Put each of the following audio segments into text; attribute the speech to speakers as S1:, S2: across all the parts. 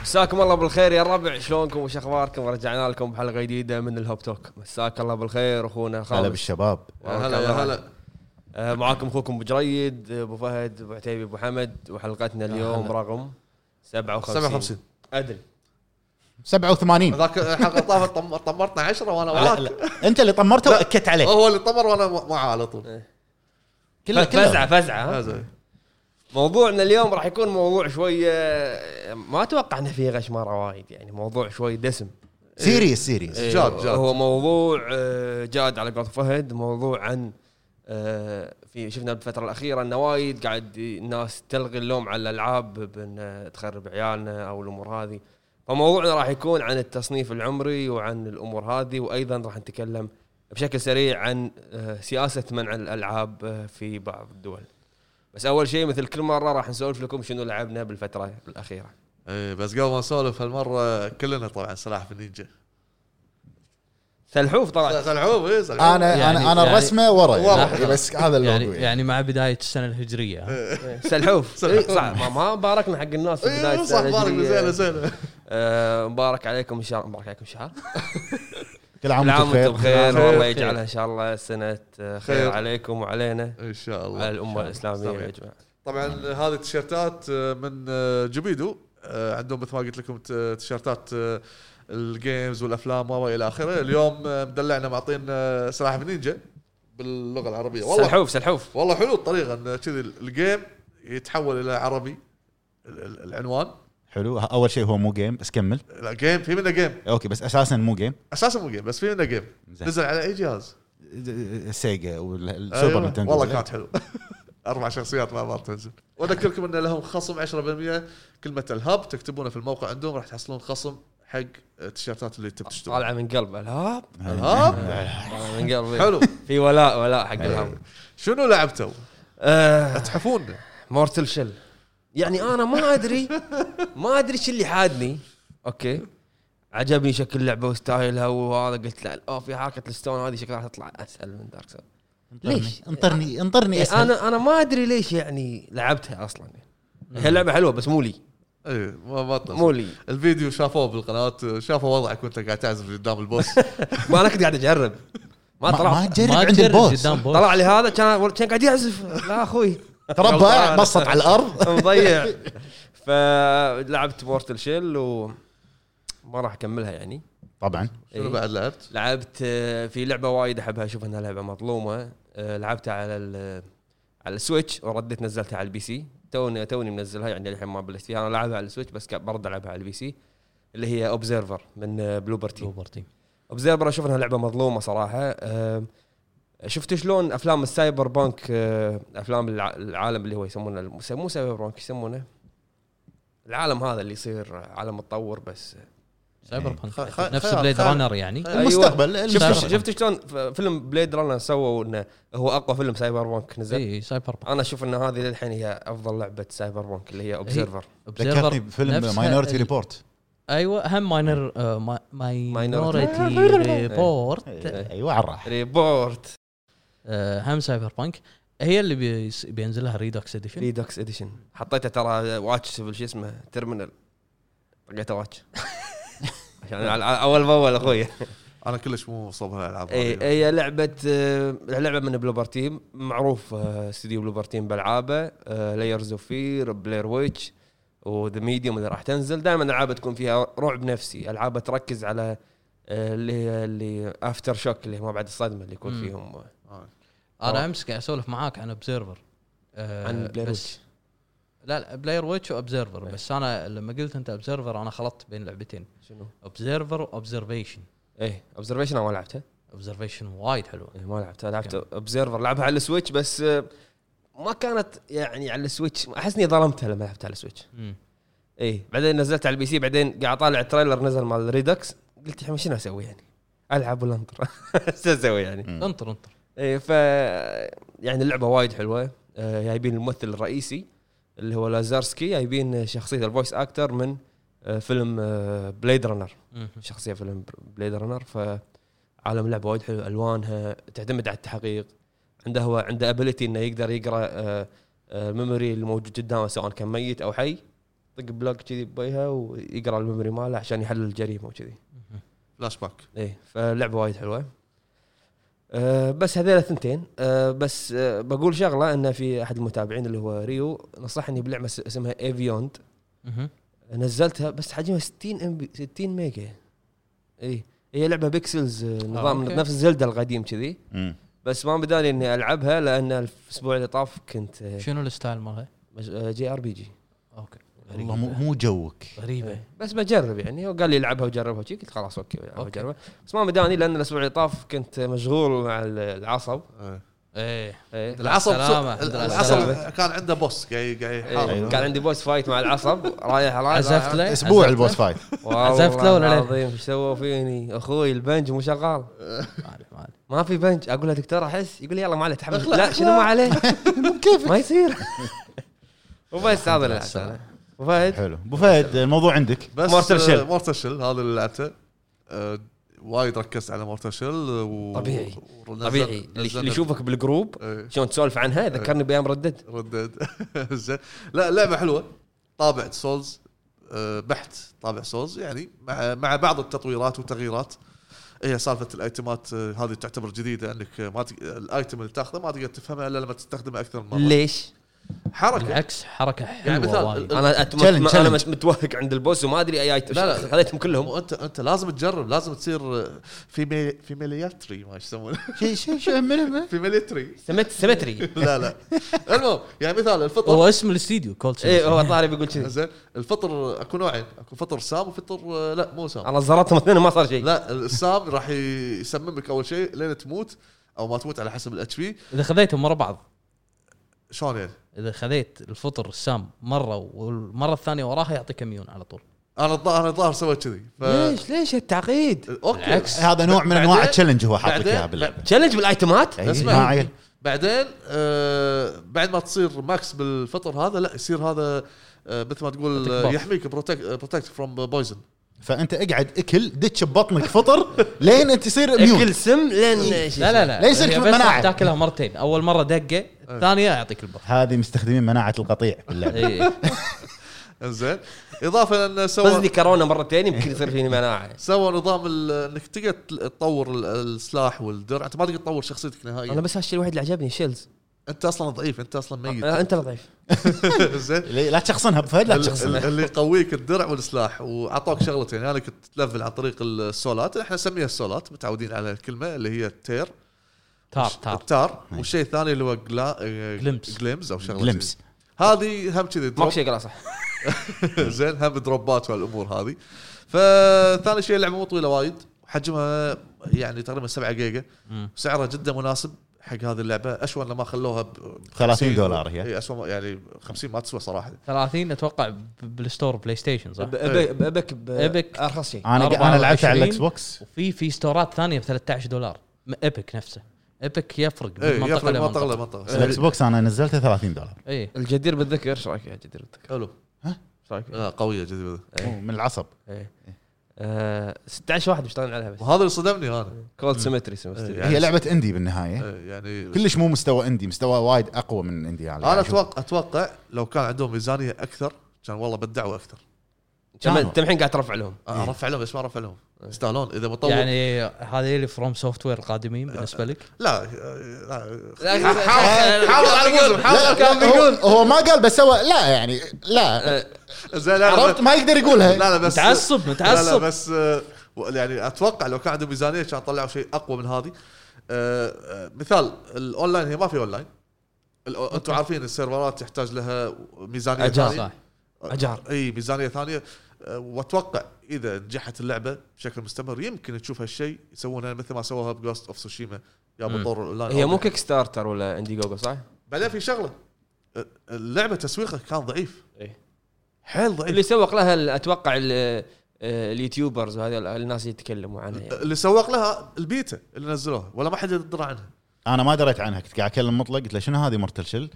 S1: مساكم الله بالخير يا الربع شلونكم وش اخباركم رجعنا لكم بحلقه جديده من الهوب توك مساك الله بالخير اخونا
S2: هلا
S1: خالد
S2: بالشباب
S1: هلا يا هلا آه، معاكم اخوكم ابو جريد ابو فهد ابو عتيبي ابو حمد وحلقتنا اليوم رقم 57
S3: 57
S1: ادري
S2: 87
S3: ذاك الحلقه طافت طم- طمرتنا 10 وانا
S2: لا،
S3: وراك
S2: لا. انت اللي طمرته واكدت عليه
S3: هو اللي طمر وانا معه على طول
S2: كله
S1: فزعه
S2: كله
S1: فزعه ها؟
S3: هذا.
S1: موضوعنا اليوم راح يكون موضوع شويه ما اتوقع انه فيه غشمره وايد يعني موضوع شوي دسم
S2: سيريس سيريس
S1: إيه،
S3: جاد- جاد.
S1: هو موضوع آه، جاد على قول فهد موضوع عن آه، في شفنا بالفتره الاخيره انه وايد قاعد ي- الناس تلغي اللوم على الالعاب بان تخرب عيالنا او الامور هذه فموضوعنا راح يكون عن التصنيف العمري وعن الامور هذه وايضا راح نتكلم بشكل سريع عن آه، سياسه منع الالعاب آه، في بعض الدول بس اول شيء مثل كل مره راح نسولف لكم شنو لعبنا بالفتره الاخيره
S3: إيه، بس قبل ما نسولف هالمره كلنا طبعا سلاحف النينجا
S1: سلحوف طلع
S3: سلحوب اي سلحوب
S2: انا
S4: يعني-
S2: انا انا
S4: يعني-
S2: الرسمه ورا
S3: ورا.
S2: يعني بس هذا
S4: يعني
S2: اللي
S4: يعني مع بدايه السنه
S1: إيه.
S4: الهجريه
S1: سلحوف
S3: سلحوف.
S1: إيه، صح ما- ما باركنا حق الناس في بدايه
S3: إيه، صح
S1: السنة
S3: بارك
S1: الهجرية.
S3: زينه زينه
S1: آه، مبارك عليكم ان شاء الله مبارك عليكم شهر
S2: كل عام
S1: كل عام
S2: وانتم
S1: وانتم بخير
S3: خير.
S1: والله يجعلها ان شاء الله سنه آه، خير
S3: خير.
S1: عليكم وعلينا
S3: ان شاء
S1: وعلى
S3: الله
S1: الامه الاسلاميه
S3: طبيعي.
S1: يا جماعه
S3: طبعا هذه التيشيرتات آه، من آه، جوبيدو آه، عندهم مثل ما قلت لكم ت- تيشيرتات آه، الجيمز والافلام والى اخره اليوم آه، مدلعنا معطينا سلاحف النينجا باللغه العربيه والله
S1: سلحوف سلحوف
S3: والله حلو الطريقه ان كذي الجيم يتحول الى عربي ال- ال- العنوان
S2: حلو ه- اول شيء هو مو جيم بس كمل
S3: لا جيم في منه جيم
S2: اوكي بس اساسا مو جيم
S3: اساسا مو جيم بس في منه جيم
S2: زين.
S3: نزل على اي جهاز
S2: سيجا والسوبر
S3: أيوة.
S2: نينتندو
S3: والله كانت حلو اربع شخصيات مع بعض تنزل واذكركم ان لهم خصم 10% كلمه الهب تكتبونه في الموقع عندهم راح تحصلون خصم حق التيشيرتات اللي تبي تشترونها
S1: طالعه من قلب الهاب
S3: الهب
S1: طالعة من قلبي
S3: حلو
S1: في ولاء ولاء حق آه. الهاب
S3: شنو لعبتوا؟ تحفون
S1: مورتل شل يعني انا ما ادري ما ادري شو اللي حادني اوكي عجبني شكل اللعبه وستايلها وهذا قلت لا اوه في حركه الستون هذه شكلها راح تطلع اسهل من دارك سول
S2: انطرني-
S1: ليش؟
S2: انطرني انطرني
S1: إيه
S2: اسهل
S1: انا انا ما ادري ليش يعني لعبتها اصلا هي لعبه حلوه بس مو لي
S3: اي ما ما تنزل.
S1: مو لي
S3: الفيديو شافوه بالقناه شافوا وضعك وانت قاعد تعزف قدام البوس
S1: ما انا كنت قاعد اجرب ما
S2: ما- ما
S1: طلع
S2: تجرب عند البوس
S4: قدام بوس
S1: طلع لي هذا كان كان قاعد يعزف لا اخوي
S2: تربى بسط على الارض
S1: مضيع فلعبت مورتل شيل وما راح اكملها يعني
S2: طبعا
S3: شنو
S1: إيه.
S3: بعد لعبت؟
S1: لعبت آه، في لعبه وايد احبها اشوف انها لعبه مظلومه آه، لعبتها على ال- على السويتش ورديت نزلتها على البي سي توني توني منزلها يعني الحين ما بلشت فيها انا لعبها على السويتش بس كان برضه العبها على البي سي اللي هي اوبزرفر من آه، بلوبر تيم
S4: روبرتي.
S1: اوبزرفر اشوف انها لعبه مظلومه صراحه آه، شفت شلون افلام السايبر بانك آه، افلام الع- العالم اللي هو يسمونه الم- مو سايبر بانك يسمونه العالم هذا اللي يصير عالم متطور بس
S4: سايبر
S3: خ-
S4: بانك
S3: خ-
S4: نفس
S3: خ-
S4: بليد
S3: خ-
S4: رانر يعني
S1: أيوه.
S3: خ-
S2: المستقبل
S1: شفت
S2: المستقبل.
S1: شفت شلون ف- فيلم بليد رانر سووا انه هو اقوى فيلم سايبر بانك نزل
S4: اي سايبر بانك
S1: انا اشوف ان هذه للحين هي افضل لعبه سايبر بانك اللي هي اوبزرفر
S2: ذكرتني بفيلم ماينورتي ريبورت
S4: ايوه هم ماينر ماينورتي
S1: Minority.
S4: ريبورت
S2: ايوه على الراحه
S1: ريبورت
S4: آه، هم سايبر بانك هي اللي بيس- بينزلها ريدوكس اديشن
S1: ريدوكس اديشن حطيته ترى واتش شو اسمه ترمينال لقيته واتش عشان على- على- اول باول اخوي
S3: انا كلش مو صوب هالالعاب
S1: إي-
S3: هذه.
S1: إيه، هي لعبه آه، لعبه من بلوبر تيم معروف آه، استوديو بلوبر تيم بالعابه لايرز اوف فير بلاير ويتش وذا ميديوم اللي راح تنزل دائما العابه تكون فيها رعب نفسي العابه تركز على آه، اللي هي اللي افتر شوك اللي ما بعد الصدمه اللي يكون
S4: مم.
S1: فيهم آه،
S3: آه.
S4: انا امس قاعد اسولف معاك عن اوبزرفر
S1: عن بلاير ويتش
S4: لا لا بلاير ويتش واوبزرفر
S1: إيه.
S4: بس انا لما قلت انت اوبزرفر انا خلطت بين لعبتين
S1: شنو؟
S4: اوبزرفر واوبزرفيشن
S1: ايه اوبزرفيشن انا ما لعبتها
S4: اوبزرفيشن وايد حلوه
S1: إيه، ما لعبتها لعبت اوبزرفر لعبها على السويتش بس آه، ما كانت يعني على السويتش احس اني ظلمتها لما لعبتها على السويتش
S4: مم.
S1: اي إيه. بعدين نزلت على البي سي بعدين قاعد اطالع التريلر نزل مال ريدكس قلت الحين شنو اسوي يعني؟ العب ولا انطر؟ شو اسوي يعني؟
S2: مم.
S4: انطر انطر
S1: اي ف يعني اللعبه وايد حلوه آه، جايبين الممثل الرئيسي اللي هو لازارسكي جايبين شخصيه الفويس اكتر من آه، فيلم بليد رانر
S4: مم.
S1: شخصيه فيلم بليد رانر ف عالم اللعبه وايد حلو الوانها تعتمد على التحقيق عنده هو عنده ابيلتي انه يقدر يقرا آه، آه، الميموري الموجود قدامه سواء كان ميت او حي طق بلوك كذي ببيها ويقرا الميموري ماله عشان يحل الجريمه وكذي
S3: فلاش باك
S1: اي فلعبه وايد حلوه أه بس هذيلا ثنتين أه بس أه بقول شغله انه في احد المتابعين اللي هو ريو نصحني بلعبه اس- اسمها ايفيوند
S4: مهم.
S1: نزلتها بس حجمها 60 ام بي 60 ميجا اي هي لعبه بيكسلز آه، نظام
S4: أوكي.
S1: نفس زلدا القديم كذي
S2: مم.
S1: بس ما بدالي اني العبها لان الاسبوع اللي طاف كنت آه،
S4: شنو الستايل مالها؟
S1: مج- آه، جي ار بي جي آه،
S4: اوكي
S2: والله مو مو جوك
S4: غريبه
S1: بس بجرب يعني وقال لي العبها وجربها وشي قلت خلاص اوكي بلعبها
S4: أوكي.
S1: وجربها بس ما بداني لان الاسبوع اللي طاف كنت مشغول مع ال- العصب
S3: إيه.
S4: ايه
S1: إيه.
S3: العصب
S4: السلامة.
S3: العصب كان عنده بوس قاعد قاعد
S1: إيه.
S3: يحارب.
S1: كان عندي بوس فايت مع العصب رايح رايح
S4: أيوه. عزفت
S3: إيه،
S4: له
S2: اسبوع
S4: عزفت له؟
S2: البوس فايت
S4: عزفت له ولا لا؟
S1: العظيم ايش سووا فيني اخوي البنج مو شغال
S4: ما عليه، ما عليه.
S1: ما في بنج اقول له دكتور احس يقول لي يلا ما عليه تحمل
S3: اخلع،
S1: لا
S3: اخلع.
S1: شنو ما عليه
S2: كيفك
S1: ما يصير وبس هذا اللي
S2: السلام.
S1: لعبته وفهد
S2: حلو ابو فهد الموضوع عندك
S3: بس
S2: مارتل شيل.
S3: مورتل شيل هذا اللي لعبته آه، وايد ركزت على مورتل شيل و...
S1: طبيعي.
S3: ونزل-
S1: طبيعي اللي
S3: نزلنا-
S1: اللي يشوفك بالجروب
S3: إيه.
S1: شلون تسولف عنها ذكرني بايام ردد
S3: ردد زين لا لعبه حلوه طابع سولز آه، بحت طابع سولز يعني مع مع بعض التطويرات والتغييرات هي سالفه الايتمات آه، هذه تعتبر جديده انك آه، ما تق... الايتم اللي تاخذه ما تقدر تفهمه الا لما تستخدمه اكثر من مره
S1: ليش؟
S3: حركه
S4: بالعكس حركه
S3: يعني
S4: حلوه
S3: مثال،
S4: وايد
S1: انا أتم...
S2: Challenge,
S1: انا
S2: challenge.
S1: مت- متوهق عند البوس وما ادري اي ايتم
S3: لا، لا.
S1: خذيتهم كلهم
S3: وانت انت لازم تجرب لازم تصير آه، في مي... في ميلياتري ما يسمونه
S2: شيء شيء شيء من
S3: في ميليتري
S1: سمت سمتري
S3: لا لا المهم يعني مثال الفطر
S4: هو اسم الاستديو كولد
S1: اي إيه، هو طاري بيقول كذي
S3: زين الفطر اكو نوعين اكو فطر سام وفطر آه، لا مو سام
S1: انا زرتهم اثنين وما صار شيء
S3: لا السام راح يسممك اول شيء لين تموت او ما تموت على حسب الاتش بي
S4: اذا خذيتهم ورا بعض
S3: شلون يعني؟
S4: اذا خذيت الفطر السام مره والمره الثانيه وراها يعطيك ميون على طول
S3: انا الظاهر انا الظاهر سويت كذي ف...
S1: ليش ليش التعقيد؟
S3: اوكي
S4: بالعكس.
S2: هذا نوع من انواع
S3: بعدين-
S2: التشالنج هو حاط لك
S3: بعدين-
S2: اياها باللعبه
S1: تشالنج بالايتمات؟
S2: أي،
S3: اسمع.
S2: ما عيل
S3: بعدين آه بعد ما تصير ماكس بالفطر هذا لا يصير هذا آه مثل ما تقول
S4: يعطيك
S3: آه،
S4: buff.
S3: يحميك بروتكت بروتكت فروم بويزن
S2: فانت اقعد اكل دتش ببطنك فطر لين انت تصير
S3: أيوه.
S2: ميون
S1: كل سم لين
S4: لا لا لا
S2: لا يصير
S4: هي
S2: كل
S4: بس
S2: مناعة.
S4: راح تاكلها مرتين اول مره دقه الثانيه يعطيك إيه. البف
S2: هذه مستخدمين مناعه القطيع باللعبه
S4: اي
S3: زين اضافه لان سوى
S1: قصدي كورونا مرتين يمكن يصير فيني مناعه
S3: سوى نظام ال- انك تقدر تطور ال- السلاح والدرع انت ما تقدر تطور شخصيتك
S1: انا
S3: نهائيا
S1: بس هالشيء الوحيد اللي عجبني الشيلز
S3: انت اصلا ضعيف انت اصلا ميت
S1: آه، انت الضعيف
S3: زين
S2: ليه- لا تشخصنها ابو فهد لا
S3: ال-
S2: تشخصنها
S3: ال- اللي يقويك الدرع والسلاح وعطوك شغلتين يعني انك تلفل عن طريق السولات احنا نسميها السولات متعودين على الكلمه اللي هي التير
S4: تار تار
S3: التار
S2: نعم.
S3: والشيء الثاني اللي هو آه، جلا
S4: Glimpse.
S3: جليمز او شغله
S2: جلمس
S3: كذي. هذه هم كذي
S1: ماكو
S3: دروب
S1: شيء قال صح
S3: زين هم دروبات والامور هذه فثاني شيء اللعبه مو طويله وايد حجمها يعني تقريبا 7 جيجا
S4: مم.
S3: سعرها جدا مناسب حق هذه اللعبه اشوى لما خلوها ب
S2: 30 دولار هي.
S3: هي اسوى يعني 50 ما تسوى صراحه
S4: 30 اتوقع ب- بالستور بلاي ستيشن صح؟
S1: إيه. ابك
S4: إبك.
S1: ارخص شيء
S2: انا انا لعبت على الاكس
S4: 24.
S2: بوكس
S4: وفي في ستورات ثانيه ب 13 دولار م- ايبك نفسه ايبك يفرق من
S3: اي
S4: منطقه
S3: إيه، يفرق منطقه
S4: لمنطقه
S3: لمنطقه
S2: الاكس بوكس انا نزلته 30 دولار
S4: اي
S1: الجدير بالذكر ايش رايك يا جدير بالذكر؟
S3: حلو
S1: ايش رايك؟
S3: آه، قويه جدا
S1: إيه.
S2: أوه، من العصب
S1: إيه. آه، 16 واحد مشتغلين عليها بس
S3: وهذا اللي صدمني انا
S1: كولد سيمتري سيمتري
S3: إيه.
S2: هي لعبه اندي بالنهايه
S3: إيه، يعني
S2: كلش مو مستوى اندي مستوى وايد اقوى من اندي يعني
S3: انا
S2: أشوف.
S3: اتوقع اتوقع لو كان عندهم ميزانيه اكثر كان والله بدعوا اكثر
S1: كم- انت الحين قاعد ترفع لهم
S3: آه، رفع لهم ليش ما رفع لهم؟ يستاهلون اذا مطور يعني
S4: يعني هذه اللي فروم سوفت وير القادمين بالنسبه لك
S3: لا آه، لا
S1: حافظ
S3: حافظ على الموسم
S2: لا
S3: حافظ
S2: كان بيقول هو ما قال بس هو لا يعني
S3: إيه.
S2: لا
S3: زين، لا، لا
S2: عرفت
S3: بس-
S2: ما يقدر يقولها
S3: لا لا بس
S4: متعصب
S3: لا لا
S4: متعصب
S3: بس آه، يعني اتوقع لو كان عندهم ميزانيه كان طلعوا شيء اقوى من هذه آه، آه، مثال الاونلاين هي ما في اونلاين الأو- انتم عارفين السيرفرات تحتاج لها ميزانيه
S1: أجار.
S3: ثانية.
S4: صح
S1: أجار.
S3: اي ميزانيه ثانيه أه، واتوقع اذا نجحت اللعبه بشكل مستمر يمكن تشوف هالشيء يسوونه مثل ما سووها بجوست اوف سوشيما يا
S4: مم.
S3: بطور الاونلاين
S1: هي مو
S3: أوكي.
S1: كيك ستارتر ولا اندي جوجو صح؟
S3: بعدين في شغله أه، اللعبه تسويقها كان ضعيف
S1: إيه.
S3: حيل ضعيف
S1: اللي سوق لها ال- اتوقع ال- آه، اليوتيوبرز وهذا ال- الناس اللي يتكلموا عنها يعني.
S3: اللي سوق لها البيتا اللي نزلوها ولا ما حد يدرى عنها
S2: انا ما دريت عنها كنت قاعد اكلم مطلق قلت له شنو هذه مرتل شل؟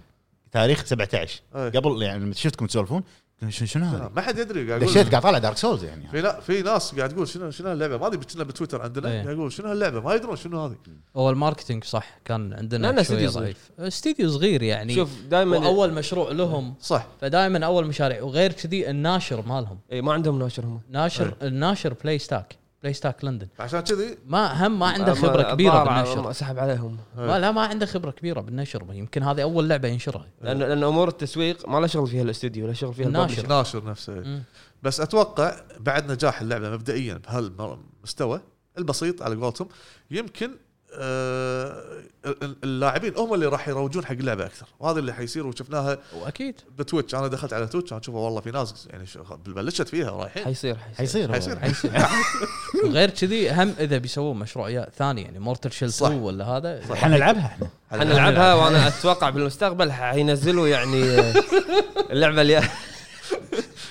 S2: تاريخ 17
S3: إيه.
S2: قبل يعني لما شفتكم تسولفون شنو شنو
S1: طيب.
S2: هذا؟
S3: ما حد يدري قاعد
S2: دشيت
S3: اقول
S2: قاعد طالع دارك سولز يعني
S3: في لا في ناس قاعد تقول شنو شنو هاللعبه ما ادري كنا بتويتر عندنا
S4: إيه.
S3: قاعد يقول شنو هاللعبه ما يدرون شنو هذه
S4: هو الماركتينج صح كان عندنا
S1: لأنه
S4: شوية
S1: استديو صغير.
S4: ضعيف. استديو صغير يعني شوف
S1: شوف دائما
S4: اول مشروع لهم
S3: صح
S4: فدائما اول مشاريع وغير كذي الناشر مالهم
S1: اي إيه، ما عندهم ناشر هم
S4: ناشر الناشر بلاي ستاك بلاي ستاك لندن
S3: عشان كذي
S4: ما هم ما عنده
S1: آه،
S4: خبره كبيره
S1: الظاهر
S4: بالنشر
S1: سحب عليهم
S4: ما لا ما عنده خبره كبيره بالنشر يمكن هذه اول لعبه ينشرها
S1: لان لان امور التسويق ما له شغل فيها الاستوديو لا شغل فيها
S4: الناشر.
S1: الناشر
S3: ناشر نفسه
S4: مم.
S3: بس اتوقع بعد نجاح اللعبه مبدئيا بهالمستوى البسيط على قولتهم يمكن آه، ال- اللاعبين هم اللي راح يروجون حق اللعبه اكثر وهذا اللي حيصير وشفناها
S4: واكيد
S3: بتويتش انا دخلت على تويتش انا اشوفها والله في ناس يعني ش- بلشت فيها رايحين
S1: حيصير حيصير
S2: حيصير
S3: حيصير.
S4: وغير كذي هم اذا بيسوون مشروع ثاني يعني مورتل شيل
S3: صح.
S4: 2 ولا هذا
S2: حنلعبها احنا
S1: حنلعبها وانا اتوقع بالمستقبل حينزلوا يعني آه، اللعبه اللي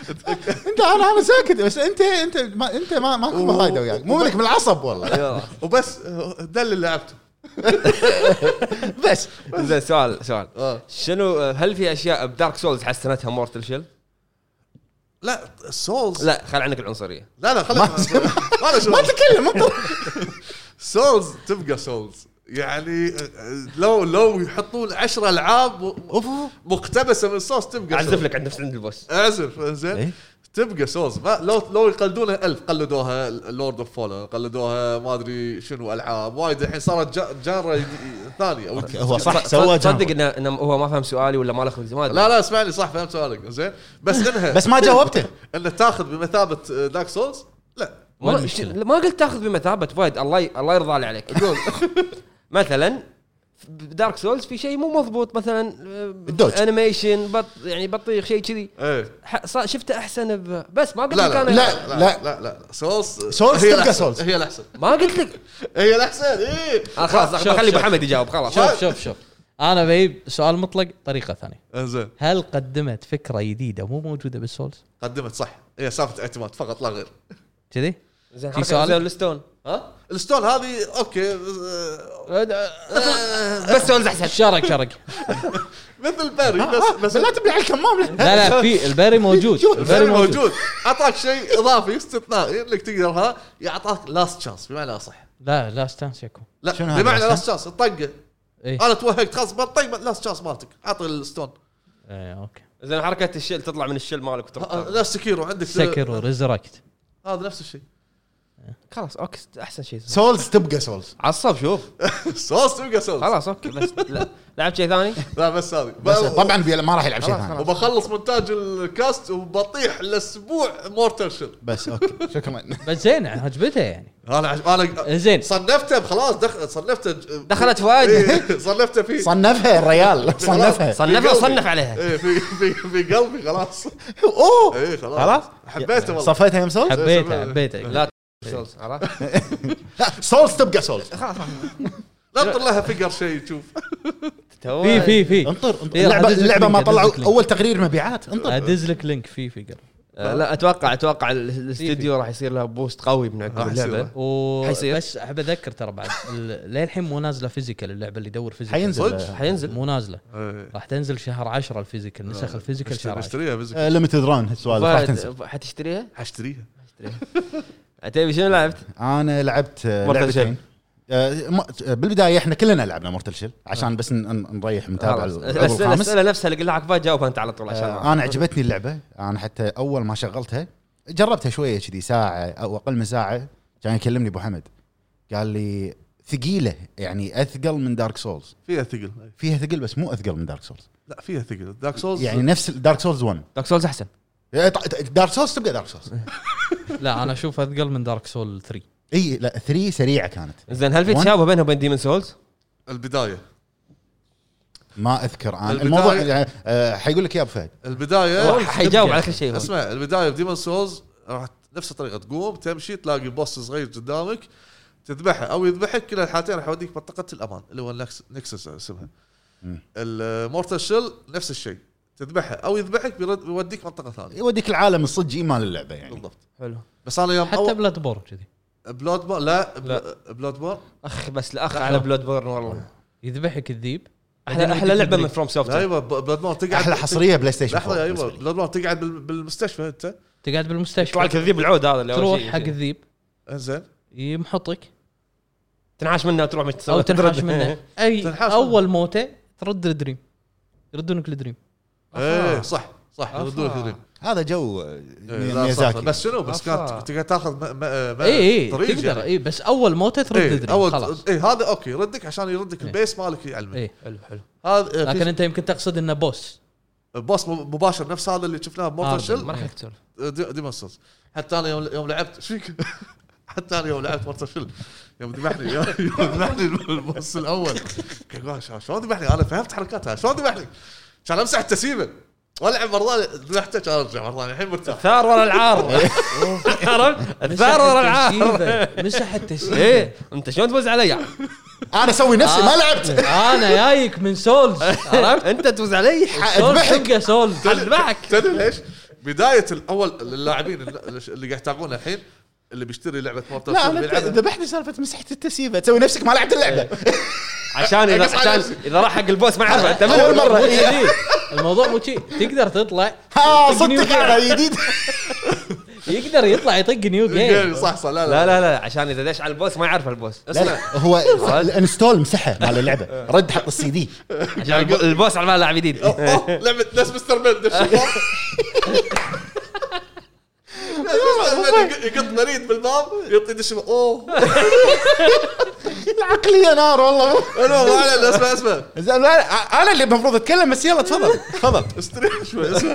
S2: انت انا انا ساكت بس انت انت ما انت ما ماكو فايده وياك مو منك من العصب والله
S3: وبس آه، ده اللي لعبته
S2: بس
S1: زين سؤال سؤال
S3: آه.
S1: شنو آه، هل في اشياء بدارك سولز حسنتها مورتل شيل؟
S3: لا سولز لا
S1: لا خل عنك العنصريه
S3: لا, لا خليك ما له
S2: ما
S3: شغل
S2: تكلم انت
S3: سولز تبقى سولز يعني آه، لو لو يحطون 10 العاب و- مقتبسه من سولز تبقى
S1: اعزف
S3: سولز.
S1: لك عند نفس عند البوس
S3: اعزف زين
S2: إيه.
S3: تبقى سولز ما لو لو يقلدونها ألف قلدوها لورد اوف فولن قلدوها ما ادري شنو العاب وايد الحين صارت جا- جاره جديد- ثانيه أو
S2: هو صح سوى
S1: صد- صدق
S2: صدق
S1: انه إنه هو ما فهم سؤالي ولا ما له خلق ما أدري.
S3: لا لا اسمعني صح فهمت سؤالك زين بس انها
S2: بس ما جاوبته
S3: انها تاخذ بمثابه دارك سولز لا
S1: ما-
S4: وين المشكلة؟
S1: ما قلت تاخذ بمثابه فهد الله ي- الله يرضى علي عليك
S3: قول
S1: مثلا بدارك سولز في شيء مو مضبوط مثلا آه،
S2: الدوج.
S1: انيميشن بط يعني بطيخ شيء كذي
S3: إيه.
S1: ح- صا- شفته احسن ب- بس ما قلت
S3: لا
S1: لك
S3: لا
S1: انا
S2: لا.
S3: لا لا لا سولز
S2: سولز
S3: هي
S2: تبقى
S3: الأحسن.
S2: سولز.
S3: هي الاحسن
S1: ما قلت لك
S3: هي إيه. الاحسن اي
S1: آه، خلاص
S4: شوف،
S1: خلي
S4: شوف.
S1: ابو حمد يجاوب خلاص
S4: شوف شوف شوف انا بجيب سؤال مطلق طريقه ثانيه
S3: زين
S4: هل قدمت فكره جديده مو موجوده بالسولز؟
S3: قدمت صح هي سالفه اعتماد فقط لا غير
S4: كذي؟
S1: زين
S4: في
S1: حركة
S4: سؤال؟
S1: زين الستون ها
S3: الستون هذه اوكي آه،
S1: آه، بس سولز احسن
S4: شرق شرق
S3: مثل باري بس بس
S2: لا تبلع الكمام لا.
S4: لا لا في الباري موجود
S3: الفرق
S4: الباري موجود
S3: موجود اعطاك شيء اضافي استثنائي انك تقدر ها يعطاك لاست شانس بمعنى اصح
S4: لا لا ستانس يكون
S3: لا
S2: شنو هذا إيه.
S3: بمعنى
S2: أصلاً؟
S3: لاست شانس طقه
S4: ايه
S3: انا توهقت خلاص طق لاست شانس مالتك اعطي الستون
S4: إيه، اوكي
S1: زين حركه الشل تطلع من الشل مالك وتروح.
S3: آه، نفس سكيرو عندك
S4: سكر وريزركت
S3: هذا نفس الشيء
S1: خلاص اوكي احسن شيء
S2: سولز تبقى سولز
S1: عصب شوف
S3: سولز تبقى سولز
S1: خلاص اوكي بس لا لعب شيء ثاني
S3: لا بس هذه
S2: بس
S3: ب-
S2: طبعا بي- ما راح يلعب شيء
S1: خلاص،
S2: ثاني
S1: خلاص.
S3: وبخلص مونتاج الكاست وبطيح الاسبوع مورتال شيل
S2: بس اوكي شكرا
S4: بس زين يعني عجبتها يعني آه،
S3: انا عج- انا
S4: زين
S3: صنفته خلاص دخل صنفته آه،
S1: دخلت فؤاد.
S3: إيه، صنفته فيه
S2: صنفها الريال صنفها
S1: صنفها وصنف عليها
S3: ايه في في في قلبي خلاص
S2: اوه
S3: ايه خلاص
S2: خلاص؟
S3: حبيته والله
S2: صفيتها يم سولز
S4: حبيتها حبيتها
S1: لا سولز عرفت
S2: لا، سولز تبقى سولز
S3: لا تطلع لها فقر شيء تشوف
S1: تو-
S4: في في في
S2: انطر انطر.
S4: إيه،
S2: اللعبه
S4: عدد
S2: اللعبه ما
S4: لينك، عدد
S2: طلعوا
S4: لينك.
S2: اول تقرير مبيعات انطر
S4: ادز لك لينك في فيجر
S1: آه، لا اتوقع اتوقع ال- الاستديو راح يصير له بوست قوي من عقب
S3: راح يصير
S1: اللعبه
S4: و
S1: حيصير.
S4: بس احب اذكر ترى بعد ال- للحين مو نازله فيزيكال اللعبه اللي يدور فيزيكال
S2: حينزل آه،
S3: صدق؟
S1: حينزل
S4: مو نازله
S3: إيه.
S4: راح تنزل شهر 10 الفيزيكال نسخ الفيزيكال شهر 10
S3: اشتريها بس
S2: ليمتد ران السؤال راح تنزل
S1: فهد،
S3: إيه.
S1: حتشتريها؟
S3: حاشتريها
S1: تبي شنو لعبت؟
S2: انا لعبت آه،
S1: Mortal
S2: لعبتين آه، ما- آه، بالبدايه احنا كلنا لعبنا مورتل شيل عشان بس ن- ن- نريح المتابعه
S1: خلاص.
S2: العضو
S1: الاسئله
S2: الخامس
S1: الأسئلة نفسها اللي قلنا عقبها جاوبها انت على طول عشان
S2: آه، انا عجبتني اللعبه انا حتى اول ما شغلتها جربتها شويه كذي ساعه او اقل من ساعه كان يكلمني ابو حمد قال لي ثقيله يعني اثقل من دارك سولز
S3: فيها ثقل
S2: فيها ثقل بس مو اثقل من دارك سولز
S3: لا فيها ثقل دارك سولز
S2: يعني نفس دارك سولز 1
S1: دارك سولز احسن
S2: إيه، دارك سولز طيب، تبقى دارك سولز
S4: لا انا اشوف اثقل من دارك سول 3
S2: اي إيه، لا 3 سريعه كانت
S1: زين هل في
S2: One؟
S1: تشابه بينها وبين ديمن سولز؟
S3: إيه. البدايه
S2: ما اذكر انا
S3: البداية-
S2: الموضوع يعني آه، حيقول لك يا ابو فهد
S3: البدايه
S1: حيجاوب على كل شيء هو.
S3: يعني اسمع البدايه بديمون سولز راح نفس الطريقه تقوم تمشي تلاقي بوس صغير قدامك تذبحه او يذبحك كلا الحالتين راح يوديك منطقه الامان اللي هو النكس- نكسس اسمها
S2: مم.
S3: المورتال شيل نفس الشيء تذبحه او يذبحك بيرد- بيوديك منطقه ثانيه
S2: يوديك العالم الصج مال اللعبه يعني
S3: بالضبط
S1: حلو
S3: بس انا يوم
S4: حتى بلاد بورن كذي
S3: بلود بور لا, لا. بلود بور
S1: اخ بس الاخ على بلود بورن والله
S4: يذبحك الذيب
S1: احلى احلى لعبه من فروم
S3: لا
S1: سوفت
S3: يبا بلاد بورن تقعد
S2: احلى حصريه بلاي ستيشن
S3: لحظه
S2: 4
S3: ايوه
S2: بالنسبة لي.
S3: بلاد بورن تقعد بال- بالمستشفى انت
S4: تقعد
S1: طبعا
S4: بالمستشفى
S1: الكذيب العود هذا اللي أول
S4: تروح
S1: شيء-
S4: حق الذيب
S3: انزين
S4: يمحطك
S1: تنعاش منه تروح مش تسوي
S4: او تنحاش منه اي
S3: تنحاش
S4: اول موته ترد الدريم يردونك الدريم
S3: ايه صح صح
S1: أفا.
S3: يردونك الريم.
S2: هذا جو آه،
S3: إيه، لا، صح،
S2: ميازاكي
S3: بس شنو
S4: آه،
S3: بس
S1: أفا.
S3: كانت تقعد تاخذ م- م- م-
S4: اي اي
S3: طريق
S4: إيه، تقدر
S3: يعني.
S4: اي بس اول موته ترد
S3: إيه،
S4: الدريم
S3: اول
S4: خلاص
S3: اي هذا اوكي يردك عشان يردك
S4: إيه.
S3: البيس مالك يعلمك
S4: اي
S1: حلو حلو
S3: هذا آه، في
S4: لكن انت يمكن تقصد انه بوس
S3: بوس م- مباشر نفس هذا اللي شفناه آه، بمورتال
S4: آردن.
S3: شيل
S1: ما راح تسولف
S3: ديمون سولز حتى انا يوم يوم لعبت ايش فيك؟ حتى انا يوم لعبت مورتال شيل يوم ذبحني يوم ذبحني البوس الاول كان قاعد شلون- شلون ذبحني انا فهمت حركاتها شلون ذبحني؟ كان امسح التسييمه والعب مره ثانية، ذبحته كان ارجع مره ثانية، الحين مرتاح
S1: الثار ورا العار عرفت الثار ورا العار
S4: التسييفة. مسح التسييفه
S1: ايه انت شلون تفوز علي
S2: انا اسوي نفسي
S3: آه،
S2: ما لعبت
S4: انا جايك من سولز
S1: عرفت انت تفوز علي
S4: سولز
S2: أذبحك.
S4: تبقى سولز
S1: اذبحك
S3: تدري ليش؟ بدايه الاول اللاعبين اللي قاعد يتابعونا الحين اللي بيشتري لعبه مورتال
S2: لا
S3: شيل
S2: انا
S3: بيلعبها
S2: ذبحني سالفه مسحت التسييفه تسوي نفسك ما لعبت اللعبه
S3: إيه.
S1: عشان اذا عشان اذا راح حق البوس ما عرفه انت
S2: أول مرة.
S4: مو كذي. الموضوع مو شيء تقدر تطلع
S2: ها
S4: يطق نيو
S2: آه، صدق
S4: جيم.
S2: على جديد
S4: يقدر يطلع يطق نيو جيم
S3: إيه، صح صح لا
S1: لا لا
S3: لا
S1: لا عشان اذا دش على البوس ما يعرف البوس
S2: لا
S1: اسمع
S2: لا هو الانستول مسحه مال
S3: إيه.
S2: اللعبه رد حط السي دي
S1: عشان الب- البوس على بالها لاعب جديد
S3: أوه، أوه، لعبه ناس مستر بين دش الباب. ناس مستر بين يق- يقط مريض بالباب يعطي دش الباب. اوه
S2: العقليه نار والله
S3: انا ما علينا، اسمع اسمع
S2: زين انا أنا اللي المفروض اتكلم بس يلا تفضل تفضل
S3: استريح شوي اسمع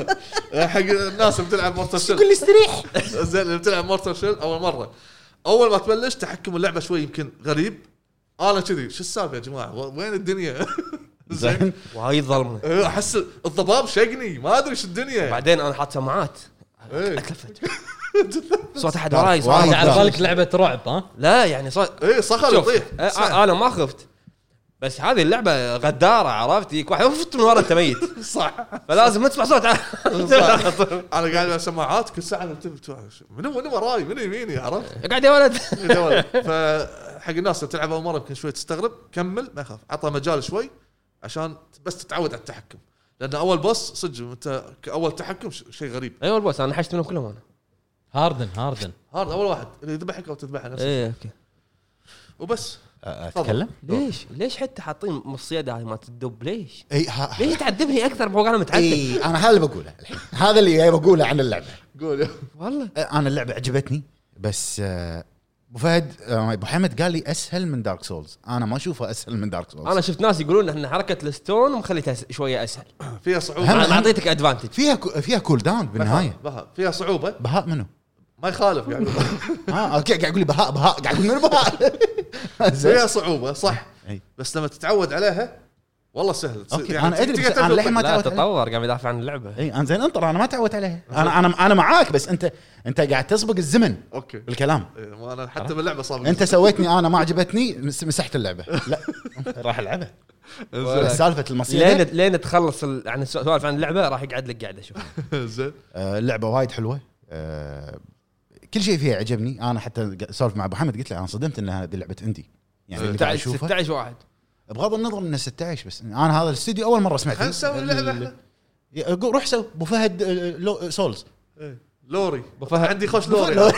S3: حق الناس اللي بتلعب مورتال
S2: كل
S3: شيل
S2: استريح
S3: زين اللي بتلعب مورتال شيل اول مره اول ما تبلش تحكم اللعبه شوي يمكن غريب انا كذي شو السالفه يا جماعه و- وين الدنيا زين
S2: زين
S1: وايد ظلمه
S3: إيه، احس الضباب شقني ما ادري شو الدنيا
S1: بعدين انا حاط سماعات
S3: إيه.
S1: اتلفت صوت احد وراي صوت
S2: وايد
S4: أنت على
S1: أحد-
S4: بالك لعبه رعب ها
S1: لا يعني صوت
S3: اي صخر
S2: طيب،
S1: شوف
S3: يطيح
S1: أ- أ- انا ما خفت بس هذه اللعبه غداره عرفت يجيك واحد فت من ورا انت ميت
S3: صح
S1: فلازم تسمع صوت
S3: انا قاعد على سماعات كل ساعه انتبه تو- منو منو وراي منو يميني عرفت؟
S1: قاعد يا ولد
S3: فحق الناس اللي تلعب اول مره يمكن شوي تستغرب كمل ما يخاف عطى مجال شوي عشان بس تتعود على التحكم لان اول بوس صدق انت اول تحكم ش- شيء غريب
S1: ايوه البوس انا حشت منهم كلهم انا
S4: هاردن هاردن
S3: هارد اول واحد اللي يذبحك او تذبحه نفسك
S1: ايه اوكي
S3: وبس
S2: اتكلم
S1: ليش ليش حتى حاطين من الصياده هذه مالت الدب ليش؟
S2: اي إيه، ها-
S1: ليش تعذبني اكثر فوق انا متعذب؟
S2: اي انا هذا اللي بقوله الحين هذا اللي جاي بقوله عن اللعبه
S3: قول يا
S1: والله
S2: انا اللعبه عجبتني بس آه، ابو فهد آه، ابو حمد قال لي اسهل من دارك سولز انا ما اشوفها اسهل من دارك سولز
S1: انا شفت ناس يقولون ان حركه الستون مخليتها س- شويه اسهل
S3: فيها
S2: هم-
S3: صعوبه
S1: انا اعطيتك ادفانتج
S2: فيها كو- فيها كول داون بالنهايه
S3: بها- فيها صعوبه
S2: بهاء منو؟
S3: ما يخالف يعني. قاعد أقول.
S2: ها اوكي قاعد يقول لي بهاء بهاء قاعد يقول منو بهاء زين
S3: فيها صعوبه صح
S2: إي.
S3: بس لما تتعود عليها والله سهل تصير-
S2: أوكي،
S3: يعني
S2: أنا أدري،
S3: تقدر
S2: بس أنا
S3: تفهم.
S2: للحين ما
S1: لا
S2: تعودت عليها. إيه.
S1: تطور قام يدافع عن اللعبه
S2: اي انا زين انطر انا ما تعودت عليها انا انا انا معاك بس انت انت قاعد تسبق الزمن
S3: اوكي
S2: بالكلام
S3: إيه، ما انا حتى باللعبه صار
S2: انت سويتني انا ما عجبتني مس- مسحت اللعبه لا راح العبها
S3: إنزين.
S2: سالفه
S1: لين
S2: المصيده
S1: لين تخلص ال- عن السوالف عن اللعبه راح يقعد لك قاعده شوف
S3: زين
S2: آه، اللعبه وايد حلوه آه، كل شيء فيها عجبني انا حتى ق- سولف مع ابو حمد قلت له انا صدمت ان هذه لعبه اندي يعني اللي قاعد
S1: 16
S2: اشوفها
S1: 16 واحد
S2: بغض النظر انه 16 بس انا هذا الاستوديو اول مره سمعت
S3: خلينا نسوي لعبه احنا
S2: ي- قو- روح سو ابو فهد آه، لو- آه، سولز
S3: إيه. لوري
S1: فهد.
S3: عندي خوش لوري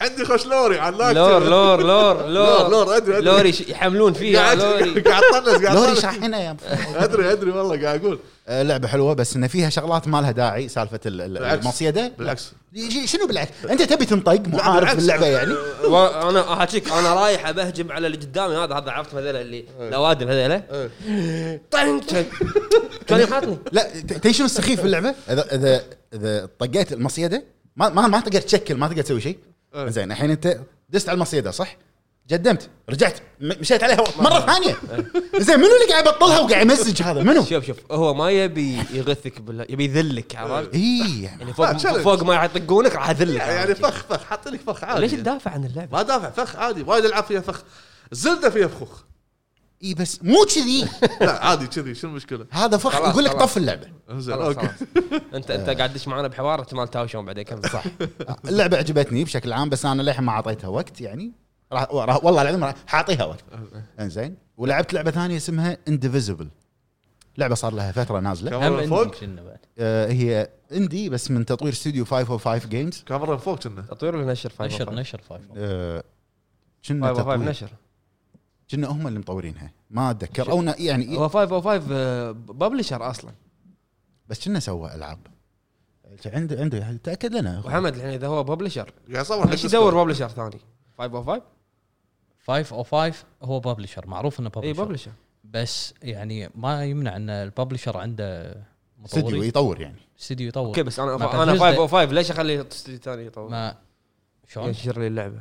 S3: عندي خوش لوري على اللايك.
S1: لور لور لور
S3: لور
S1: لور
S3: لور ادري ادري
S1: لوري يش- يحملون فيها
S3: قاعد
S1: لوري
S3: قاعد طنز قاعد
S2: لوري
S3: طنز
S2: شاحنه يا أبو فهد.
S3: ادري ادري والله قاعد اقول
S2: آه، لعبه حلوه بس ان فيها شغلات ما لها داعي سالفه ال- ال-
S3: بالعكس.
S2: المصيده
S3: بالعكس
S2: يجي- شنو بالعكس انت تبي تنطق مو عارف
S3: بالعكس.
S2: اللعبه يعني
S1: انا احاكيك انا رايح بهجم على اللي قدامي هذا هذا عرفت هذيلا اللي لوادم هذيلا
S3: إيه.
S1: طن- طن. كان يحاطني
S2: لا ت- تدري شنو السخيف باللعبه؟ اذا اذا اذا طقيت المصيده ما ما, ما تقدر تشكل ما تقدر تسوي شيء
S1: إيه.
S3: أه.
S2: زين الحين انت دست على المصيده صح؟ جدمت رجعت م- مشيت عليها مره ثانيه زين منو اللي قاعد يبطلها وقاعد يمزج هذا منو؟
S1: شوف شوف هو ما يبي يغثك بالله يبي يذلك
S2: إيه.
S1: عرفت
S2: اي
S1: يعني فوق
S3: آه، challenge.
S1: فوق ما يطقونك راح اذلك
S3: يعني فخ فخ حاط لك فخ عادي يعني.
S1: ليش تدافع عن اللعبه؟
S3: ما دافع فخ عادي وايد العاب فيها فخ زلده فيها فخوخ
S2: اي إيه، بس مو كذي
S3: لا عادي كذي شنو المشكله؟
S2: هذا فخ
S1: خلاص،
S2: يقول لك
S1: خلاص.
S2: طف اللعبه
S3: انزين
S1: خلاص
S3: اوكي
S1: خلاص. انت انت قاعد تدش معانا بحوار مال تاوشون بعدين كمل صح
S2: اللعبه عجبتني بشكل عام بس انا للحين ما اعطيتها وقت يعني راح
S1: إيه.
S2: راح- والله العظيم راح حاعطيها وقت انزين ولعبت لعبه ثانيه اسمها انديفيزبل لعبه صار لها فتره نازله
S3: كاميرا من طيب، فوق
S4: كنا بعد
S2: آه هي اندي بس من تطوير oh استوديو 505 جيمز
S3: كاميرا من فوق كنا
S1: تطوير ولا نشر فايف
S4: نشر نشر فايف
S2: آه كنا
S1: فايف فايف
S2: تطوير
S1: نشر
S2: كنا هم اللي مطورينها ما اتذكر او نا- يعني
S1: هو فايف آه، او فايف ببلشر اصلا
S2: بس كنا سوى العاب عنده عنده تاكد لنا أخوي.
S1: محمد الحين اذا هو ببلشر
S3: قاعد يصور حق
S1: ليش يدور ببلشر ثاني؟ فايف او فايف؟
S4: فايف او فايف oh هو ببلشر معروف انه
S1: اي
S4: ببلشر
S1: ببلشر
S4: بس يعني ما يمنع ان الببلشر عنده
S2: استوديو
S4: مطورين
S2: يطور يعني
S4: استديو يطور
S1: اوكي بس انا
S4: ما
S1: انا
S4: بثزدا.
S1: فايف او فايف ليش اخلي استوديو ثاني يطور؟
S4: ما شلون؟
S1: ينشر لي اللعبه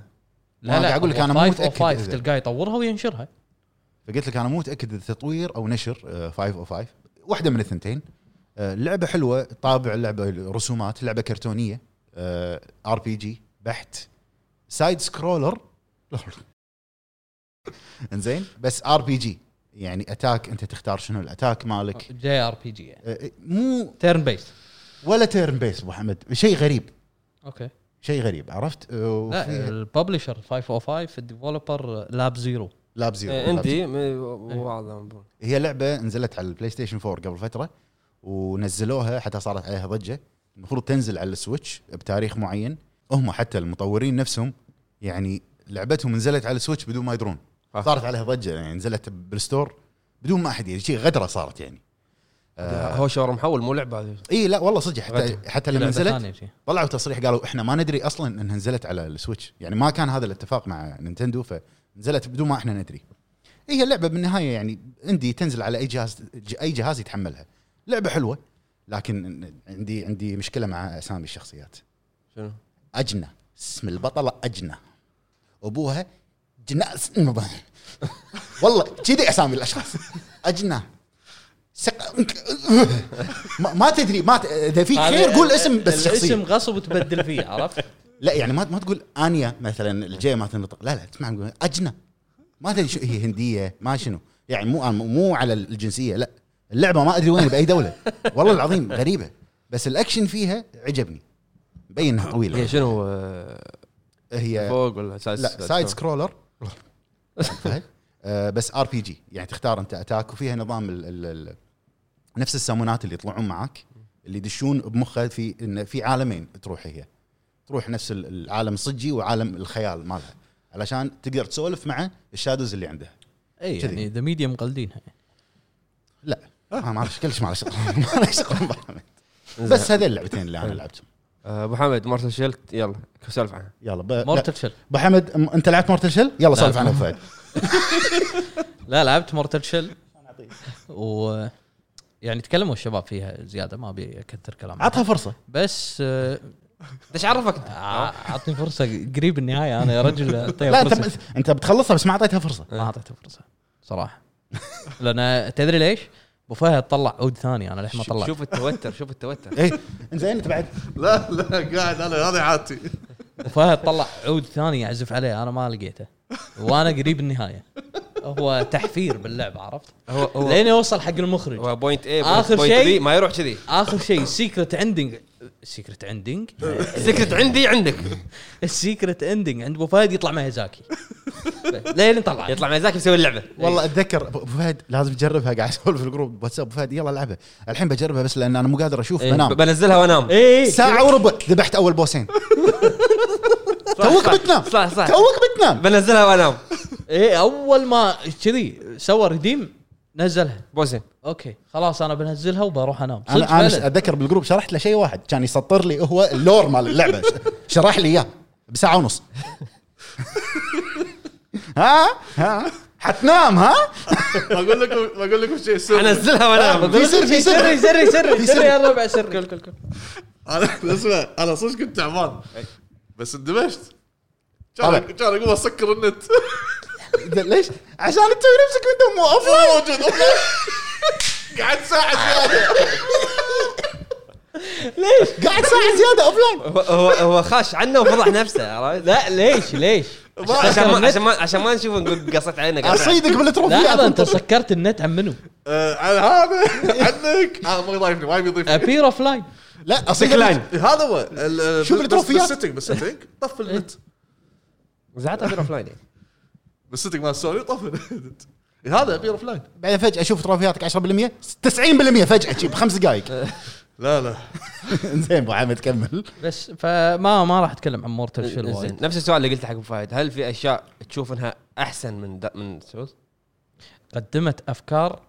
S2: أنا قاعد أقول لك أنا مو متأكد
S4: فايف
S2: إذا.
S4: oh تلقاه يطورها وينشرها
S2: فقلت لك انا مو متاكد اذا تطوير او نشر آه، 505 واحده من الثنتين آه، اللعبه حلوه طابع اللعبه رسومات آه، لعبه كرتونيه ار بي جي بحت سايد سكرولر انزين بس ار بي جي يعني اتاك انت تختار شنو الاتاك مالك
S4: جي ار بي جي
S2: آه، مو
S4: تيرن بيس
S2: ولا تيرن بيس ابو حمد شيء غريب
S4: اوكي
S2: شيء غريب عرفت آه،
S4: لا oh
S2: وفيها
S4: الببلشر 505 الديفلوبر لاب زيرو
S2: لاب زيرو
S1: إيه،
S2: لاب
S1: عندي واضح
S2: هي لعبه نزلت على البلاي ستيشن 4 قبل فتره ونزلوها حتى صارت عليها ضجه المفروض تنزل على السويتش بتاريخ معين هم حتى المطورين نفسهم يعني لعبتهم نزلت على السويتش بدون ما يدرون
S1: آه.
S2: صارت عليها ضجه يعني نزلت بالستور بدون ما احد يدري شيء غدره صارت يعني
S1: هو شاور محول مو لعبه هذه
S2: اي لا والله صدق حتى
S1: غدرة.
S2: حتى لما
S4: لعبة
S2: نزلت
S4: ثانية شي.
S2: طلعوا تصريح قالوا احنا ما ندري اصلا انها نزلت على السويتش يعني ما كان هذا الاتفاق مع نينتندو فنزلت بدون ما احنا ندري هي اللعبه بالنهايه يعني عندي تنزل على اي جهاز اي جهاز يتحملها لعبه حلوه لكن عندي عندي مشكله مع اسامي الشخصيات
S1: شنو؟
S2: اجنه اسم البطله اجنه ابوها جناس المبا- والله كذي اسامي الاشخاص اجنه سق... ما, ما تدري ما ت... اذا في خير
S4: هذا
S2: قول اسم بس شخصيه
S4: الاسم غصب تبدل فيه عرفت؟
S2: لا يعني ما ما تقول انيا مثلا الجي ما تنطق لا لا تسمع نقول اجنه ما تدري شو هي هنديه ما شنو يعني مو مو على الجنسيه لا اللعبه ما ادري وين باي دوله والله العظيم غريبه بس الاكشن فيها عجبني مبين انها
S1: هي
S2: طويله
S1: إيه، شنو آه،
S2: هي
S1: فوق ولا سايد
S2: إيه. لا سايد سكرولر فهد؟ آه، بس ار بي جي يعني تختار انت اتاك وفيها نظام ال ال ال نفس السامونات اللي يطلعون معك اللي يدشون بمخه في ان في عالمين تروح هي تروح نفس ال- العالم الصجي وعالم الخيال مالها علشان تقدر تسولف مع الشادوز اللي عنده
S4: اي
S2: كذي.
S4: يعني ذا ميديا مقلدينها
S2: لا آه، ما له كلش ما له شغل ما له شغل بالعالمين. بس هذول اللعبتين اللي انا لعبتهم
S1: ابو آه، حمد مارتل شيلت يلا سولف عنها
S2: يلا ب... لا،
S4: مورتل شل
S2: ابو حمد م- انت لعبت مورتل شيل؟ نعم. يلا سولف عنها أبو فهد
S4: لا لعبت مورتل شل و يعني تكلموا الشباب فيها زياده ما ابي اكثر كلام
S2: عطها فرصه
S4: بس آه،
S1: ايش عرفك انت؟
S4: ع- عطني فرصه قريب النهايه انا يا رجل
S2: لا
S4: اعطيها
S2: انت
S4: فرصه
S2: ب- انت بتخلصها بس ما اعطيتها فرصه
S4: ما اعطيته فرصه صراحه لان تدري ليش؟ ابو فهد طلع عود ثاني انا ليش ما طلعت
S1: شوف التوتر شوف التوتر
S2: اي زين انت بعد
S3: لا لا قاعد انا هذه عادتي
S4: ابو فهد طلع عود ثاني يعزف عليه انا ما لقيته وانا قريب النهايه هو تحفير باللعبه عرفت؟
S1: هو هو
S4: لين يوصل حق المخرج
S1: هو بوينت اي
S4: آخر
S1: بوينت
S4: شيء-
S1: بي ما يروح كذي
S4: اخر شيء سيكرت اندنج سيكرت اندنج
S1: السكرت عندي عندك
S4: السيكرت اندنج عند ابو فهد يطلع ميازاكي لين طلع
S1: يطلع ميزاك يسوي اللعبه
S2: والله اتذكر ابو فهد لازم تجربها قاعد اسولف في الجروب واتساب ابو فهد يلا العبها الحين بجربها بس لان انا مو قادر اشوف
S1: إيه، ب-
S2: بنام
S1: بنزلها وانام
S4: اي
S2: ساعه وربع ذبحت اول بوسين
S1: صح،
S2: توك
S1: صح،
S2: بتنام.
S1: صح صح
S2: توك بتنام
S1: بنزلها وانام
S4: اي اول إيه، ما كذي سوى ريديم نزلها
S1: بوسن
S4: اوكي خلاص انا بنزلها وبروح انام صدق
S2: انا انا
S4: فعلاً.
S2: اتذكر بالجروب شرحت له شيء واحد كان يسطر لي هو اللور مال اللعبه شرح لي اياه بساعه ونص ها ها حتنام ها
S3: اقول لكم اقول لكم شيء سر
S1: انزلها وانام
S2: آه، في سر في
S4: سري
S2: سر
S4: سري سري
S2: في
S4: سري
S2: سري.
S4: يا الربع سري كل كل كل
S3: انا اسمع انا صدق كنت تعبان بس
S1: طيب.
S3: اندمجت
S2: طبعاً.
S3: كان كان اقوم اسكر النت
S2: ليش عشان تسوي نفسك وانت مو اوف
S3: موجود قعدت ساعه زياده
S2: قاعد ساعه زياده اوف لاين
S1: هو- هو هو خاش عنا وفضح نفسه عرفت؟
S4: لا ليش ليش؟
S1: عشان ما عشان ما عشان ما نشوف نقول قصت علينا قصت علينا.
S2: اصيدك
S4: لحظه
S2: بالتروفيات
S4: انت سكرت النت عن منو؟
S3: آه، على هذا عنك آه، ما يضايفني ما يبي يضيفني
S4: ابير اوف لاين
S2: لا
S1: ديكلاين.
S2: اصيدك
S3: هذا هو
S2: شوف التروفيات.
S3: بالسيتنج بالسيتنج
S4: إيه.
S3: طف النت
S1: زعلت ابير اوف لاين
S3: بالسيتنج مال سوني طف النت إيه، هذا ابي اوف لاين
S2: بعدين فجاه اشوف تروفياتك 10% 90% فجاه شي بخمس دقائق
S3: لا لا
S2: زين ابو حمد كمل
S4: بس فما ما راح اتكلم عن مورتال شيل
S1: زين
S4: وايد
S1: نفس السؤال اللي قلته حق ابو فهد هل في اشياء تشوف انها احسن من دا من سولز؟
S4: قدمت افكار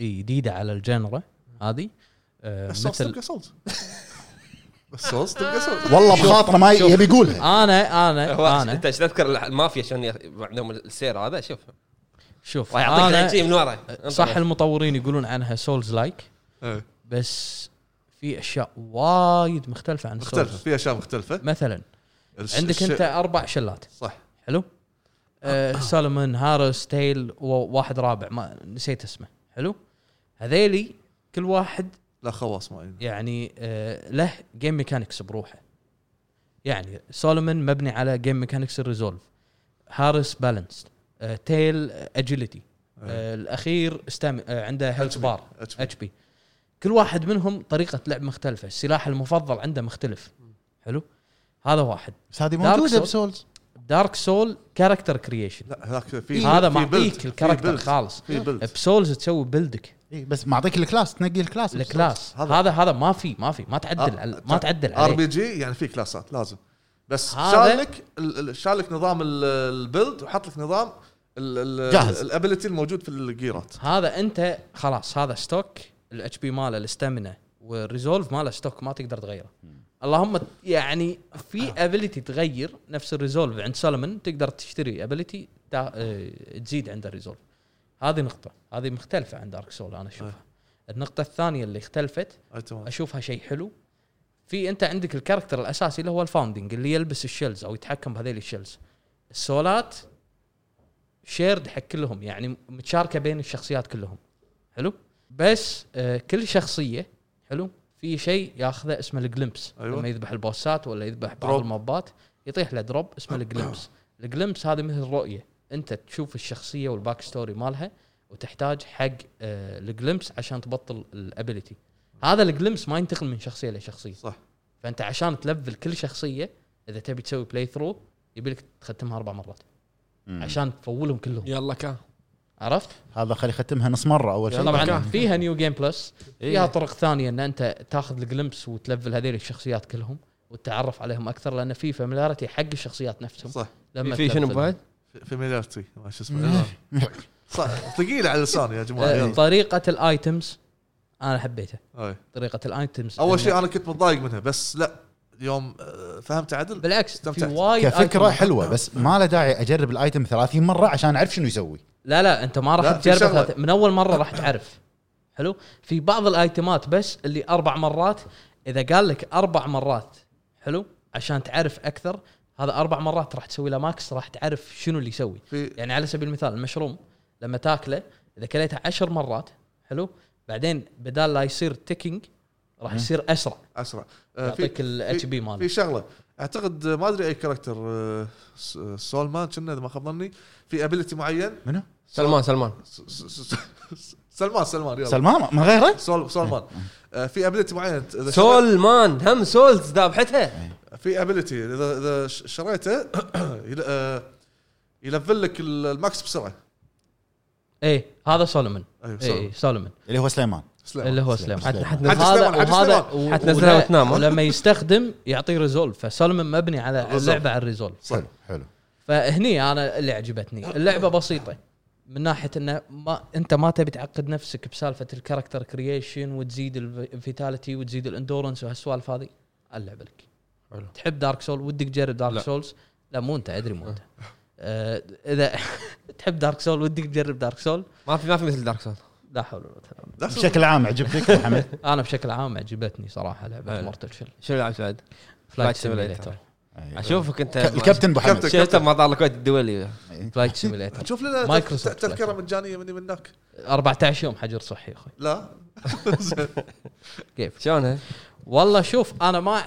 S4: جديده على الجنرا هذه آه،
S3: السولز
S4: مثل
S3: تبقى سولز السولز تبقى سولز
S2: والله بخاطره ما يبي يقولها
S4: انا انا
S1: انا
S4: انا
S1: انت ايش تذكر المافيا شلون ي- عندهم السير هذا شوف
S4: شوف
S1: راح يعطيك
S4: انا
S1: العجيب من ورا
S4: صح المطورين يقولون عنها سولز لايك
S3: إيه.
S4: بس في اشياء وايد مختلفه عن
S3: مختلف
S4: سولز
S3: في اشياء مختلفه
S4: مثلا
S3: الش-
S4: عندك
S3: الشيء-
S4: انت اربع شلات
S3: صح
S4: حلو آه سولومون هارس تيل وواحد رابع ما نسيت اسمه حلو هذيلي كل واحد
S3: لا خواص ما عندي.
S4: يعني آه له جيم ميكانكس بروحه يعني سولومون مبني على جيم ميكانكس الريزولف هارس بالانس آه تيل اجيلتي
S3: إيه.
S4: آه الاخير استام... آه عنده هيلث
S3: HP.
S4: بار
S3: HP.
S4: اتش بي كل واحد منهم طريقه لعب مختلفه السلاح المفضل عنده مختلف حلو هذا واحد
S2: بس هذه
S4: دارك
S2: موجوده
S4: سول.
S2: بسولز
S4: دارك سول كاركتر كرييشن
S3: لا هذاك في
S4: هذا
S3: في build.
S4: معطيك
S3: في
S4: الكاركتر
S3: build.
S4: خالص
S3: في build.
S4: بسولز تسوي بلدك
S2: إيه، بس معطيك الكلاس تنقي الكلاس
S4: الكلاس
S3: هذا-
S4: هذا هذا ما في ما في ما تعدل
S3: آه،
S4: على- ما تعدل
S3: ار بي
S4: عليه
S3: جي يعني في كلاسات لازم بس
S4: هذا-
S3: شالك ال- ال- شالك نظام ال- البيلد وحط لك نظام
S2: جاهز.
S3: الابيلتي الموجود في الجيرات
S4: هذا انت خلاص هذا ستوك الاتش بي ماله الاستامنا والريزولف ماله ستوك ما تقدر تغيره اللهم يعني في ابيلتي تغير نفس الريزولف عند سولومون تقدر تشتري ابيلتي تزيد عند الريزولف هذه نقطه هذه مختلفه عن دارك سول انا اشوفها النقطه الثانيه اللي اختلفت
S3: ايتم
S4: اشوفها شيء حلو في انت عندك الكاركتر الاساسي اللي هو الفاوندنج اللي يلبس الشلز او يتحكم بهذيل الشلز السولات شيرد حق كلهم يعني متشاركه بين الشخصيات كلهم حلو بس آه كل شخصيه حلو في شيء ياخذه اسمه الجلمبس
S3: أيوة.
S4: أيوة. لما يذبح البوسات ولا يذبح بعض
S3: دروب.
S4: الموبات يطيح له دروب اسمه الجلمبس الجلمبس هذه مثل رؤيه انت تشوف الشخصيه والباك ستوري مالها وتحتاج حق آه الجلمبس عشان تبطل الابيلتي هذا الجلمس ما ينتقل من شخصيه لشخصيه
S3: صح.
S4: فانت عشان تلفل كل شخصيه اذا تبي تسوي بلاي ثرو يبي لك تختمها اربع مرات عشان تفولهم كلهم
S1: يلا كا
S4: عرفت؟
S2: هذا خلي يختمها نص مره اول شيء
S4: طبعا فيها نيو جيم بلس
S1: إيه.
S4: فيها طرق ثانيه ان انت تاخذ الجلمس وتلفل هذيل الشخصيات كلهم وتتعرف عليهم اكثر لان في فاميلاريتي حق الشخصيات نفسهم
S3: صح
S4: لما
S1: في شنو
S4: تلفلهم.
S1: بعد؟
S3: فاميلارتي ما شو اسمه صح ثقيل على اللسان يا جماعه
S4: آه،
S3: يلا.
S4: طريقه الايتمز انا حبيتها
S3: أي.
S4: طريقه الايتمز
S3: اول
S4: إن-
S3: شيء انا كنت متضايق منها بس لا يوم آه، فهمت عدل
S4: بالعكس في
S3: استمتعت.
S4: وايد
S2: كفكره
S4: items.
S2: حلوه بس ما له داعي اجرب الايتم 30 مره عشان اعرف شنو يسوي
S4: لا لا انت ما راح
S3: لا، في شغلة.
S4: تجربه ثلاث- من اول مره راح تعرف حلو في بعض الايتمات بس اللي اربع مرات اذا قال لك اربع مرات حلو عشان تعرف اكثر هذا اربع مرات راح تسوي له ماكس راح تعرف شنو اللي يسوي
S3: في
S4: يعني على سبيل المثال المشروم لما تاكله اذا كليته عشر مرات حلو بعدين بدال لا يصير تيكينج راح يصير اسرع
S3: اسرع آه، في-
S4: يعطيك الاتش بي
S3: في
S4: ماله
S3: شغله اعتقد آه، ما ادري اي كاركتر آه، س- آه، سولمان كنا اذا ما خاب ظني في ابيلتي معين
S2: منو؟
S1: سلمان سلمان
S3: س- س- س- سلمان سلمان يلا
S2: سلمان ما غيره؟
S3: سول سولمان
S4: إيه.
S3: آه، في ابيلتي معين إذا
S1: سولمان هم سولز ذابحتها
S3: في ابيلتي اذا اذا ش- شريته يل- آه، يلفل لك ال- الماكس بسرعه
S4: اي إيه، هذا سولومون
S3: ايوه
S4: اي
S3: سلام
S4: سولومون
S2: اللي هو سليمان
S4: إيه. اللي
S3: سلام
S4: هو
S2: سليمان.
S4: سليمان
S1: حت- حتنزل-
S3: حتى
S4: وهذا
S3: سليمان- حتى
S4: وهذا
S3: سليمان.
S1: حتنزلها
S4: ولا-
S1: وتنام، ها؟
S4: ولما يستخدم يعطيه ريزولف فسولمن مبني على
S3: الريزولف.
S4: اللعبه على الريزولف
S3: صح
S2: حلو حلو
S4: فهني انا اللي عجبتني اللعبه بسيطه من ناحيه انه ما انت ما تبي تعقد نفسك بسالفه الكاركتر كرييشن وتزيد الفيتاليتي وتزيد الاندورنس وهالسوالف هذه اللعبه لك
S1: حلو.
S4: تحب دارك سول ودك تجرب دارك
S1: لا.
S4: سولز لا مو انت ادري مو انت آه، اذا تحب دارك سول ودك تجرب دارك سول
S1: ما في ما في مثل دارك سول
S4: لا حول ولا قوه إلا بالله.
S3: لا،
S2: بشكل عام عجبتك أبو حمد
S4: انا بشكل عام عجبتني صراحه لعبه
S1: حلو.
S4: مورتل شيل
S1: شنو لعبت بعد؟
S4: فلايت
S1: Flight Simulator.
S4: سيميليتر
S2: أيوة.
S1: اشوفك انت
S2: ك- الكابتن ابو حمد
S3: كابتن.
S1: شفت ما طال الكويت الدولي
S4: فلايت سيميليتر
S3: شوف لنا
S4: مايكروسوفت
S3: مايكروسوفت تذكره مجانيه مني من هناك
S4: 14 يوم حجر صحي يا اخوي
S3: لا
S4: كيف
S1: شلونها؟
S4: والله شوف انا ما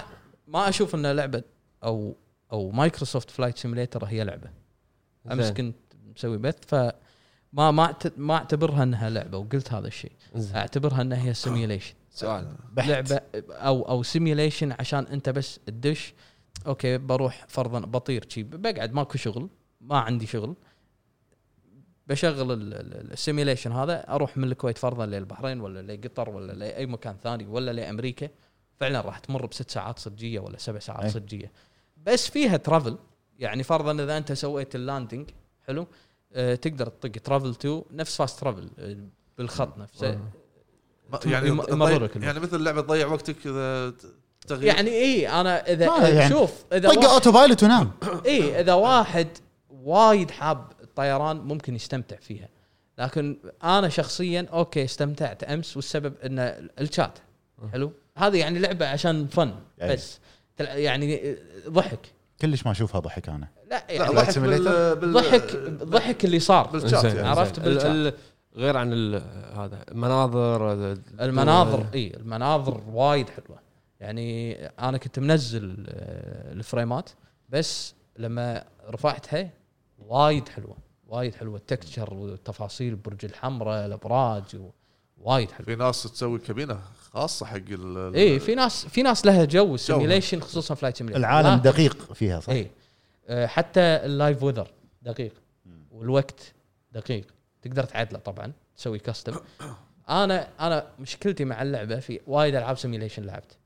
S4: ما اشوف ان لعبه او او مايكروسوفت فلايت سيميليتر هي لعبه امس
S1: زين.
S4: كنت مسوي بث ف ما ما أعت- ما اعتبرها انها لعبه وقلت هذا الشيء
S1: زين.
S4: اعتبرها انها هي سيميوليشن
S1: سؤال
S4: لعبه او او سيميوليشن عشان انت بس تدش اوكي بروح فرضا بطير شي بقعد ماكو شغل ما عندي شغل بشغل السيميليشن هذا اروح من الكويت فرضا للبحرين ولا لقطر ولا لاي مكان ثاني ولا لامريكا فعلا راح تمر بست ساعات صجيه ولا سبع ساعات
S2: أي.
S4: صجيه بس فيها ترافل يعني فرضا اذا انت سويت اللاندنج حلو آه تقدر تطق ترافل تو نفس فاست ترافل آه، بالخط نفسه
S3: ما- يعني
S4: يم-
S3: تضيع-
S4: يمررك الموضوع.
S3: يعني مثل لعبه تضيع وقتك اذا ت- تغيير
S4: يعني اي انا
S2: ما
S4: اذا
S2: يعني.
S4: شوف اذا
S2: طق
S4: واحد-
S2: اوتو بايلوت ونام
S4: اي اذا واحد وايد حاب الطيران ممكن يستمتع فيها لكن انا شخصيا اوكي استمتعت امس والسبب ان الشات حلو هذه يعني لعبه عشان فن
S2: أي.
S4: بس تلع- يعني ضحك
S2: كلش ما اشوفها ضحك انا
S4: لا
S3: لا
S4: يعني
S3: ضحك
S2: Simulator؟
S3: بال- بال-
S4: ضحك ضحك اللي صار
S3: بالشات
S1: زين،
S3: يعني
S4: عرفت
S1: زين.
S4: بالشات.
S1: ال- ال- غير عن ال- هذا المناظر ال-
S4: المناظر
S1: طيب.
S4: اي المناظر وايد حلوه يعني انا كنت منزل آه، الفريمات بس لما رفعتها وايد حلوه وايد حلوه التكتشر والتفاصيل برج الحمراء الابراج و- وايد حلوه
S3: في ناس تسوي كابينه خاصه حق ال
S4: اي إيه، في ناس في ناس لها جو السيميليشن خصوصا فلايت سيميليشن
S2: العالم دقيق فيها صح؟
S4: اي آه، حتى اللايف وذر دقيق والوقت دقيق تقدر تعدله طبعا تسوي كاستم انا انا مشكلتي مع اللعبه في وايد العاب سيميليشن لعبت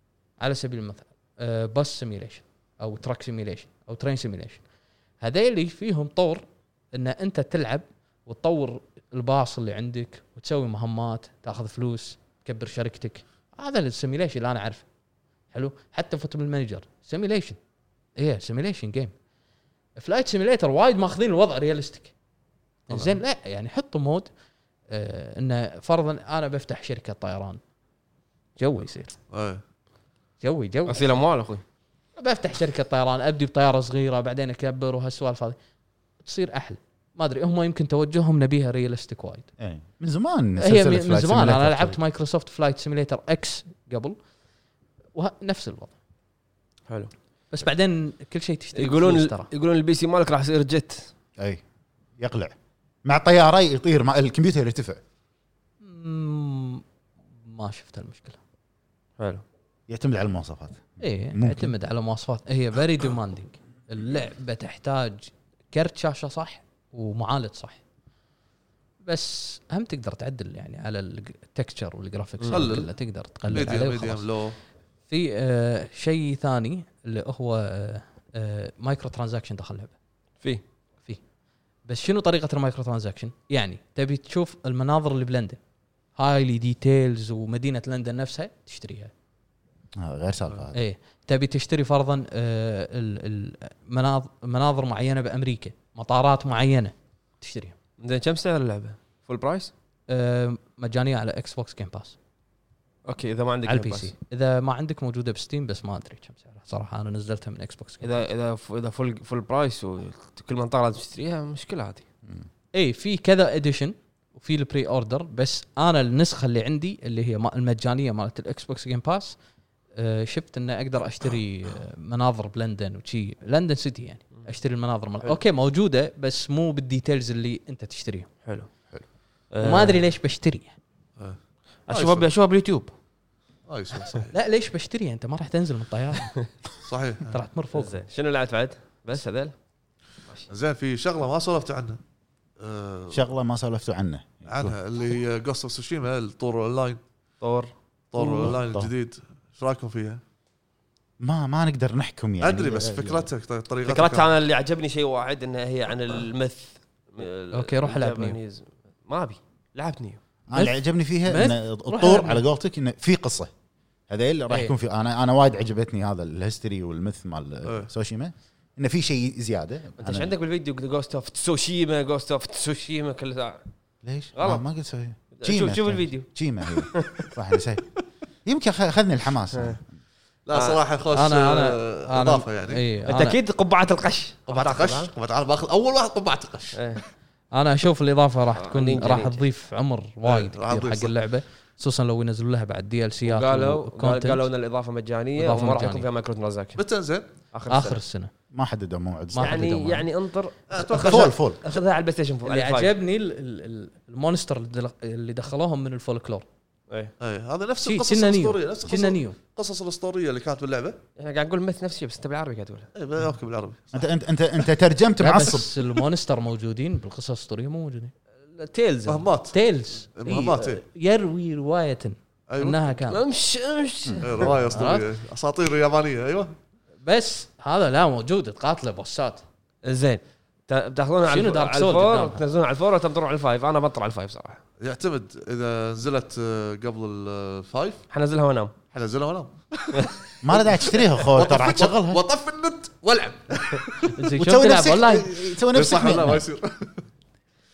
S4: على سبيل المثال آه، بس سيميليشن او تراك سيميليشن او ترين سيميليشن هذيلي فيهم طور ان انت تلعب وتطور الباص اللي عندك وتسوي مهمات تاخذ فلوس تكبر شركتك هذا السيميليشن اللي انا اعرفه حلو حتى فوتبول مانجر سيميليشن ايه سيميليشن جيم فلايت سيميليتر وايد ماخذين الوضع ريالستيك
S1: طبعاً.
S4: زين لا يعني حطوا مود آه انه فرضا انا بفتح شركه طيران جوي يصير
S3: إيه.
S4: جوي جوي
S1: غسيل اموال اخوي
S4: بفتح شركه طيران ابدي بطياره صغيره بعدين اكبر وهالسوالف هذه تصير احلى ما ادري هم يمكن توجههم نبيها ريالستيك وايد
S2: إيه. من زمان
S4: هي
S2: سلسلة
S4: من من
S2: Flight
S4: زمان انا
S2: Simulator. طيب.
S4: لعبت مايكروسوفت فلايت سيميليتر اكس قبل ونفس الوضع
S1: حلو
S4: بس بعدين كل شيء تشتري
S1: يقولون
S4: بفلوس ترى
S1: يقولون البي سي مالك راح يصير جت
S2: اي إيه. يقلع مع طياره يطير مع الكمبيوتر يرتفع
S4: مم، ما شفت المشكله
S1: حلو
S2: يعتمد على المواصفات ممكن.
S4: ايه اعتمد على مواصفات هي فيري ديماندنج اللعبه تحتاج كرت شاشه صح ومعالج صح بس هم تقدر تعدل يعني على التكتشر والجرافيكس
S3: قلل.
S4: كله تقدر تقلل عليه
S3: ميديم
S4: وخلاص
S3: ميديم لو
S4: في آه شيء ثاني اللي هو آه آه مايكرو ترانزاكشن دخل اللعبه
S1: في
S4: بس شنو طريقه المايكرو ترانزاكشن؟ يعني تبي تشوف المناظر اللي بلندن هايلي ديتيلز ومدينه لندن نفسها تشتريها
S2: آه غير سالفه هذه
S4: ايه تبي تشتري فرضا آه، ال- المناظ- مناظر معينه بامريكا مطارات معينه تشتريها
S1: زين كم سعر اللعبه؟ فول برايس؟
S4: آه، مجانيه على اكس بوكس جيم باس
S1: اوكي اذا ما عندك
S4: على
S1: Game
S4: البي
S1: Pass.
S4: سي اذا ما عندك موجوده بستيم بس ما ادري كم سعرها صراحه انا نزلتها من اكس بوكس
S1: اذا اذا ف- اذا فول فول برايس وكل منطقه لازم تشتريها مشكله هذه
S4: اي إيه، في كذا اديشن وفي البري اوردر بس انا النسخه اللي عندي اللي هي ما- المجانيه مالت الاكس بوكس جيم باس آه، شفت ان اقدر اشتري آه، مناظر بلندن وشي لندن سيتي يعني اشتري المناظر مال
S1: حلو.
S4: اوكي موجوده بس مو بالديتيلز اللي انت تشتريها
S1: حلو
S3: حلو.
S1: آه،
S4: وما ادري ليش بشتريها
S1: اشوفها ب- اشوفها باليوتيوب
S3: ما يسوى آه، صحيح
S4: لا ليش بشتريها انت ما راح تنزل من الطياره
S3: صحيح
S4: انت راح تمر فوق
S1: زين شنو لعبت بعد؟ بس هذيل
S3: زين في شغله ما سولفت عنها آه،
S2: شغله ما سولفتوا عنها
S3: عنها اللي هي جوست اوف سوشيما الطور اونلاين
S1: طور
S3: طور
S2: والله.
S3: اونلاين
S2: طور.
S3: الجديد ايش رايكم فيها؟
S2: ما ما نقدر نحكم يعني
S3: ادري
S4: إيه،
S3: بس فكرتك طريقتك
S1: فكرتها انا اللي عجبني شيء واحد انها هي عن المث
S4: أوكي، روح العب نيو.
S1: الجابانيز. ما ابي لعب نيو
S2: انا اللي عجبني فيها
S4: مثل-
S2: ان الطور على قولتك انه في قصه هذا اللي راح
S4: إيه.
S2: يكون في انا انا وايد عجبتني هذا الهيستوري والمث
S3: إيه.
S2: مال سوشيما انه في شيء زياده
S1: انت ايش
S2: أنا-
S1: عندك بالفيديو جوست اوف تسوشيما جوست اوف تسوشيما كل ساعه
S2: ليش؟
S1: غلط.
S2: ما- ما قلت سوي
S1: شوف شوف الفيديو
S2: تشيما هي صح نسيت يمكن أخ- اخذني الحماس أنا.
S3: لا صراحه خوش
S4: انا انا
S3: آه، اضافه يعني
S4: اي
S1: انت اكيد قبعه القش
S3: قبعه قش قبعه عال باخذ اول واحد قبعه قش
S1: إيه.
S4: انا اشوف الاضافه راح
S1: آه،
S4: تكون
S1: نينجا
S4: راح
S1: نينجا.
S4: تضيف عمر وايد
S3: راح
S4: كثير
S3: تضيف
S4: حق
S3: صح.
S4: اللعبه خصوصا لو ينزلوا لها بعد دي ال سيات
S1: قالوا قالوا ان الاضافه مجانيه
S4: إضافة
S1: وما راح
S4: مجانية.
S1: يكون فيها مايكرو ترانزاكشن
S3: متى زين آه،
S1: اخر
S4: اخر
S1: السنة.
S4: السنه
S2: ما حددوا موعد
S4: ما
S2: يعني
S4: حددوا
S1: يعني
S4: معها.
S1: يعني انطر
S3: اتوقع
S2: فول فول
S1: اخذها على البلاي ستيشن فور-
S4: اللي
S1: على الفايف.
S4: عجبني ال- ال- ال- المونستر اللي دل- اللي دخلوهم من الفولكلور
S1: إيه.
S3: إيه، هذا نفس
S4: شي
S3: القصص
S4: كنا
S3: الاسطوريه
S4: نيو
S3: نفس
S4: كنا
S3: القصص-
S4: نيو
S3: القصص الاسطوريه اللي كانت باللعبه
S1: احنا قاعد نقول مثل نفسي بس انت بالعربي قاعد تقولها
S3: اي اوكي بالعربي
S2: انت انت انت, انت ترجمت
S4: لا،
S2: معصب
S4: بس المونستر موجودين بالقصص الاسطوريه مو موجودين
S1: تيلز
S3: مهمات
S4: تيلز
S3: مهمات إيه.
S4: يروي روايه
S3: أيوة.
S4: انها كانت
S1: امش امش
S3: إيه، روايه اسطوريه اساطير يابانيه ايوه
S4: بس هذا لا موجود تقاتله بوسات
S1: زين تا- بتاخذونه على
S4: شنو
S1: الف-
S4: Dark
S1: على
S4: Souls
S1: الفور
S4: قدامها؟
S1: تنزلون على الفور ولا بتروح على الفايف انا بطلع على الفايف صراحه
S3: يعتمد اذا نزلت آه، قبل الفايف
S1: حنزلها وانام
S3: حنزلها وانام
S2: ما له داعي تشتريها خوي ترى تشغلها
S3: واطفي النت والعب
S4: زين شلون
S2: وتسوي
S4: تلعب
S2: نفسك
S4: اونلاين
S2: تسوي نفسك
S3: إيه، صح ولا ما
S2: مين.
S3: يصير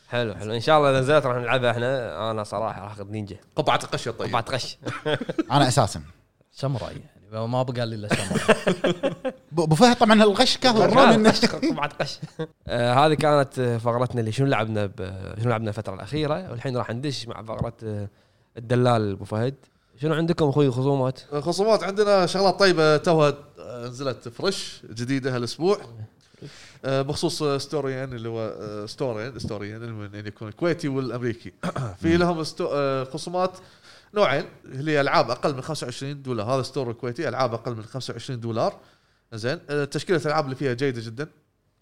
S1: حلو حلو ان شاء الله اذا نزلت راح نلعبها احنا انا صراحه راح اخذ نينجا
S3: قبعه القشه طيب
S1: طبعا تغش
S2: انا اساسا
S4: ساموراي يعني ما بقى لي الا ساموراي
S2: ب- ابو فهد طبعا الغش كهربان
S1: طبعا
S2: انه
S1: قش آه، هذه كانت آه، فقرتنا اللي شنو لعبنا ب- شنو لعبنا الفتره الاخيره والحين راح ندش مع فقره آه، الدلال ابو فهد شنو عندكم اخوي خصومات؟
S3: آه، خصومات عندنا شغلات طيبه توها آه، نزلت فريش جديده هالاسبوع
S2: طيب.
S3: آه، بخصوص آه، ستوريان اللي هو آه، ستوريان ستوريان المهم يعني يكون الكويتي والامريكي في لهم استو- آه، خصومات نوعين اللي هي العاب اقل من 25 دولار هذا ستور الكويتي العاب اقل من 25 دولار زين آه، تشكيله الالعاب اللي فيها جيده جدا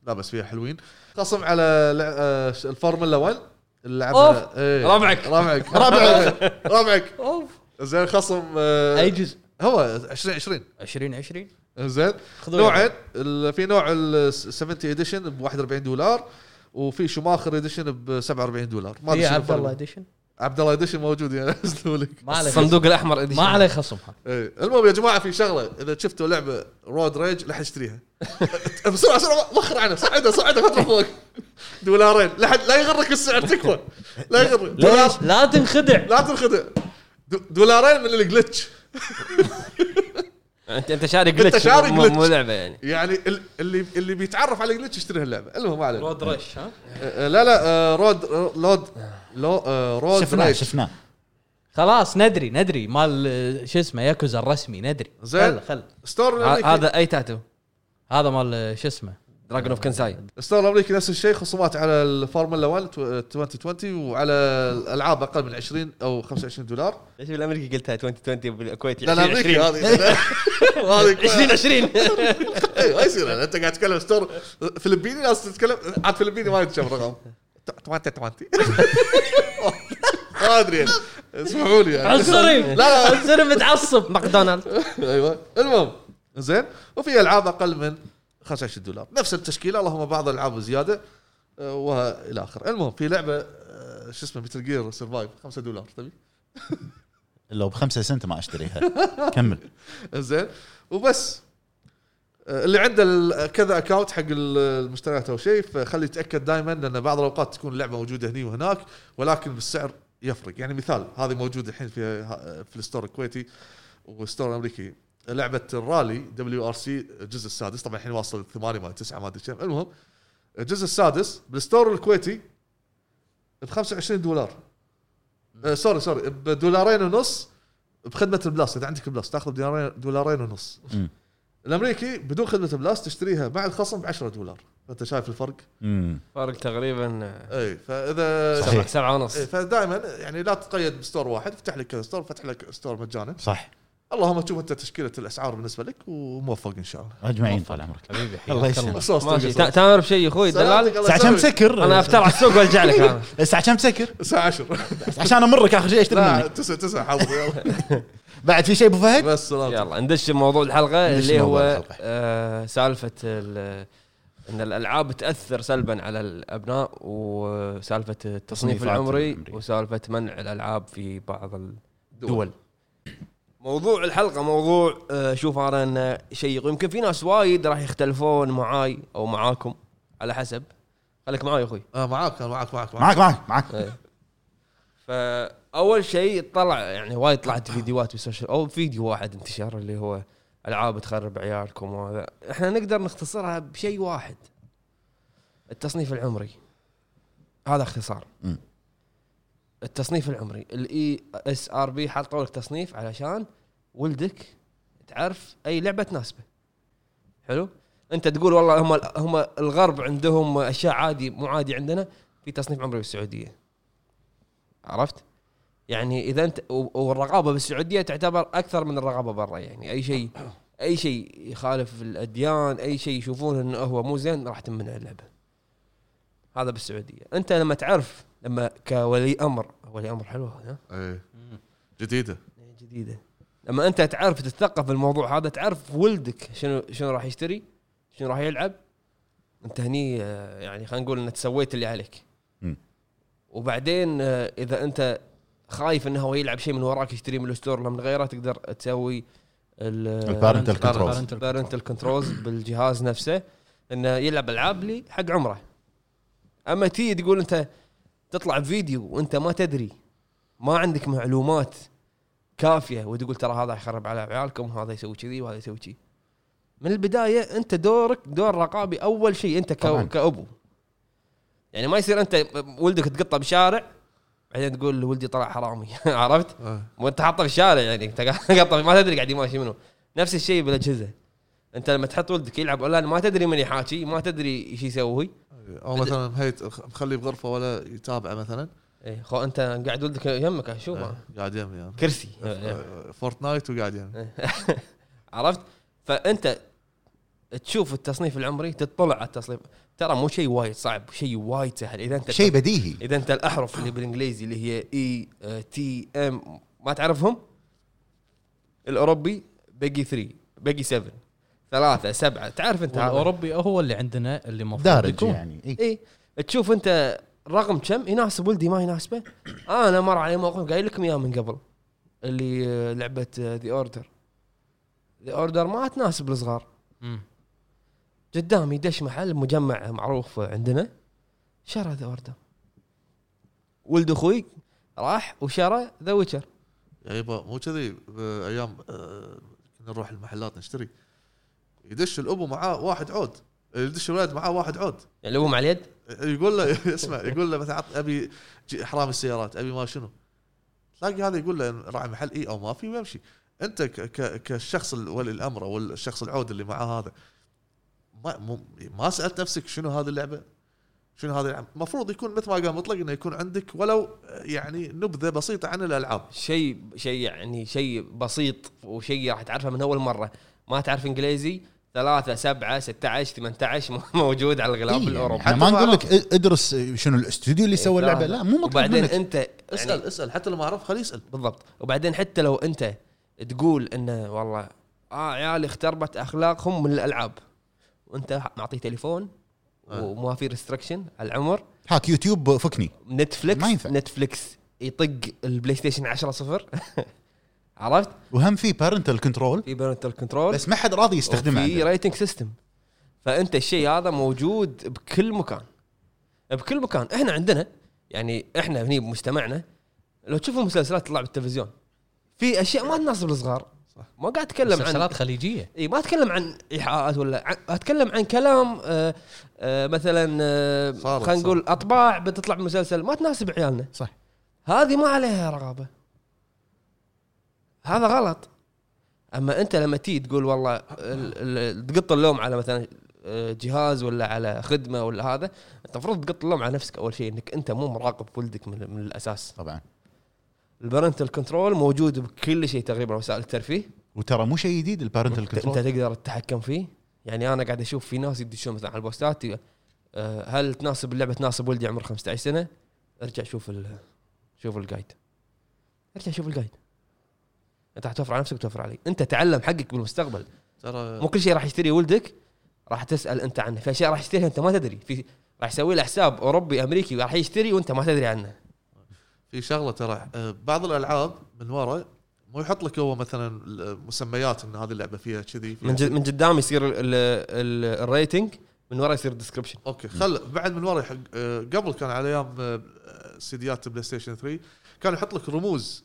S3: لا بس فيها حلوين خصم على لع- آه، الفورمولا 1 اللعبه
S1: أوف.
S3: إيه.
S1: ربعك.
S3: ربعك
S2: ربعك.
S3: ربعك
S4: اوف
S3: زين خصم آه،
S4: اي جزء
S3: هو 2020
S4: 2020
S3: زين
S4: خذوا
S3: نوعين ال- في نوع ال 70 اديشن ب 41 دولار وفي شماخر اديشن ب 47 دولار ما
S4: هي
S3: شنو
S4: إيه، عبد
S3: الفرق.
S4: الله اديشن
S3: عبد الله اديشن موجود يعني انزلوا لك
S4: ما عليه خصم.
S1: الصندوق الاحمر
S4: ما
S1: edition.
S4: عليه خصمها
S3: إيه. المهم يا جماعه في شغله اذا شفتوا لعبه رود ريج لا حد يشتريها بسرعه بسرعه وخر عنها صعدها صعدها فتره فوق دولارين لا حد لا يغرك السعر تكفى لا يغرك دولار
S4: ليش؟ لا تنخدع
S3: لا تنخدع دو- دولارين من الجلتش
S1: انت انت شاري
S3: أنت
S1: جلتش
S3: شاري
S1: مو-
S3: glitch.
S1: مو لعبه يعني
S3: يعني ال- اللي اللي بيتعرف على الجلتش يشتري هاللعبه المهم ما علينا
S4: رود رش ها
S3: آه، لا لا آه، رود لود لو آه، رود
S2: شفناه
S3: ريش
S2: شفناه
S4: خلاص ندري ندري مال آه، شو اسمه ياكوزا الرسمي ندري
S3: زين.
S4: خل خل
S3: ستور
S1: ه-
S3: الامريكي
S1: هذا اي تاتو
S4: هذا مال آه، شو اسمه
S1: دراجون اوف كنساي
S3: ستور الامريكي نفس الشيء خصومات على الفورمولا 1 تو- 2020 وعلى الالعاب اقل من 20 او 25 دولار
S1: ليش بالامريكي قلتها 2020 بالكويتي
S3: لا لا امريكي هذه هذه
S1: 20
S3: إيه، ما يصير يعني انت قاعد تتكلم ستور فلبيني ناس تتكلم عاد فلبيني ما يتشاف رقم 20 20 ما ادري يعني اسمحوا لي يعني
S4: عنصري
S3: لا، لا.
S4: عنصري متعصب
S1: ماكدونالد
S3: ايوه المهم زين وفي العاب اقل من 25 دولار نفس التشكيله اللهم بعض الالعاب زياده آه، وها الى اخره المهم في لعبه آه، شو اسمه مثل جير سرفايف 5 دولار تبي
S2: لو بخمسة سنت ما اشتريها كمل
S3: زين وبس آه، اللي عنده ال- كذا اكونت حق ال- المشتريات او شيء فخلي يتاكد دائما لان بعض الاوقات تكون اللعبه موجوده هني وهناك ولكن بالسعر يفرق يعني مثال هذه موجوده الحين في آه، في الستور الكويتي والستور الامريكي لعبه الرالي دبليو ار سي الجزء السادس طبعا الحين واصل الثمانية ما تسعة ما ادري كم المهم الجزء السادس بالستور الكويتي ب 25 دولار آه، سوري سوري بدولارين ونص بخدمه البلاس اذا عندك بلاس تاخذ بدولارين دولارين ونص
S2: مم.
S3: الامريكي بدون خدمه بلاس تشتريها مع الخصم ب 10 دولار فانت شايف الفرق
S2: مم.
S1: فرق تقريبا
S3: اي فاذا
S2: صحيح.
S1: سبعة ونص
S3: إيه، فدائما يعني لا تتقيد بستور واحد افتح لك كذا ستور فتح لك ستور مجانا
S2: صح
S3: اللهم تشوف انت تشكيله الاسعار بالنسبه لك وموفق ان شاء الله
S2: اجمعين طال عمرك
S4: حبيبي
S2: الله يسلمك
S3: صوص
S1: ماشي
S3: تلقى
S1: تا-
S3: صوص.
S1: تامر بشيء يا اخوي دلال
S3: سلامتك، الله
S2: الساعة كم
S3: يسلمك.
S2: تسكر؟
S1: انا افتر على السوق وارجع لك انا
S2: الساعة كم تسكر؟
S3: الساعه 10
S2: عشان امرك اخر شيء اشتري
S3: لا
S2: منك
S3: 9 9 حظ يلا.
S2: بعد في شيء ابو فهد؟
S3: بس سلامتك
S1: يلا ندش موضوع الحلقه
S2: ندش
S1: اللي
S2: موضوع
S1: هو
S2: الحلقة.
S1: آه سالفه ال- ان الالعاب تاثر سلبا على الابناء وسالفه التصنيف
S2: تصنيفات
S1: العمري
S2: العمرية.
S1: وسالفه منع الالعاب في بعض الدول موضوع الحلقه موضوع آه شوف انا انه شيق يمكن في ناس وايد راح يختلفون معاي او معاكم على حسب خليك معاي يا اخوي
S3: آه، معاك أنا معاك معاك
S2: معك
S3: معاك
S2: معك معك
S1: إيه. فاول شيء طلع يعني وايد طلعت فيديوهات بالسوشيال او فيديو واحد انتشر اللي هو العاب تخرب عيالكم وهذا احنا نقدر نختصرها بشيء واحد التصنيف العمري هذا اختصار
S2: مم.
S1: التصنيف العمري E الاي اس ار بي حطوا لك تصنيف علشان ولدك تعرف اي لعبه تناسبه حلو انت تقول والله هم هم الغرب عندهم اشياء عادي مو عادي عندنا في تصنيف عمري بالسعوديه عرفت؟ يعني اذا انت و- والرقابه بالسعوديه تعتبر اكثر من الرقابه برا يعني اي شيء اي شيء يخالف الاديان اي شيء يشوفون انه هو مو زين راح تمنع اللعبه هذا بالسعوديه انت لما تعرف لما كولي امر ولي امر حلو هذا
S3: اي جديده
S1: جديده لما انت تعرف تتثقف بالموضوع هذا تعرف ولدك شنو شنو راح يشتري شنو راح يلعب انت هني آه، يعني خلينا نقول انك سويت اللي عليك
S2: مم.
S1: وبعدين آه، اذا انت خايف انه هو يلعب شيء من وراك يشتري من الستور ولا من غيره تقدر تسوي
S2: البارنتال كنترول
S1: البارنتال كنترولز بالجهاز نفسه انه يلعب العاب لي حق عمره اما تي تقول انت تطلع بفيديو وانت ما تدري ما عندك معلومات كافيه وتقول ترى هذا يخرب على عيالكم وهذا يسوي كذي وهذا يسوي كذي من البدايه انت دورك دور رقابي اول شيء انت
S2: طبعاً.
S1: كأو كابو يعني ما يصير انت ولدك تقطه بشارع بعدين تقول ولدي طلع حرامي عرفت؟
S3: آه.
S1: وانت حاطه في الشارع يعني انت قاطه ما تدري قاعد يماشي منه نفس الشيء بالاجهزه انت لما تحط ولدك يلعب اونلاين ما تدري من يحاكي ما تدري ايش يسوي
S3: او مثلا مهيت مخليه بغرفه ولا يتابع مثلا
S1: ايه خو انت قاعد ولدك إيه. يمك اشوفه
S3: آه، قاعد يمي انا
S1: كرسي
S3: آه، فورتنايت وقاعد يمي
S1: عرفت فانت تشوف التصنيف العمري تطلع على التصنيف ترى مو شيء وايد صعب شيء وايد سهل اذا انت
S2: شيء بديهي
S1: اذا انت الاحرف اللي بالانجليزي اللي هي E، اي تي ام ما تعرفهم الاوروبي بقي 3 بقي 7 ثلاثة سبعة تعرف انت هذا.
S4: الاوروبي هو اللي عندنا اللي المفروض
S2: دارج
S4: يكون.
S2: يعني إي.
S1: اي إيه، تشوف انت رقم كم يناسب ولدي ما يناسبه انا مر علي موقف قايل لكم اياه من قبل اللي آه، لعبه ذا اوردر ذا اوردر ما تناسب الصغار
S4: مم.
S1: قدامي دش محل مجمع معروف عندنا شرى ذا اوردر ولد اخوي راح وشرى ذا ويتشر
S3: يا يبا يعني مو كذي ايام كنا نروح المحلات نشتري يدش الابو معاه واحد عود يدش الولد معاه واحد عود
S1: يعني لو على اليد
S3: يقول له اسمع يقول له مثلا عط- ابي ج- حرامي السيارات ابي ما شنو تلاقي هذا يقول له راعي محل اي او ما في ويمشي انت ك- ك- كالشخص ال- ولي الامر او الشخص العود اللي معاه هذا ما مو- ما سالت نفسك شنو هذه اللعبه؟ شنو هذه اللعبه؟ المفروض يكون مثل ما قال مطلق انه يكون عندك ولو يعني نبذه بسيطه عن الالعاب
S1: شيء شيء يعني شيء بسيط وشيء راح تعرفه من اول مره ما تعرف انجليزي ثلاثة سبعة 16 18 موجود على
S2: إي
S1: الغلاف
S2: يعني
S1: الاوروبي
S2: احنا ما نقول لك ادرس شنو الاستوديو اللي سوى اللعبه إيه، لا مو مطلوب
S1: وبعدين
S2: منك
S1: انت
S3: اسال
S1: يعني
S3: اسال حتى لو ما اعرف خليه يسال
S1: بالضبط وبعدين حتى لو انت تقول انه والله اه عيالي اختربت اخلاقهم من الالعاب وانت معطيه تليفون
S3: آه.
S1: وما في ريستركشن على العمر
S2: هاك يوتيوب فكني
S1: نتفلكس
S2: ما ينفع.
S1: نتفلكس يطق البلاي ستيشن 10 صفر عرفت
S2: وهم في بارنتال كنترول
S1: في بارنتال كنترول
S2: بس ما حد راضي يستخدمه
S1: في
S2: عندنا.
S1: ريتنج سيستم فانت الشيء هذا موجود بكل مكان بكل مكان احنا عندنا يعني احنا هني بمجتمعنا لو تشوفوا مسلسلات تطلع بالتلفزيون في اشياء ما تناسب الصغار
S3: صح.
S1: ما قاعد اتكلم عن
S4: مسلسلات خليجيه
S1: اي إيه، ما اتكلم عن ايحاءات ولا عن... اتكلم عن كلام آه آه مثلا آه
S3: صارت،
S1: خلينا نقول اطباع بتطلع بمسلسل ما تناسب عيالنا
S2: صح
S1: هذه ما عليها رقابه هذا غلط اما انت لما تيجي تقول والله ال- ال- تقط اللوم على مثلا آه، جهاز ولا على خدمه ولا هذا انت المفروض تقط اللوم على نفسك اول شيء انك انت مو مراقب ولدك من, من الاساس
S2: طبعا
S1: البرنتال كنترول موجود بكل شيء تقريبا وسائل الترفيه
S2: وترى مو شيء جديد البارنتال
S1: انت انت
S2: كنترول
S1: تقدر تتحكم فيه يعني انا قاعد اشوف في ناس يدشون مثلا على البوستات ي- آه، هل تناسب اللعبه تناسب ولدي عمره 15 سنه ارجع شوف ال شوف الجايد ارجع شوف الجايد انت حتوفر على نفسك وتوفر علي انت تعلم حقك بالمستقبل
S3: ترى
S1: مو كل شيء راح يشتري ولدك راح تسال انت عنه في اشياء راح يشتريها انت ما تدري في راح يسوي له حساب اوروبي امريكي راح يشتري وانت ما تدري عنه
S3: في شغله ترى آه، بعض الالعاب من ورا مو يحط لك هو مثلا مسميات ان هذه اللعبه فيها كذي فيها
S1: من
S3: كذي.
S1: جد من قدام يصير ال- ال- الريتنج من ورا يصير ديسكربشن
S3: اوكي خل بعد من ورا يحق آه، قبل كان على ايام آه، سيديات بلاي ستيشن 3 كان يحط لك رموز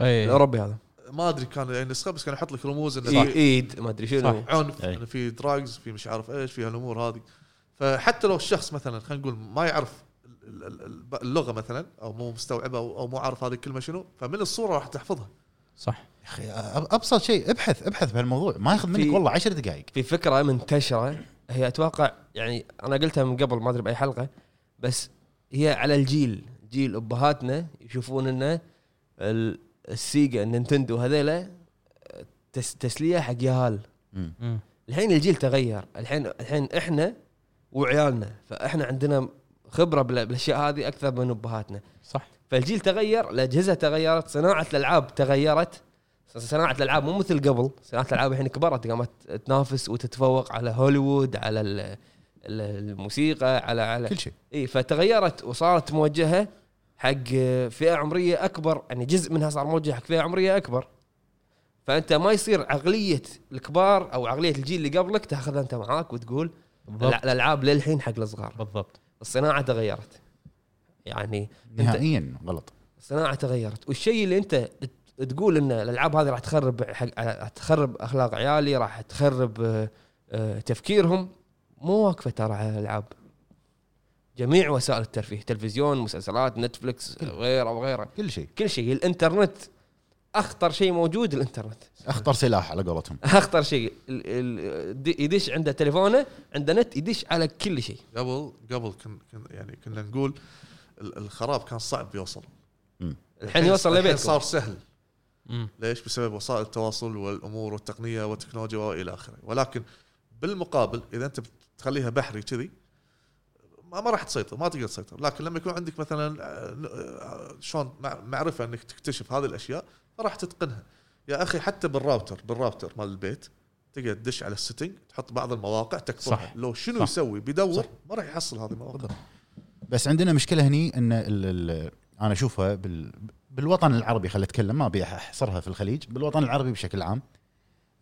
S4: اي
S1: الاوروبي هذا
S3: ما ادري كان يعني نسخه بس كان يحط لك رموز انه
S1: ايد
S3: في
S1: ايد ما ادري شنو
S3: عنف
S1: إيه.
S2: أي.
S3: انه في دراجز في مش عارف ايش في هالامور هذه فحتى لو الشخص مثلا خلينا نقول ما يعرف ال- ال- ال- اللغه مثلا او مو مستوعبه او أو مو عارف هذه الكلمه شنو فمن الصوره راح تحفظها
S4: صح
S2: يا اخي أب- ابسط شيء ابحث ابحث بهالموضوع ما ياخذ
S1: في-
S2: منك والله عشر دقائق
S1: في فكره منتشره هي اتوقع يعني انا قلتها من قبل ما ادري باي حلقه بس هي على الجيل جيل ابهاتنا يشوفون ان ال- السيجا النينتندو هذيلا تس تسليه حق ياهال
S4: مم.
S1: الحين الجيل تغير الحين الحين احنا وعيالنا فاحنا عندنا خبره بال- بالاشياء هذه اكثر من ابهاتنا
S4: صح
S1: فالجيل تغير الاجهزه تغيرت صناعه الالعاب تغيرت صناعه الالعاب مو مثل قبل صناعه الالعاب الحين كبرت قامت تنافس وتتفوق على هوليوود على ال- ال- الموسيقى على على
S2: كل شيء
S1: اي فتغيرت وصارت موجهه حق فئه عمريه اكبر يعني جزء منها صار موجه حق فئه عمريه اكبر فانت ما يصير عقليه الكبار او عقليه الجيل اللي قبلك تاخذها انت معاك وتقول
S4: بالضبط
S1: الع- الالعاب للحين حق الصغار
S4: بالضبط
S1: الصناعه تغيرت يعني
S2: نهائيا غلط
S1: الصناعه تغيرت والشيء اللي انت ت- تقول ان الالعاب هذه راح تخرب حق راح تخرب اخلاق عيالي راح تخرب آه، آه، تفكيرهم مو واقفه ترى على الالعاب جميع وسائل الترفيه تلفزيون مسلسلات نتفلكس غيره وغيره
S2: كل شيء
S1: كل شيء الانترنت اخطر شيء موجود الانترنت
S2: اخطر سلاح على قولتهم
S1: اخطر شيء ال- ال- دي- يدش عنده تليفونه عنده نت يدش على كل شيء
S3: قبل قبل كن كن يعني كنا نقول ال- الخراب كان صعب يوصل
S1: الحين يوصل
S3: الحين
S1: لبيتكم
S3: صار سهل
S4: مم.
S3: ليش؟ بسبب وسائل التواصل والامور والتقنيه والتكنولوجيا والى اخره، ولكن بالمقابل اذا انت بتخليها بحري كذي ما, ما راح تسيطر ما تقدر تسيطر، لكن لما يكون عندك مثلا آه، شلون مع- معرفه انك تكتشف هذه الاشياء راح تتقنها. يا اخي حتى بالراوتر بالراوتر مال البيت تقدر تدش على السيتنج تحط بعض المواقع تكسرها
S4: صح.
S3: لو شنو
S2: صح.
S3: يسوي بيدور ما راح يحصل هذه المواقع
S2: بس عندنا مشكله هني ان ال ال انا اشوفها بال بالوطن العربي خلينا اتكلم ما ابي احصرها في الخليج بالوطن العربي بشكل عام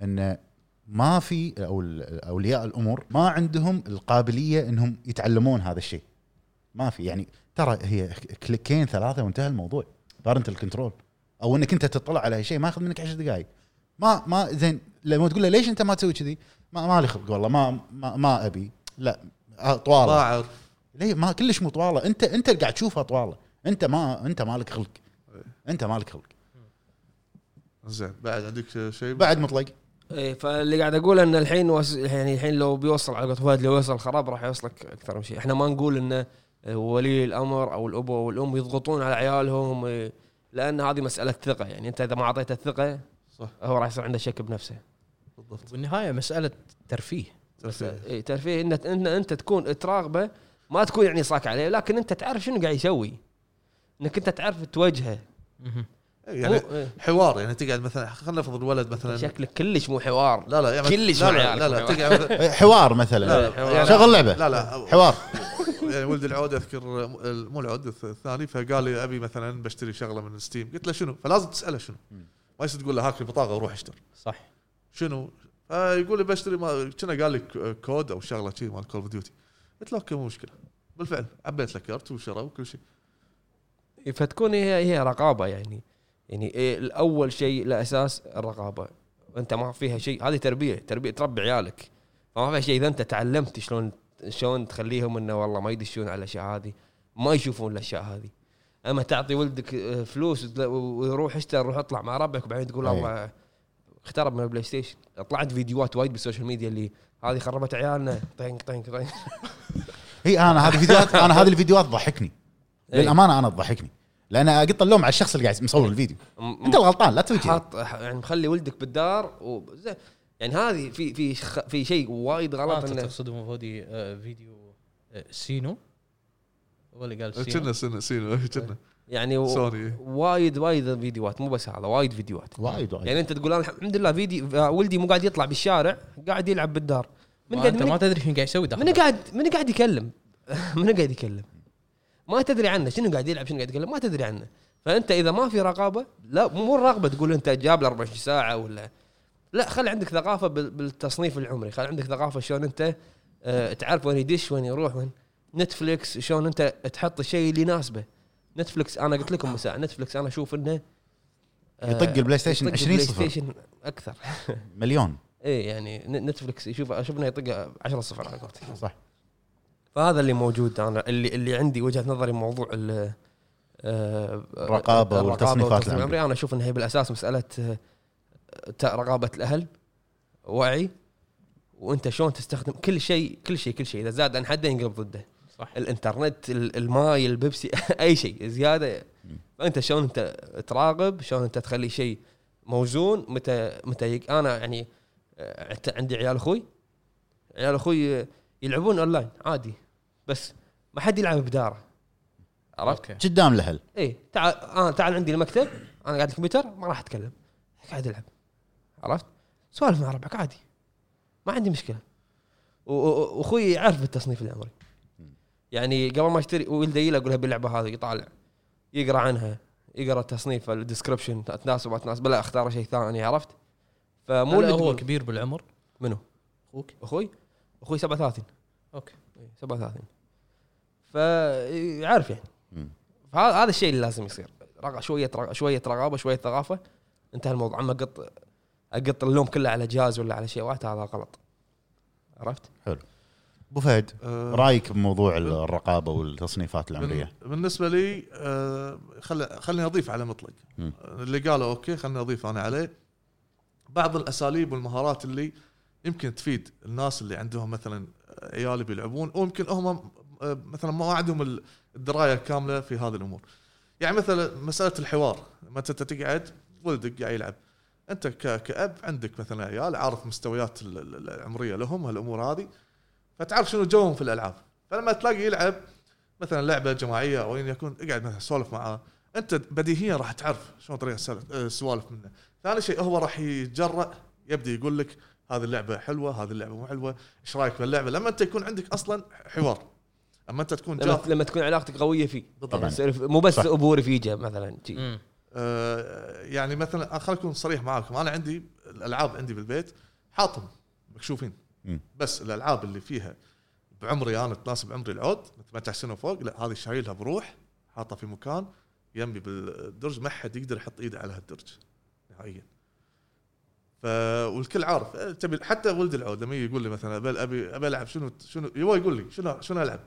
S2: ان ما في او ال- اولياء الامور ما عندهم القابليه انهم يتعلمون هذا الشيء ما في يعني ترى هي كليكين ثلاثه وانتهى الموضوع بارنت الكنترول او انك انت تطلع على شيء ما ياخذ منك عشر دقائق ما ما زين لما تقول له ليش انت ما تسوي كذي ما ما لي خلق والله ما ما, ما ابي لا آه، طواله
S3: ما اعرف
S2: ليه ما كلش مطواله انت انت اللي قاعد تشوفها طواله انت ما انت مالك خلق انت مالك خلق
S3: زين بعد عندك شيء
S2: بعد مطلق
S1: ايه فاللي قاعد اقول ان الحين وس... يعني الحين لو بيوصل على قولة فهد لو يوصل خراب راح يوصلك اكثر من شيء، احنا ما نقول ان ولي الامر او الاب او الام يضغطون على عيالهم إيه، لان هذه مساله ثقه يعني انت اذا ما اعطيته الثقه
S3: صح.
S1: هو راح يصير عنده شك بنفسه.
S3: بالضبط
S4: بالنهايه مساله ترفيه
S1: بس اي ترفيه ان ان انت تكون تراقبه ما تكون يعني صاك عليه لكن انت تعرف شنو قاعد يسوي. انك انت تعرف توجهه
S3: يعني
S1: مو- إيه،
S3: حوار يعني تقعد مثلا خلينا نفرض الولد مثلا
S1: شكلك كلش مو حوار
S3: لا لا يعني
S1: كلش
S3: لا
S1: مع
S3: لا,
S1: عيالك
S3: لا, لا
S1: وحوار.
S3: تقعد مثلا
S2: حوار
S3: لا
S2: مثلا
S3: لا يعني-
S2: شغل لعبه
S3: لا لا
S2: حوار
S3: يعني ولد العود اذكر مو العود الث- الثاني فقال لي ابي مثلا بشتري شغله من ستيم قلت له شنو فلازم تساله شنو ما يصير تقول له هاك البطاقه وروح اشتر
S4: صح
S3: شنو فيقول لي بشتري ما كنا قال لي ك- كود او شغله شيء مال كول اوف ديوتي قلت له اوكي مو مشكله بالفعل عبيت له كرت وشرى وكل شيء
S1: فتكون هي هي رقابه يعني يعني إيه الاول شيء الاساس الرقابه انت ما فيها شيء هذه تربيه تربيه تربي عيالك فما فيها شيء اذا انت تعلمت شلون شلون تخليهم انه والله ما يدشون على الاشياء هذه ما يشوفون الاشياء هذه اما تعطي ولدك آه، فلوس وتلا- ويروح اشتر روح اطلع مع ربعك وبعدين تقول
S2: أي.
S1: والله اخترب من البلاي ستيشن طلعت فيديوهات وايد بالسوشيال ميديا اللي هذه خربت عيالنا طنق طنق طنق
S2: هي انا هذه فيديوهات انا هذه الفيديوهات تضحكني
S1: إيه.
S2: للامانه انا تضحكني لان اقط اللوم على الشخص اللي قاعد مصور الفيديو
S1: م-
S2: انت الغلطان لا تسوي كذي
S1: حاط يعني مخلي ولدك بالدار و زين. يعني هذه في في خ- في شيء وايد غلط
S4: انت
S1: انه
S4: آه، تقصد أبو فودي آه، فيديو آه، سينو هو اللي قال سينو
S3: كنا سن- سينو كنا
S1: يعني و-
S3: سوني
S1: وايد وايد فيديوهات مو بس هذا وايد فيديوهات
S2: وايد وايد
S1: يعني انت تقول انا الحمد لله فيديو آه، ولدي مو قاعد يطلع بالشارع قاعد يلعب بالدار من
S4: ما
S1: قاعد
S4: انت
S1: من,
S4: ما تدري شنو قاعد يسوي
S1: من
S4: داخل
S1: قاعد من قاعد يكلم من قاعد يكلم ما تدري عنه شنو قاعد يلعب شنو قاعد يتكلم ما تدري عنه فانت اذا ما في رقابه لا مو الرقبه تقول انت جاب له 24 ساعه ولا لا خلي عندك ثقافه بال- بالتصنيف العمري خلي عندك ثقافه شلون انت آه، تعرف وين يدش وين يروح وين نتفلكس شلون انت تحط الشيء اللي يناسبه نتفلكس انا قلت لكم من ساعه نتفلكس انا اشوف انه آه،
S2: يطق البلاي ستيشن
S1: يطق
S2: 20
S1: البلاي
S2: صفر
S1: ستيشن اكثر
S2: مليون
S1: ايه يعني ن- نتفلكس يشوف اشوف انه يطق 10 صفر على قولتك
S2: صح
S1: فهذا اللي موجود انا اللي اللي عندي وجهه نظري موضوع ال آه،
S2: الرقابة
S1: الرقابة
S2: والتصنيفات
S1: والتصنيف
S2: العمرية.
S1: العمرية. انا اشوف انها هي بالاساس مساله آه، ت- رقابه الاهل وعي وانت شلون تستخدم كل شيء كل شيء كل شيء اذا زاد عن حده ينقلب ضده
S4: صح
S1: الانترنت ال- الماي البيبسي اي شيء زياده
S2: مم.
S1: فانت شلون انت تراقب شلون انت تخلي شيء موزون متى متى يك... انا يعني آه، عت- عندي عيال اخوي عيال اخوي آه، يلعبون اونلاين عادي بس ما حد يلعب بداره عرفت؟
S4: اوكي
S2: قدام الاهل
S1: اي إيه، تعال انا تعال عندي المكتب انا قاعد الكمبيوتر ما راح اتكلم قاعد العب عرفت؟ سوالف مع ربعك عادي ما عندي مشكله و- و- واخوي يعرف التصنيف العمري يعني قبل ما اشتري ولدي يلا اقول له باللعبه هذه يطالع يقرا عنها يقرا تصنيف الديسكربشن تناسب ما تناسب لا اختار شيء ثاني عرفت؟ فمو
S4: مو
S1: اللي
S4: هو
S1: تقول-
S4: كبير بالعمر
S1: منو؟
S4: اخوك
S1: اخوي اخوي 37
S4: اوكي
S1: إي، 37 فيعرف يعني
S2: مم.
S1: فهذا هذا الشيء اللي لازم يصير رغ... شويه رغ... شويه رغابه شويه ثقافه انتهى الموضوع اما اقط اقط اللوم كله على جهاز ولا على شيء واحد هذا غلط عرفت؟
S2: ابو فهد
S3: آه،
S2: رايك بموضوع الرقابه والتصنيفات العمريه
S3: بال- بالنسبه لي آه، خل خليني اضيف على مطلق
S2: مم.
S3: اللي قاله اوكي خليني اضيف انا عليه بعض الاساليب والمهارات اللي يمكن تفيد الناس اللي عندهم مثلا عيال بيلعبون ويمكن هم آه، مثلا ما عندهم ال- الدرايه الكامله في هذه الامور. يعني مثلا مساله الحوار لما انت تقعد ولدك قاعد يلعب انت ك- كاب عندك مثلا عيال عارف مستويات ال- ال- العمريه لهم هالامور هذه فتعرف شنو جوهم في الالعاب فلما تلاقي يلعب مثلا لعبه جماعيه او ايا يكون اقعد مثلا سولف معاه انت بديهيا راح تعرف شلون طريقه السالف- آه، السوالف منه ثاني شيء هو راح يتجرأ يبدا يقول لك هذه اللعبه حلوه هذه اللعبه مو حلوه ايش رايك باللعبه لما انت يكون عندك اصلا حوار اما انت تكون
S1: لما,
S3: جاف
S1: لما تكون علاقتك قويه فيه
S2: طبعاً.
S1: يصير مو بس
S2: صح.
S1: ابو رفيجه مثلا شي.
S4: امم
S3: آه، يعني مثلا خليني اكون صريح معاكم انا عندي الالعاب عندي بالبيت حاطهم مكشوفين
S2: مم.
S3: بس الالعاب اللي فيها بعمري انا تناسب عمري العود من 18 سنه وفوق لا هذه شايلها بروح حاطها في مكان يمي بالدرج ما حد يقدر يحط ايده على هالدرج نهائيا ف والكل عارف آه، تبي حتى ولد العود لما يجي يقول لي مثلا أبي- ابي ابي العب شنو شنو هو يقول لي شنو شنو العب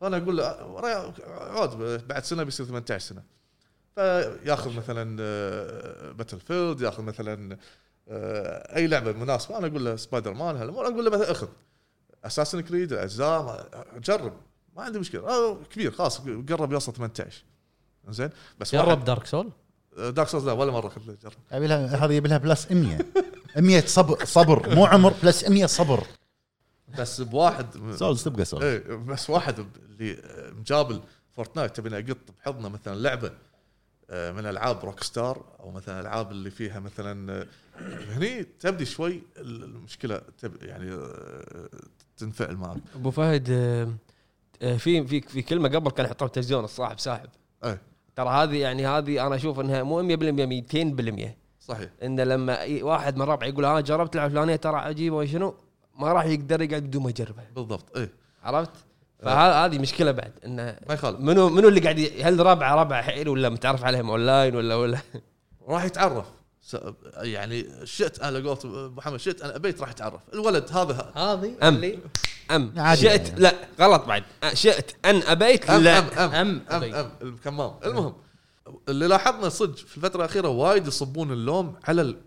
S3: فانا اقول له آه، وراي عود بعد سنه بيصير 18 سنه فياخذ مثلا باتل فيلد ياخذ مثلا آه، اي لعبه مناسبه انا اقول له سبايدر مان هالامور اقول له مثلا اخذ اساسن كريد الاجزاء ما- جرب ما عندي مشكله آه، كبير خلاص قرب يوصل 18 زين بس
S4: جرب دارك سول
S3: دارك سولز لا ولا مره خذ له جرب
S2: أبي لها- هذه يبي لها بلس 100 100 صبر صبر مو عمر بلس 100 صبر
S3: بس بواحد
S2: سولز تبقى سولز
S3: ايه بس واحد اللي آه، مجابل فورتنايت تبينا اقط بحضنه مثلا لعبه آه، من العاب روك ستار او مثلا العاب اللي فيها مثلا آه، هني تبدي شوي المشكله تب يعني آه، تنفعل معك
S1: ابو فهد آه، آه، في في في كلمه قبل كان يحطها بالتلفزيون الصاحب ساحب
S3: ايه
S1: ترى هذه يعني هذه انا اشوف انها مو 100% 200%
S3: صحيح
S1: ان لما أي واحد من ربعي يقول انا جربت لعبه فلانيه ترى عجيبه وشنو ما راح يقدر يقعد بدون ما يجربها
S3: بالضبط ايه
S1: عرفت؟ فهذه مشكله بعد انه
S3: ما يخالف
S1: منو منو اللي قاعد ي- هل ربعه ربعه حيل ولا متعرف عليهم اونلاين ولا ولا
S3: راح يتعرف س- يعني شئت انا لو قلت محمد شئت انا ابيت راح يتعرف الولد هذا
S4: هذه
S1: أم.
S4: اللي
S1: ام
S2: عادي
S1: شئت
S2: يعني.
S1: لا غلط بعد أ- شئت ان ابيت
S3: أم
S1: لا
S3: أم أم
S4: ام
S3: ام
S4: أبي.
S3: ام الكمام المهم اللي لاحظنا صدق في الفتره الاخيره وايد يصبون اللوم على ال-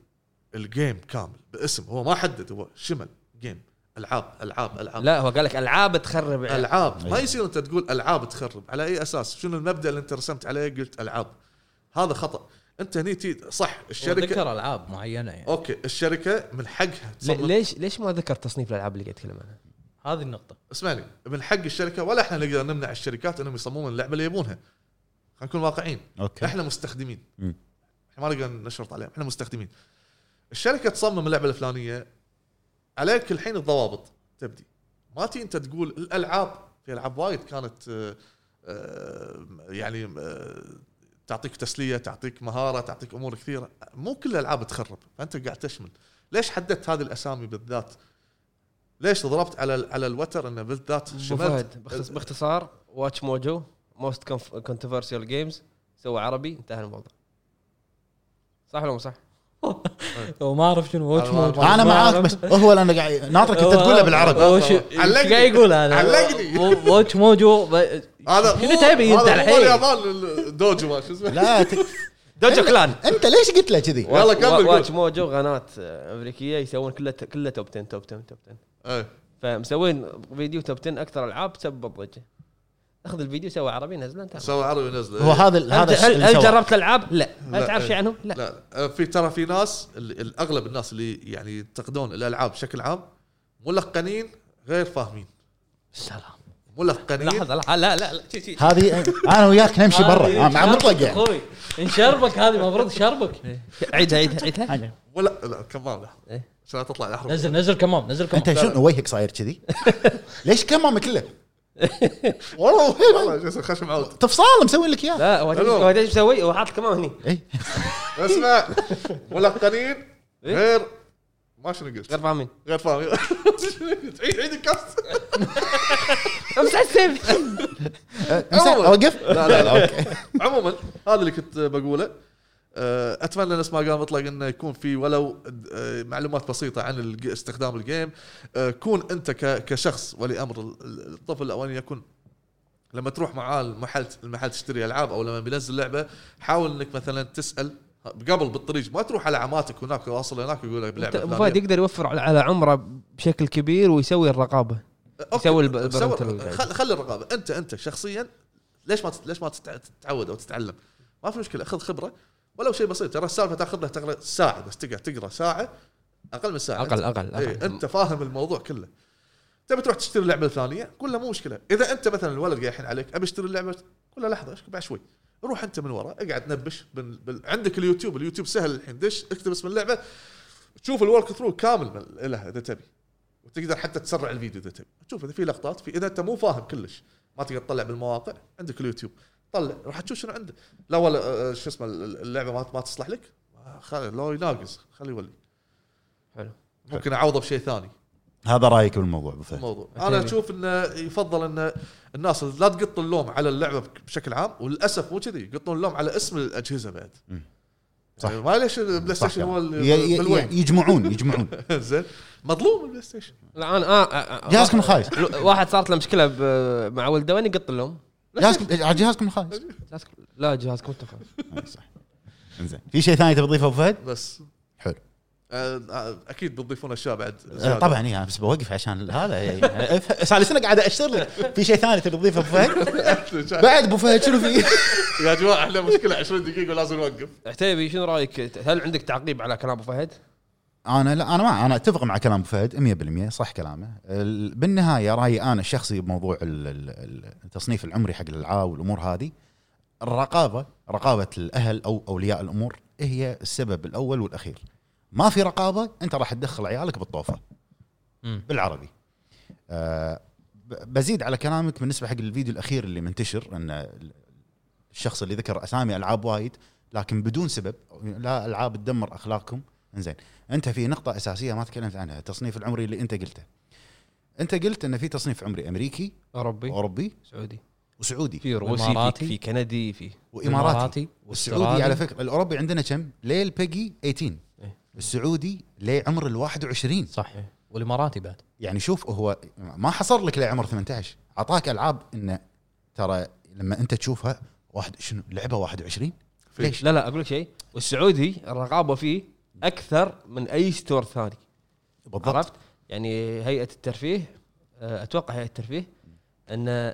S3: الجيم كامل باسم هو ما حدد هو شمل جيم العاب العاب العاب
S1: لا هو قال لك العاب تخرب يعني. العاب
S3: العاب ما
S2: أيوة.
S3: يصير انت تقول العاب تخرب على اي اساس شنو المبدا اللي انت رسمت عليه قلت العاب هذا خطا انت هني تي- صح الشركه
S4: ذكر العاب معينه يعني
S3: اوكي الشركه من حقها تصمم-
S1: ليش ليش ما ذكر تصنيف الالعاب اللي قاعد يتكلم عنها؟
S4: هذه النقطه
S3: اسمعني من حق الشركه ولا احنا نقدر نمنع الشركات انهم يصممون اللعبه اللي يبونها خلينا نكون واقعيين
S2: اوكي
S3: احنا مستخدمين
S2: مم.
S3: احنا ما نقدر نشرط عليهم احنا مستخدمين الشركه تصمم اللعبه الفلانيه عليك الحين الضوابط تبدي ما تي انت تقول الالعاب في العاب وايد كانت آه، آه، يعني آه، تعطيك تسليه تعطيك مهاره تعطيك امور كثيره مو كل الالعاب تخرب فانت قاعد تشمل ليش حددت هذه الاسامي بالذات ليش ضربت على ال- على الوتر انه بالذات
S1: ابو
S3: شملت
S1: فهد باختص- باختصار واتش موجو موست كونتروفيرسيال جيمز سوى عربي انتهى الموضوع صح ولا مو صح؟
S4: وما اعرف شنو واتش موجود.
S2: انا
S4: ما
S2: معاك
S4: أعرف.
S2: بس هو اللي انا قاعد ناطرك انت تقولها بالعربي
S4: وش
S3: علقني.
S4: علقني قاعد يقول هذا
S3: علقني.
S4: و- واتش موجو ب-
S3: هذا
S4: شنو تبي انت الحين؟
S3: اليابان الدوجو ما شو اسمه
S2: لا تك-
S1: دوجو كلان
S2: انت ليش قلت له كذي؟
S3: يلا كمل قول.
S1: واتش موجو قناه امريكيه آه، يسوون كله كله توب 10 توب 10 توب 10
S3: ايه
S1: فمسوين فيديو توب 10 اكثر العاب تسبب ضجه اخذ الفيديو سوى عربي نزله انتهى
S3: سوى عربي نزله
S2: هو هذا ال-
S1: هل,
S2: هذا
S1: هل,
S2: اللي
S1: هل
S2: سواه.
S1: جربت الالعاب؟ لا
S3: لا.
S1: هل تعرف شيء عنهم؟ لا,
S3: لا, لا في ترى في ناس ال- ال- اغلب الناس اللي يعني ينتقدون الالعاب بشكل عام ملقنين غير فاهمين
S4: سلام
S3: مو لفقانيين
S4: لحظه لحظه لا لا لا شي- شي-
S2: هذه انا وياك نمشي برا
S4: هذه
S2: آه، مع مطلق يعني
S4: اخوي انشربك هذه المفروض شربك
S1: عيدها عيدها عيدها
S2: أنا-
S3: مو لا لا كمام لحظه عشان لا تطلع الاحرف
S4: نزل نزل كمام نزل كمام
S2: انت شنو وجهك صاير كذي؟ ليش كمامه كله؟ والله
S3: والله شو اسمه خشم عود
S2: تفصال مسوي لك اياه
S1: لا هو تدري-
S3: حلو.
S1: هو تدري ايش مسوي هو حاط كمان هني
S2: اي
S3: اسمع ملقنين غير ما شنو
S1: غير
S3: قلت
S1: فاهمين
S3: غير فاهم عيد عيد الكاس
S1: امسح السيف
S3: عموماً.
S2: اوقف
S3: لا، لا، لا.
S2: اوكي
S3: عموما هذا اللي كنت بقوله أه، اتمنى نفس ما قال مطلق انه يكون في ولو أه، معلومات بسيطه عن الج- استخدام الجيم أه، كون انت ك- كشخص ولي امر ال- ال- الطفل او ان يكون لما تروح معاه المحل المحل تشتري العاب او لما بينزل لعبه حاول انك مثلا تسال قبل بالطريق ما تروح على عماتك هناك واصل هناك يقول لك بلعبه
S1: ابو
S3: فلانية.
S1: فهد يقدر يوفر على- على عمره بشكل كبير ويسوي الرقابه
S3: أوكي.
S1: يسوي الب-
S3: سوى-
S1: البرنتال
S3: خل- خلي الرقابه انت انت شخصيا ليش ما تت- ليش ما تتع- تتعود او تتعلم؟ ما في مشكله خذ خبره ولو شيء بسيط ترى السالفه تاخذ لها تقرا ساعه بس تقعد تقرا ساعه اقل من ساعه
S1: اقل اقل
S3: اي
S1: اقل
S3: انت إيه، فاهم الموضوع كله تبي تروح تشتري اللعبه الفلانيه قول له مو مشكله اذا انت مثلا الولد قاعد الحين عليك ابي اشتري اللعبه قول له لحظه إيش- بعد شوي روح انت من ورا اقعد نبش بال... بال... عندك اليوتيوب اليوتيوب سهل الحين دش اكتب اسم اللعبه تشوف الورك ثرو كامل من- لها اذا تبي وتقدر حتى تسرع الفيديو اذا تبي تشوف اذا في لقطات في اذا انت مو فاهم كلش ما تقدر تطلع بالمواقع عندك اليوتيوب طلع راح تشوف شنو عنده لا ولا آه، شو اسمه اللعبه ما ما تصلح لك خلي لو يناقص خلي يولي
S1: حلو.
S3: ممكن اعوضه بشيء ثاني
S2: هذا رايك بالموضوع ابو فهد
S3: الموضوع انا اشوف انه يفضل ان الناس لا تقط اللوم على اللعبه بك- بشكل عام وللاسف مو كذي يقطون اللوم على اسم الاجهزه بعد
S2: مم.
S3: صح يعني ما ليش البلاي
S2: صح
S3: ستيشن هو
S2: كلام. ي- ي-
S3: اللي بالوين
S2: يجمعون يجمعون
S3: زين مظلوم البلاي ستيشن
S1: لا انا آه، آه،
S2: جهازكم الخايس
S1: لو- واحد صارت له مشكله ب- مع ولده وين يقط اللوم؟
S2: جهازكم على جهازكم الخايس
S1: جهازك- لا جهازكم انت خلاص.
S2: أي صح انزين في شيء ثاني تبي تضيفه ابو فهد؟
S3: بس
S2: حلو
S3: آه، آه، اكيد بتضيفون اشياء بعد
S2: آه،
S3: زيادة.
S2: طبعا إيه، انا بس بوقف عشان هذا يعني أنا أف- سالسنا قاعد اشر لك في شيء ثاني تبي تضيفه ابو فهد؟ بعد ابو فهد شنو في؟
S3: يا جماعه احنا مشكله 20 دقيقه ولازم نوقف
S1: عتيبي شنو رايك هل عندك تعقيب على كلام ابو فهد؟
S2: انا لا انا ما انا اتفق مع كلام ابو فهد 100% صح كلامه ال- بالنهايه رايي انا الشخصي بموضوع ال- ال- التصنيف العمري حق الالعاب والامور هذه الرقابه رقابه الاهل او اولياء الامور هي السبب الاول والاخير ما في رقابه انت راح تدخل عيالك بالطوفه
S4: مم.
S2: بالعربي آه، ب- بزيد على كلامك بالنسبه حق الفيديو الاخير اللي منتشر ان ال- الشخص اللي ذكر اسامي العاب وايد لكن بدون سبب لا العاب تدمر اخلاقكم انزين انت في نقطه اساسيه ما تكلمت عنها التصنيف العمري اللي انت قلته انت قلت ان في تصنيف عمري امريكي
S1: اوروبي
S2: اوروبي
S1: سعودي
S2: وسعودي
S1: في روسي في,
S4: إماراتي.
S1: في كندي في
S2: واماراتي
S4: والسعودي.
S2: والسعودي على فكره الاوروبي عندنا كم ليل بيجي 18
S1: إيه.
S2: السعودي لعمر ال 21
S4: صح والاماراتي بعد
S2: يعني شوف هو ما حصر لك لعمر 18 اعطاك العاب انه ترى لما انت تشوفها واحد شنو لعبه 21 ليش؟
S1: لا لا اقول لك شيء والسعودي الرقابه فيه اكثر من اي ستور ثاني
S2: بالضبط
S1: عرفت؟ يعني هيئه الترفيه آه، اتوقع هيئه الترفيه ان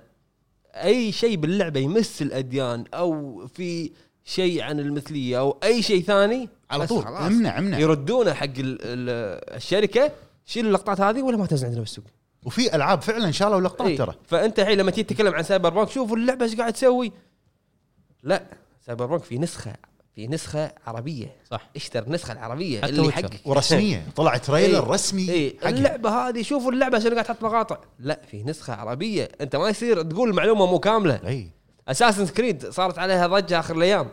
S1: اي شيء باللعبه يمس الاديان او في شيء عن المثليه او اي شيء ثاني
S2: على
S1: بس
S2: طول
S1: خلاص. إيه.
S2: امنع امنع
S1: يردونه حق ال ال الشركه شيل اللقطات هذه ولا ما تنزل عندنا بالسوق
S2: وفي العاب فعلا شالوا لقطات
S1: إيه.
S2: ترى
S1: فانت الحين لما تيجي تتكلم عن سايبر بانك شوفوا اللعبه ايش قاعد تسوي لا سايبر بانك في نسخه في نسخه عربيه
S4: صح.
S1: اشتر النسخه العربيه
S4: حتى
S1: اللي
S4: ويتشر.
S1: حقك
S2: ورسميه طلع تريلر
S1: إيه.
S2: رسمي
S1: اي
S2: حقها.
S1: اللعبه هذه شوفوا اللعبه شنو قاعد تحط مقاطع لا في نسخه عربيه انت ما يصير تقول المعلومه مو كامله
S2: اي
S1: اساسن كريد صارت عليها ضجه اخر الايام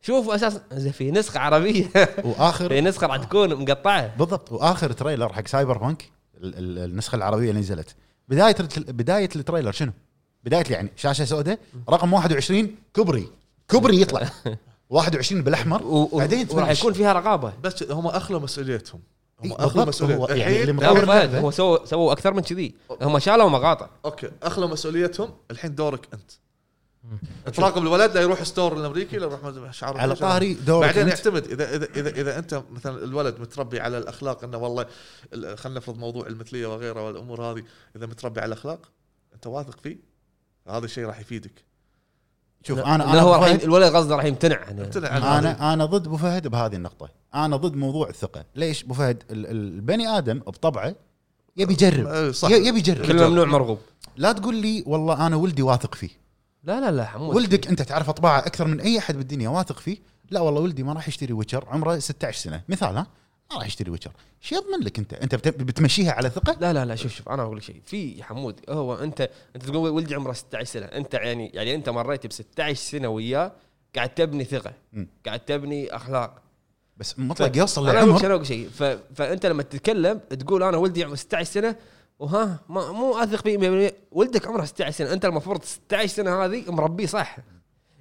S1: شوفوا اساس زين في نسخه عربيه في
S2: واخر
S1: نسخه راح تكون مقطعه
S2: بالضبط واخر تريلر حق سايبر بانك ال- ال- النسخه العربيه اللي نزلت بدايه الت- بدايه التريلر شنو؟ بدايه يعني شاشه سوداء رقم 21 كبري كبري يطلع 21 بالاحمر
S1: و- و-
S2: بعدين
S1: وراح يكون فيها رقابه
S3: بس هم اخلوا مسؤوليتهم هم
S2: إيه،
S3: اخلوا
S2: بالضبط، هو
S3: مسؤوليتهم
S2: يعني اللي
S1: لا أبو
S2: غير
S1: فهد
S2: لعبة.
S1: هو سووا سووا اكثر من كذي هم شالوا مقاطع
S3: اوكي اخلوا مسؤوليتهم الحين دورك انت تراقب الولد لا يروح ستور الامريكي لا يروح ما- شعار
S2: على طاري دورك
S3: بعدين
S2: أنت.
S3: يعتمد اذا اذا اذا اذا انت مثلا الولد متربي على الاخلاق انه والله ال- خلينا نفرض موضوع المثليه وغيره والامور هذه اذا متربي على الاخلاق انت واثق فيه هذا الشيء راح يفيدك
S2: شوف
S1: لا-
S2: انا
S1: لا
S2: انا
S1: هو
S2: أبو
S1: راح
S2: فهد-
S1: ي- الولد قصده راح يمتنع عن
S3: امتنع عن هذا.
S2: انا انا ضد ابو فهد بهذه النقطه انا ضد موضوع الثقه ليش ابو فهد ال- ال- البني ادم بطبعه يبي يجرب
S3: آه، صح.
S2: ي- يبي يجرب
S1: كل ممنوع مرغوب
S2: لا تقول لي والله انا ولدي واثق فيه
S1: لا لا لا حمود
S2: ولدك انت تعرف اطباعه اكثر من اي احد بالدنيا واثق فيه لا والله ولدي ما راح يشتري ويتشر عمره 16 سنه مثال ها ما راح يشتري ويتشر شو يضمن لك انت انت بت- بتمشيها على ثقه
S1: لا لا لا شوف شوف انا اقول لك شيء في يا حمود هو انت انت تقول ولدي عمره 16 سنه انت يعني يعني انت مريت ب 16 سنه وياه قاعد تبني ثقه
S2: مم.
S1: قاعد تبني اخلاق
S2: بس مطلق يوصل
S1: انا اقول لك-
S2: لعمر
S1: أنا اقول لك شيء ف... فانت لما تتكلم تقول انا ولدي عمره 16 سنه وها ما مو اثق فيه 100% ولدك عمره 16 سنه انت المفروض 16 سنه هذه مربيه صح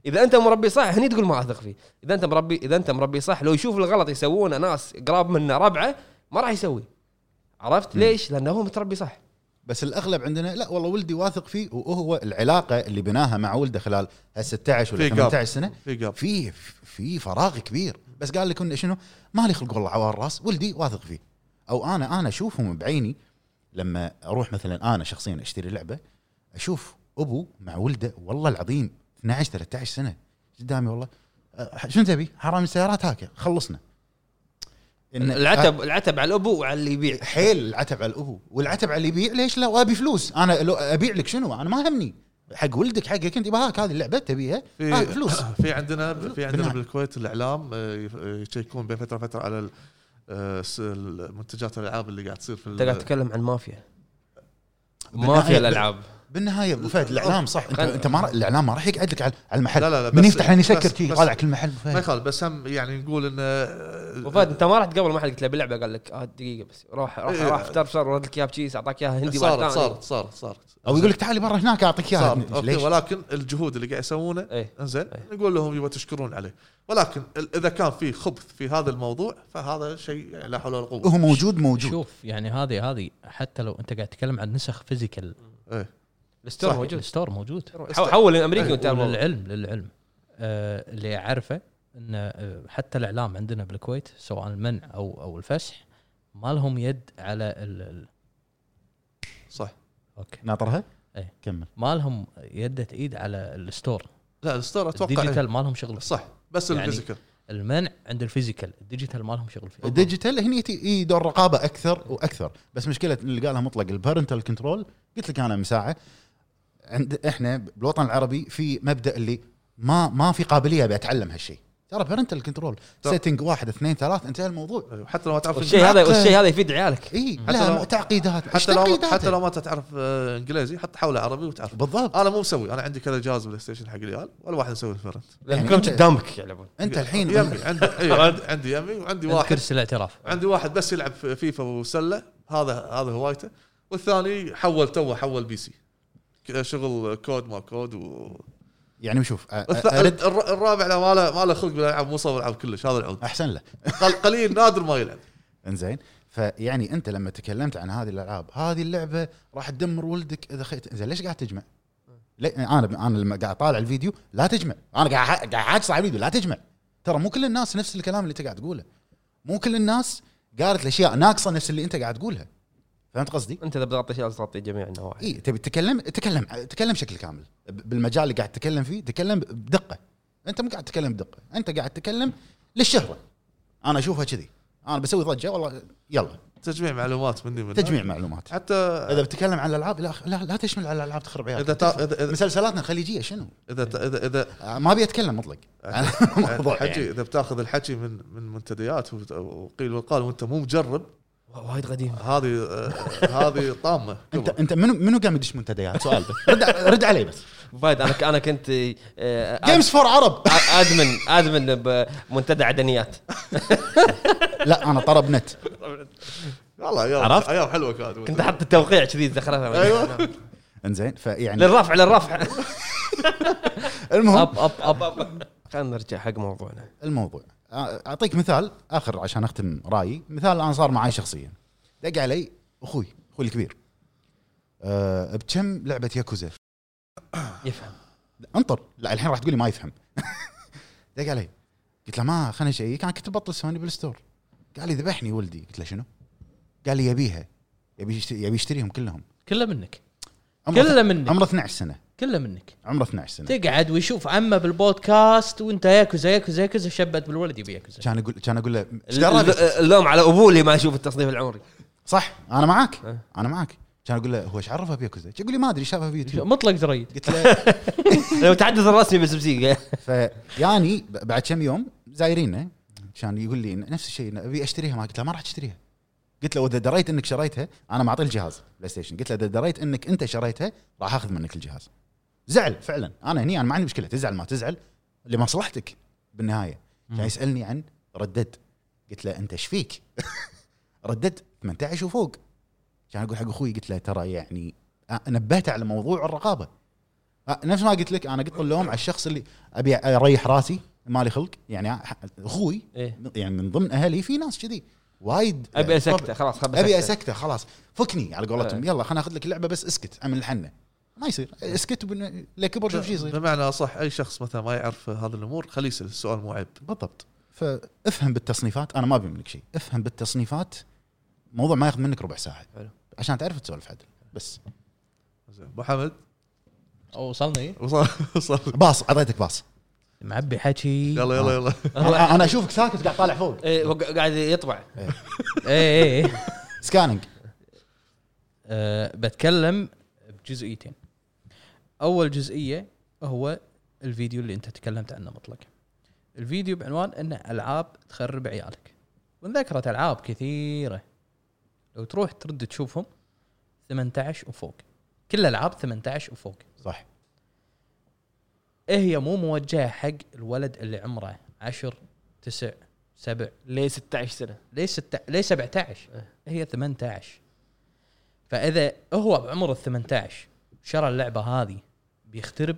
S1: اذا انت مربي صح هني تقول ما اثق فيه اذا انت مربي اذا انت مربي صح لو يشوف الغلط يسوونه ناس قراب منه ربعه ما راح يسوي عرفت ليش؟ لانه هو متربي صح
S2: بس الاغلب عندنا لا والله ولدي واثق فيه وهو العلاقه اللي بناها مع ولده خلال هال 16 ولا
S3: في gap.
S2: 18 سنه
S3: في جاب
S2: في في فراغ كبير بس قال لك إنه شنو ما لي خلق والله عوار راس ولدي واثق فيه او انا انا اشوفهم بعيني لما اروح مثلا انا شخصيا اشتري لعبه اشوف ابو مع ولده والله العظيم 12 13 سنه قدامي والله أه، شنو تبي؟ حرامي السيارات هاك خلصنا إن-
S1: العتب العتب على الابو وعلى اللي يبيع
S2: حيل العتب على الابو والعتب على اللي يبيع ليش لا وابي فلوس انا لو ابيع لك شنو انا ما همني حق ولدك حقك انت بهاك هذه اللعبه تبيها
S3: في-
S2: هاك آه، فلوس
S3: في عندنا في عندنا
S2: بالنهاية.
S3: بالكويت الاعلام آه، يف- يشيكون بين فتره فتره على ال- آه، س- المنتجات الالعاب اللي قاعد تصير في
S1: انت قاعد
S3: ال-
S1: تتكلم عن مافيا
S2: بالنهاية-
S1: مافيا الالعاب
S2: بالنهايه ابو فهد الاعلام صح انت, انت ما را- الاعلام ما راح يقعد لك على على المحل
S3: لا لا لا
S2: من
S3: بس-
S2: يفتح لين يسكر
S3: بس-
S2: تي
S3: بس-
S2: طالع كل محل أبو
S3: ما
S2: فهد
S3: يخالف بس هم يعني نقول انه آه،
S1: وفهد انت ما رحت قبل ما قلت له باللعبه قال لك اه دقيقه بس روح روح
S3: إيه.
S1: راح افطر بسر ورد لك اياها بشيس اعطاك اياها هندي بعد
S3: صارت
S1: ثاني.
S3: صارت صارت صارت
S2: او يقول لك تعالي برا هناك اعطيك اياها
S3: صار اوكي
S2: ليش؟
S3: ولكن الجهود اللي قاعد يسوونه
S1: ايه
S3: انزين
S1: إيه.
S3: نقول لهم يبا تشكرون عليه ولكن ال- اذا كان في خبث في هذا الموضوع فهذا شيء لا حول ولا قوه
S2: هو موجود موجود
S4: شوف يعني هذه هذه حتى لو انت قاعد تتكلم عن نسخ فيزيكال
S3: إيه.
S1: الستور
S3: صح. إيه،
S1: موجود
S4: الستور موجود
S1: حو- حول الامريكي وانت الموضوع.
S4: للعلم للعلم آه اللي اعرفه ان آه، حتى الاعلام عندنا بالكويت سواء المنع او او الفسح ما لهم يد على ال ال-
S3: صح
S4: اوكي
S2: ناطرها؟
S4: إيه.
S2: كمل
S4: ما لهم يدة ايد على الستور
S3: لا الستور اتوقع إيه.
S4: الديجيتال ما لهم شغل
S3: صح بس
S4: يعني-
S3: الفيزيكال
S4: المنع عند الفيزيكال الديجيتال ما لهم شغل فيه
S2: الديجيتال هني يتي- اي دور رقابه اكثر واكثر بس مشكله اللي قالها مطلق البارنتال كنترول قلت لك انا من ساعه عند احنا بالوطن العربي في مبدا اللي ما ما في قابليه بتعلم هالشيء ترى بارنتال كنترول
S3: طب.
S2: سيتنج واحد اثنين ثلاث انتهى الموضوع
S3: حتى لو ما تعرف
S1: والشيء هذا والشيء هذا يفيد عيالك
S2: اي
S4: حتى
S2: لا
S3: لو-
S2: تعقيدات إيش
S3: حتى لو
S2: تعقيدات؟
S3: حتى لو ما أنت تعرف آه، انجليزي حتى حوله عربي وتعرف
S2: بالضبط
S3: انا مو مسوي انا عندي كذا جهاز بلاي ستيشن حق العيال ولا واحد مسوي الفرنت
S1: لان
S2: يعني
S1: كلهم
S2: أنت-
S1: قدامك يلعبون
S2: انت الحين
S3: يمي عندي إيه، عندي- عندي يمي وعندي واحد
S4: كرسي الاعتراف
S3: عندي واحد بس يلعب في- فيفا وسله هذا هذا هوايته والثاني حول توه حول بي سي ك- شغل كود ما كود و
S2: يعني شوف أ-
S3: الث-
S2: أ- أرد
S3: الر- الرابع لا ما له ما له خلق بالالعاب مو صور العاب كلش هذا العود
S2: احسن له
S3: قل- قليل نادر ما يلعب
S2: انزين فيعني انت لما تكلمت عن هذه الالعاب هذه اللعبه راح تدمر ولدك اذا خيت زين ليش قاعد تجمع؟ لي- انا انا لما قاعد اطالع الفيديو لا تجمع انا قاعد ح- قاعد حاجص على الفيديو لا تجمع ترى مو كل الناس نفس الكلام اللي انت قاعد تقوله مو كل الناس قالت الاشياء ناقصه نفس اللي انت قاعد تقولها فهمت قصدي؟
S1: انت اذا بتغطي شيء لازم تغطي جميع
S3: إيه.
S1: النواحي
S2: اي إيه، تبي تتكلم تكلم تكلم بشكل كامل ب- بالمجال اللي قاعد تتكلم فيه تكلم بدقه انت مو قاعد تتكلم بدقه انت قاعد تتكلم للشهره انا اشوفها كذي انا بسوي ضجه والله يلا
S3: تجميع معلومات مني من
S2: تجميع معلومات
S3: حتى
S2: اذا بتكلم عن الالعاب لا لا, لا تشمل على الالعاب تخرب عيالك
S3: اذا تا- اذا اذا
S2: مسلسلاتنا الخليجيه شنو؟
S3: اذا تا- اذا, إذا
S2: آه، ما ابي اتكلم مطلق عن الموضوع
S3: الحكي
S2: يعني.
S3: اذا بتاخذ الحكي من من منتديات وت- وقيل وقال وانت مو مجرب
S1: وايد قديم
S3: هذه آه، هذه طامه
S2: انت
S3: كبر.
S2: انت منو منو قام يدش منتديات سؤال بس رد, رد علي بس
S1: فهد انا انا كنت آه، آه،
S2: جيمز فور عرب
S1: آ- ادمن ادمن بمنتدى عدنيات
S2: لا انا طرب نت
S3: والله ايام
S1: عرفت؟
S3: ايام حلوه كانت
S1: كنت احط التوقيع كذي زخرفه
S3: أيوة.
S2: انزين فيعني
S1: للرفع للرفع
S2: المهم
S4: اب اب اب
S1: خلينا نرجع حق موضوعنا
S2: الموضوع آه، اعطيك مثال اخر عشان اختم رايي مثال انا صار معي شخصيا دق علي اخوي اخوي الكبير أه بكم لعبه ياكوزا
S1: يفهم
S2: انطر لا الحين راح تقولي ما يفهم دق علي قلت له ما خليني اشيك انا كنت بطل سوني بالستور قال لي ذبحني ولدي قلت له شنو؟ قال لي يبيها يبي يشت- يبي يشتريهم كلهم
S4: كله منك
S2: عمره
S4: كله منك
S2: عمره 12 سنه
S4: كله منك
S2: عمره 12 سنه
S4: تقعد ويشوف عمه بالبودكاست وانت ياكوزا ياكوزا ياكوزا شبت بالولد يبي ياكوزا
S2: كان اقول كان اقول له "إيش درى
S1: ال-
S2: بك؟"
S1: ال- اللوم على ابوه اللي ما يشوف التصنيف العمري
S2: صح انا معاك
S1: أه.
S2: انا معاك
S4: مطلق دريد
S2: قلت له
S1: لو تحدث الرسمي بس بسيقه
S2: فيعني ب- يعني بعد كم يوم زايرينه كان يقول لي إن نفس الشيء إن ابي اشتريها ما قلت له ما راح تشتريها قلت له واذا دريت انك شريتها انا معطيه الجهاز بلاي ستيشن قلت له اذا دريت انك انت شريتها راح اخذ منك الجهاز زعل فعلا انا هني انا ما عندي مشكله تزعل ما تزعل لمصلحتك بالنهايه كان يسالني عن ردد قلت له انت ايش فيك؟ ردد 18 وفوق كان اقول حق اخوي قلت له ترى يعني آه، نبهته على موضوع الرقابه آه، نفس ما قلت لك انا قلت اللوم على الشخص اللي ابي اريح راسي مالي خلق يعني ح- اخوي
S1: إيه.
S2: يعني من ضمن اهلي في ناس كذي وايد
S1: ابي اسكته خلاص خلاص
S2: ابي اسكته خلاص فكني على قولتهم
S1: إيه.
S2: يلا خلينا ناخذ لك اللعبه بس اسكت عمل الحنه ما يصير
S4: إيه.
S2: اسكت وبن- لا كبر شوف شو يصير
S3: بمعنى اصح اي شخص مثلا ما يعرف هذه الامور خليه يسال السؤال مو عيب
S2: بالضبط فافهم بالتصنيفات انا ما ابي منك شيء افهم بالتصنيفات موضوع ما ياخذ منك ربع ساعه
S1: حلو.
S2: عشان تعرف تسولف عدل بس
S3: زين ابو حمد
S4: وصلني
S3: وصل وصل
S2: باص اعطيتك باص
S4: معبي حكي
S3: يلا يلا يلا
S4: آه.
S2: انا أنا اشوفك ساكت قاعد طالع فوق
S1: إيه، هو قا- قاعد يطبع
S4: إيه، اي اي
S2: سكاننج
S4: أه بتكلم بجزئيتين اول جزئيه هو الفيديو اللي انت تكلمت عنه مطلقا الفيديو بعنوان ان العاب تخرب عيالك وانذكرت العاب كثيره لو تروح ترد تشوفهم 18 وفوق كل الالعاب 18 وفوق
S2: صح
S4: إيه هي مو موجهه حق الولد اللي عمره 10 9 7
S1: ليه 16 سنه
S4: ليه ست... ليه 17
S3: إيه.
S4: هي 18 فاذا هو بعمر ال 18 شرى اللعبه هذه بيخترب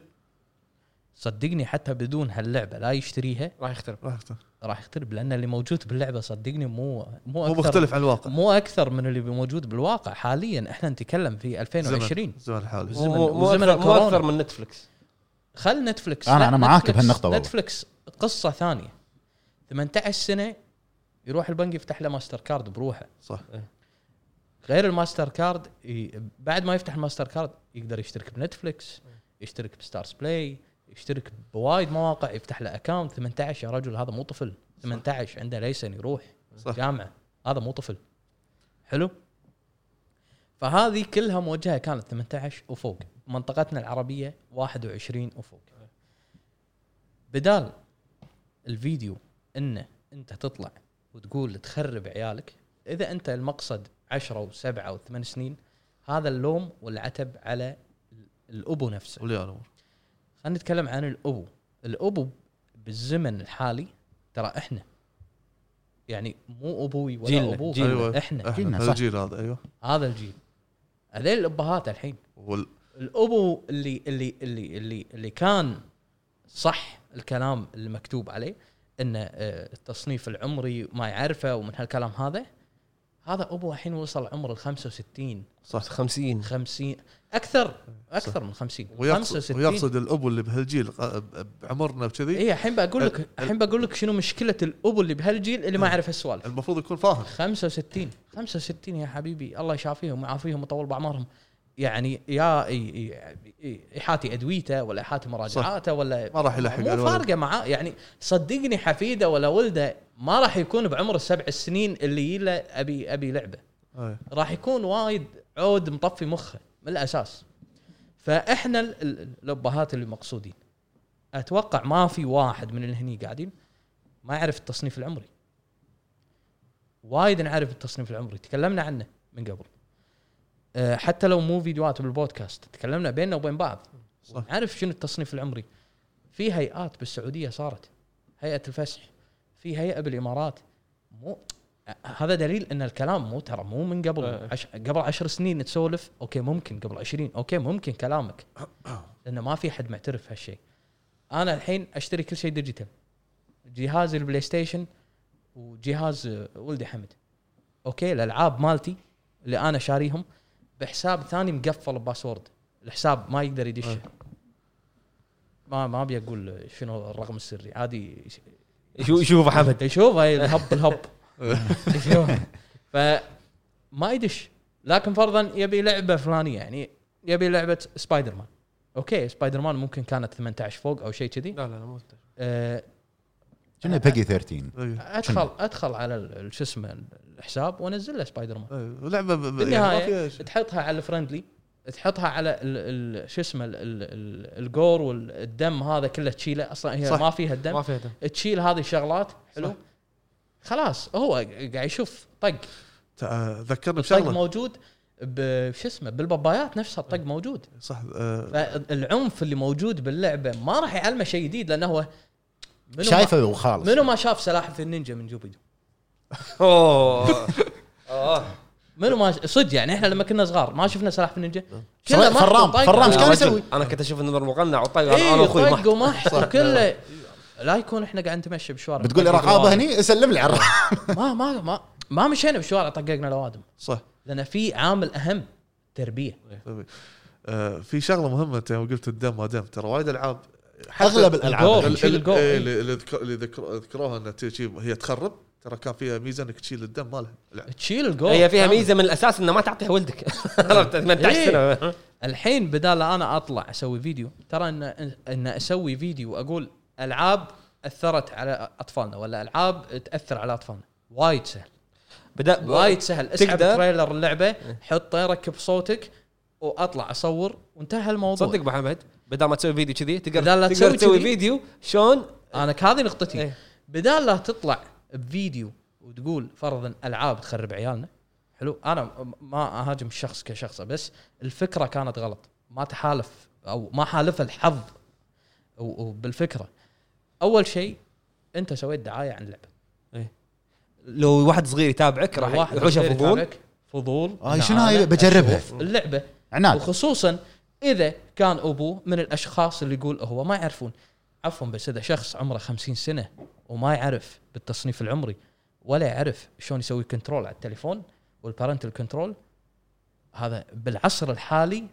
S4: صدقني حتى بدون هاللعبه لا يشتريها
S1: راح يخترب
S3: راح أفتح.
S4: راح يخترب لان اللي موجود باللعبه صدقني مو مو
S3: مو
S4: اكثر
S3: مختلف عن الواقع
S4: مو اكثر من اللي موجود بالواقع حاليا احنا نتكلم في 2020
S3: زمن- زمن الحالي
S4: زمن-
S1: مو مو
S4: وزمن
S1: أكثر- مو
S4: الكورونا.
S1: اكثر من نتفلكس
S4: خل
S2: أنا-
S4: نتفلكس لا،
S2: أنا معاك
S4: نتفلكس-
S2: بهالنقطة والله.
S4: نتفلكس قصه ثانيه 18 سنه يروح البنك يفتح له ماستر كارد بروحه
S3: صح
S4: غير الماستر كارد ي- بعد ما يفتح الماستر كارد يقدر يشترك بنتفلكس يشترك بستارز بلاي يشترك بوايد مواقع يفتح له اكونت 18 يا رجل هذا مو طفل 18 عنده ليسن يروح
S3: صح.
S4: جامعه هذا مو طفل حلو فهذه كلها موجهه كانت 18 وفوق منطقتنا العربيه 21 وفوق بدال الفيديو انه انت تطلع وتقول تخرب عيالك اذا انت المقصد 10 و7 و8 سنين هذا اللوم والعتب على الابو نفسه
S3: ولي الامور
S4: خلينا نتكلم عن الابو الابو بالزمن الحالي ترى احنا يعني مو ابوي ولا
S1: جيلنا،
S4: ابوك
S1: جيلنا.
S4: أيوة. احنا
S2: جيلنا،
S3: احنا
S2: صح.
S3: الجيل هذا ايوه
S4: هذا الجيل هذيل الابهات الحين
S3: وال-
S4: الابو اللي اللي اللي اللي اللي كان صح الكلام اللي مكتوب عليه ان آه، التصنيف العمري ما يعرفه ومن هالكلام هذا هذا ابو الحين وصل عمر ال 65
S1: صح 50
S4: 50 اكثر اكثر من 50
S3: ويقصد, ويقصد الابو اللي بهالجيل ق- ب- بعمرنا بكذي
S4: اي إيه، الحين بقول
S3: إيه، ال- نعم.
S4: لك الحين بقول لك شنو مشكله الابو اللي بهالجيل اللي ما يعرف هالسوالف
S3: المفروض يكون فاهم
S4: 65 65 يا حبيبي الله يشافيهم ويعافيهم ويطول بعمرهم يعني يا ي- ي- يحاتي ادويته ولا يحاتي مراجعاته ولا
S3: ما راح يلحق على
S4: مو
S3: الولد.
S4: فارقه معاه يعني صدقني حفيده ولا ولده ما راح يكون بعمر السبع سنين اللي يله ابي ابي لعبه
S3: أي.
S4: راح يكون وايد عود مطفي مخه من الاساس فاحنا ال- ال- الابهات اللي مقصودين اتوقع ما في واحد من اللي هني قاعدين ما يعرف التصنيف العمري وايد نعرف التصنيف العمري تكلمنا عنه من قبل أه، حتى لو مو فيديوهات بالبودكاست تكلمنا بيننا وبين بعض
S3: صح.
S4: نعرف شنو التصنيف العمري في هيئات بالسعوديه صارت هيئه الفسح في هيئه بالامارات مو أه، هذا دليل ان الكلام مو ترى مو من قبل
S1: أه.
S4: عش... قبل عشر سنين تسولف اوكي ممكن قبل عشرين اوكي ممكن كلامك لانه ما في حد معترف هالشيء انا الحين اشتري كل شيء ديجيتال جهاز البلاي ستيشن وجهاز آه، ولدي حمد اوكي الالعاب مالتي اللي انا شاريهم بحساب ثاني مقفل بباسورد الحساب ما يقدر يدشه ما ما ابي اقول شنو الرقم السري عادي يش-
S1: شو شوف حمد
S4: يشوف هاي الهب الهب يشوف فما يدش لكن فرضا يبي لعبه فلانيه يعني يبي لعبه سبايدر مان اوكي سبايدر مان ممكن كانت 18 فوق او شيء كذي
S1: لا لا مو
S4: آه،
S2: كنا بيجي 13
S3: إيه.
S4: ادخل ادخل على ال- ال- شو اسمه الحساب وانزل له سبايدر مان
S3: إيه. لعبه ب- ب- يعني ما
S4: بالنهايه
S3: فيها شيء.
S4: تحطها على الفرندلي تحطها على ال- ال- شو اسمه ال- ال- ال- الجور والدم هذا كله تشيله اصلا هي
S3: صح.
S4: ما فيها الدم
S1: ما فيها دم.
S4: تشيل هذه الشغلات حلو
S3: صح.
S4: خلاص هو قاعد يشوف طق
S3: تع- ذكرني
S4: الطق
S3: بشغله
S4: موجود بشو اسمه بالبابايات نفسها الطق
S2: إيه.
S4: موجود
S3: صح آه،
S4: فالعنف اللي موجود باللعبه ما راح يعلمه شيء جديد لانه هو منو ما
S2: شايفه وخالص
S4: منو ما شاف سلاحف النينجا من جوبيدو
S1: اوه آه.
S4: منو ما صدق يعني احنا لما كنا صغار ما شفنا سلاحف النينجا
S2: إيه. صغير،
S4: ما
S2: فرام-
S4: طق.
S2: فرام إيش
S1: أنا
S2: كان
S1: رجل-
S2: يسوي؟ إيه،
S1: انا كنت اشوف النظر مقنع وطيب انا
S4: اي
S1: واخوي
S4: طق
S1: ما
S4: ومحط وكله لا يكون احنا قاعد نتمشى بشوارع
S2: بتقول
S4: طقق
S2: رقابه
S4: الأوادم.
S2: هني سلم لي على الرقابة.
S4: ما ما ما ما مشينا بشوارع طققنا الاوادم
S3: صح
S4: لان في عامل اهم تربيه
S3: آه، في شغله مهمه انت يوم قلت الدم ما دم ترى وايد العاب حتى
S2: اغلب
S4: الجول.
S2: الالعاب
S3: ال-
S4: تشيل
S3: ال-
S4: الجول.
S3: إيه، اللي اللي ذكر- اللي ذكر- ذكروها انها تي- شي- هي تخرب ترى كان فيها ميزه انك تشيل الدم مالها لا.
S4: تشيل الجول
S1: هي
S2: آه.
S1: فيها
S4: كامل.
S1: ميزه من الاساس انه ما تعطيها ولدك عرفت 18
S2: إيه.
S1: سنه
S4: الحين بدال انا اطلع اسوي فيديو ترى ان ان اسوي فيديو واقول العاب اثرت على اطفالنا ولا العاب تاثر على اطفالنا وايد سهل
S1: بدا
S4: وايد سهل اسحب
S1: تقدر. إيه.
S4: تريلر اللعبه حطه ركب صوتك واطلع اصور وانتهى الموضوع
S1: صدق أبو محمد بدل ما تسوي فيديو كذي تقدر
S4: بدال لا
S1: تقدر
S4: تسوي
S1: تسوي
S4: كذي.
S1: فيديو شلون
S4: انا ك- هذه نقطتي
S1: إيه.
S4: بدال لا تطلع بفيديو وتقول فرضا العاب تخرب عيالنا حلو انا م- ما اهاجم الشخص كشخصه بس الفكره كانت غلط ما تحالف او ما حالف الحظ و- وبالفكره اول شيء انت سويت دعايه عن اللعبه
S1: لو واحد صغير يتابعك راح
S4: واحد
S1: يحوشه
S4: يشتري
S1: فضول
S4: تابعك، فضول
S2: آه،
S4: إن
S2: شنو
S4: أنا
S2: هاي بجربها.
S4: أشوف اللعبه
S2: عناد
S4: وخصوصا اذا كان ابوه من الاشخاص اللي يقول هو ما يعرفون عفوا بس اذا شخص عمره 50 سنه وما يعرف بالتصنيف العمري ولا يعرف شلون يسوي كنترول على التليفون والبارنتال كنترول هذا بالعصر الحالي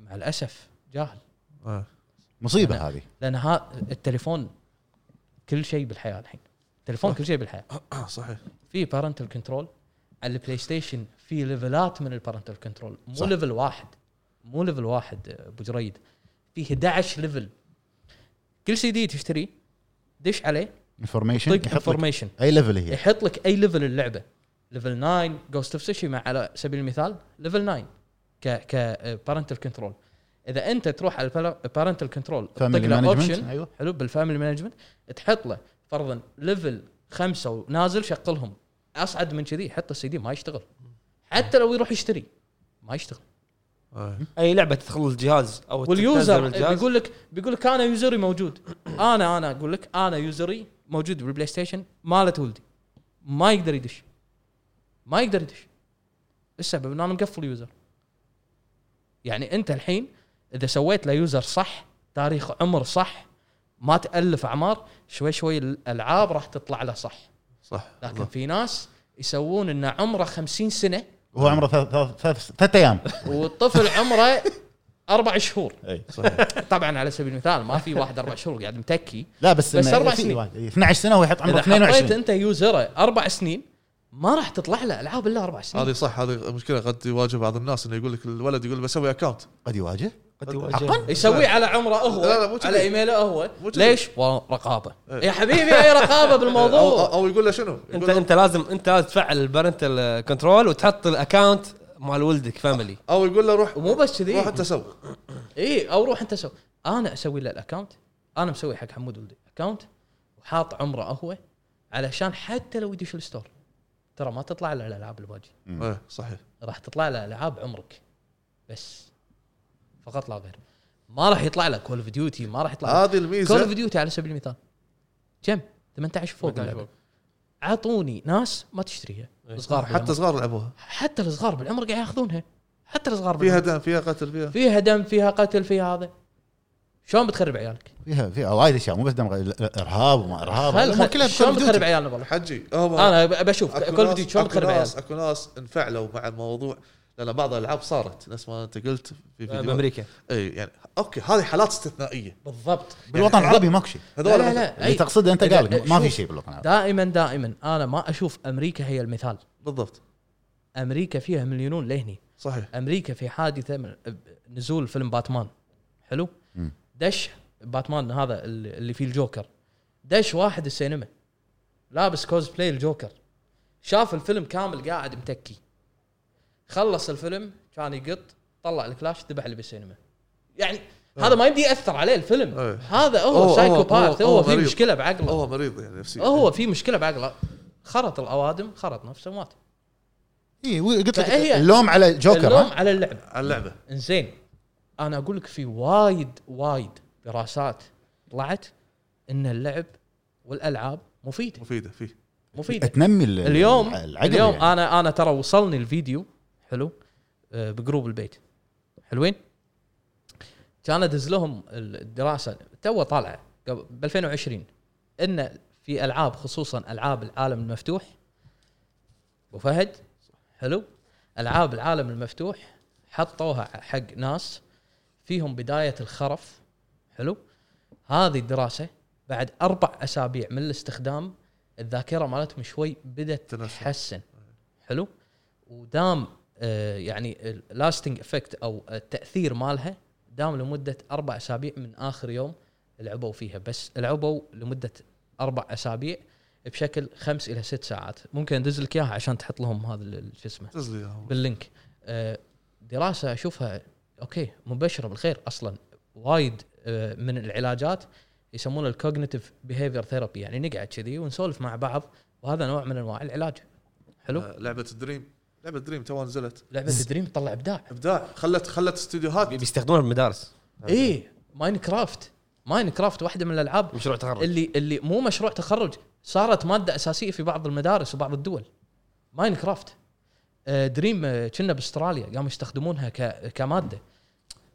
S4: مع الاسف جاهل
S3: آه.
S2: مصيبه
S4: أنا-
S2: هذه
S4: لان ها التليفون كل شيء بالحياه الحين التليفون كل شيء بالحياه
S3: آه، صحيح
S4: في بارنتال كنترول على البلاي ستيشن في ليفلات من البارنتال كنترول مو
S2: صح.
S4: ليفل واحد مو ليفل واحد ابو جريد في 11 ليفل كل سي دي تشتريه دش عليه
S2: انفورميشن
S4: طق
S2: يحط لك
S4: انفورميشن
S2: اي ليفل هي
S4: يحط لك اي ليفل اللعبه ليفل 9 جوست اوف سوشيما على سبيل المثال ليفل 9 ك ك بارنتال كنترول اذا انت تروح على البارنتال كنترول تطق
S2: فاميلي
S4: له
S2: مانجمنت
S4: اوبشن
S2: ايوه
S4: حلو بالفاميلي مانجمنت تحط له فرضا ليفل خمسه ونازل شغلهم اصعد من كذي حط السي دي ما يشتغل حتى لو يروح يشتري ما يشتغل
S3: آه.
S1: اي لعبه تدخل الجهاز او تنزل
S4: واليوزر
S1: الجهاز.
S4: بيقول لك بيقول لك انا يوزري موجود انا انا اقول لك انا يوزري موجود بالبلاي ستيشن مالت ولدي ما يقدر يدش ما يقدر يدش السبب ان انا مقفل يوزر يعني انت الحين اذا سويت له يوزر صح تاريخ عمر صح ما تالف اعمار شوي شوي الالعاب راح تطلع له صح
S3: صح
S4: لكن في ناس يسوون انه عمره 50 سنه
S2: وهو عمره ثلاث- ثلاث ثلاث- ثلاث ايام
S4: والطفل عمره اربع شهور
S2: أي.
S4: طبعا على سبيل المثال ما في واحد اربع شهور قاعد متكي
S2: لا بس
S4: بس
S2: إنه
S4: أربع
S2: في
S4: سنين.
S2: واحد- إيه، 12 سنه ويحط عمره
S4: اذا حطيت
S2: 22
S4: انت يوزره اربع سنين ما راح تطلع له العاب الا اربع سنين
S3: هذه صح هذه مشكله قد يواجه بعض الناس انه يقول لك الولد يقول بسوي اكونت
S2: قد يواجه
S1: قد يواجه.
S2: حقا
S4: يسويه على عمره هو
S3: لا، لا، مو كذي.
S4: على ايميله هو
S3: مو كذي.
S4: ليش؟ والله رقابه
S3: إيه.
S4: يا حبيبي اي رقابه
S3: او
S4: بالموضوع
S3: او يقول له شنو؟ يقول
S1: انت
S3: له-
S1: انت لازم انت لازم تفعل البارنتال كنترول وتحط الاكونت مال ولدك فاميلي
S3: او يقول له روح
S4: ومو بس كذي
S3: روح انت سوي
S4: اي او روح انت سو انا اسوي له الاكونت انا مسوي حق حمود ولدي اكونت وحاط عمره هو علشان حتى لو يدش الستور ترى ما تطلع له الالعاب الواجهه
S3: إيه، صحيح
S4: راح تطلع له العاب عمرك بس فقط لا غير ما راح يطلع لك كول اوف ديوتي ما راح يطلع
S3: هذه
S4: كول اوف
S3: الميزه
S4: ديوتي على سبيل المثال كم 18 فوق
S1: 18
S4: اللعبة.
S1: فوق.
S4: اعطوني ناس ما تشتريها صغار
S3: حتى
S4: حتى
S3: صغار لعبوها
S4: حتى الصغار بالعمر قاعد ياخذونها حتى الصغار
S3: فيها
S4: بالعمر
S3: دم فيها قتل فيها
S4: فيها دم فيها قتل فيها هذا شلون بتخرب عيالك؟
S2: فيها فيها وايد اشياء مو بس دم ارهاب وما ارهاب
S4: خل-
S2: هم
S4: خل-
S2: كلها
S4: شلون
S2: بكل
S4: بتخرب
S2: ديوتي.
S4: عيالنا والله
S3: حجي هم
S4: انا ب- بشوف
S3: اكو
S4: كول اوف
S3: ناس
S4: ديوتي شلون
S3: اكو
S4: بتخرب عيالك
S3: ناس اكو ناس انفعلوا مع الموضوع لان بعض الالعاب صارت نفس ما انت قلت في
S4: آه،
S3: فيديو
S1: بامريكا
S3: اي يعني اوكي هذه حالات استثنائيه
S4: بالضبط
S2: بالوطن العربي ماكو شيء
S4: لا لا
S3: هذول
S4: لا
S2: اللي
S4: أي-
S2: تقصده انت
S4: إذا-
S2: قال لك ما في
S4: شوف،
S2: شيء بالوطن العربي
S4: دائما دائما انا ما اشوف امريكا هي المثال
S3: بالضبط
S4: امريكا فيها مليونون لهني
S3: صحيح
S4: امريكا في حادثه من نزول فيلم باتمان حلو
S2: مم.
S4: دش باتمان هذا اللي اللي فيه الجوكر دش واحد السينما لابس كوز بلاي الجوكر شاف الفيلم كامل قاعد متكي خلص الفيلم كان يقط طلع الكلاش ذبح اللي بالسينما يعني هذا ما يبدي ياثر عليه الفيلم
S3: إيه.
S4: هذا
S3: هو-
S4: هو
S3: هو-
S4: سايكوباث
S3: هو-
S4: هو
S3: هو
S4: في
S3: مريض.
S4: مشكله بعقله
S3: هو مريض يعني نفسيا
S4: هو في مشكله بعقله خرط الاوادم خرط نفسه مات
S2: اي قلت إيه، لك
S4: إيه، فهي-
S2: اللوم على جوكر
S4: اللوم
S2: ها؟
S4: على اللعبه
S3: على اللعبه
S4: انزين انا اقول لك في وايد وايد دراسات طلعت ان اللعب والالعاب مفيده
S3: مفيده فيه
S4: مفيده
S2: تنمي ال-
S4: اليوم
S2: العقل
S4: اليوم
S2: يعني.
S4: انا انا ترى وصلني الفيديو حلو آه، بجروب البيت حلوين كان ادز لهم الدراسه تو طالعه قبل- ب 2020 ان في العاب خصوصا العاب العالم المفتوح ابو فهد حلو العاب العالم المفتوح حطوها حق ناس فيهم بدايه الخرف حلو هذه الدراسه بعد اربع اسابيع من الاستخدام الذاكره مالتهم شوي بدات
S3: تنسى.
S4: تتحسن حلو ودام آه، يعني اللاستنج افكت او التاثير مالها دام لمده اربع اسابيع من اخر يوم لعبوا فيها بس لعبوا لمده اربع اسابيع بشكل خمس الى ست ساعات ممكن ادز لك اياها عشان تحط لهم هذا ال- شو اسمه
S3: دز لي إياهم.
S4: باللينك آه، دراسه اشوفها اوكي مبشره بالخير اصلا وايد آه، من العلاجات يسمونه الكوجنيتيف بيهيفير ثيرابي يعني نقعد كذي ونسولف مع بعض وهذا نوع من انواع العلاج حلو
S3: آه، لعبه دريم لعبه دريم تو نزلت
S4: لعبه دريم تطلع ابداع
S3: ابداع خلت خلت استديوهات
S1: بيستخدمونها بالمدارس
S4: اي ماينكرافت ماينكرافت واحده من الالعاب
S1: مشروع تخرج
S4: اللي اللي مو مشروع تخرج صارت ماده اساسيه في بعض المدارس وبعض الدول ماينكرافت آه، دريم آه، كنا باستراليا قاموا يستخدمونها ك- كماده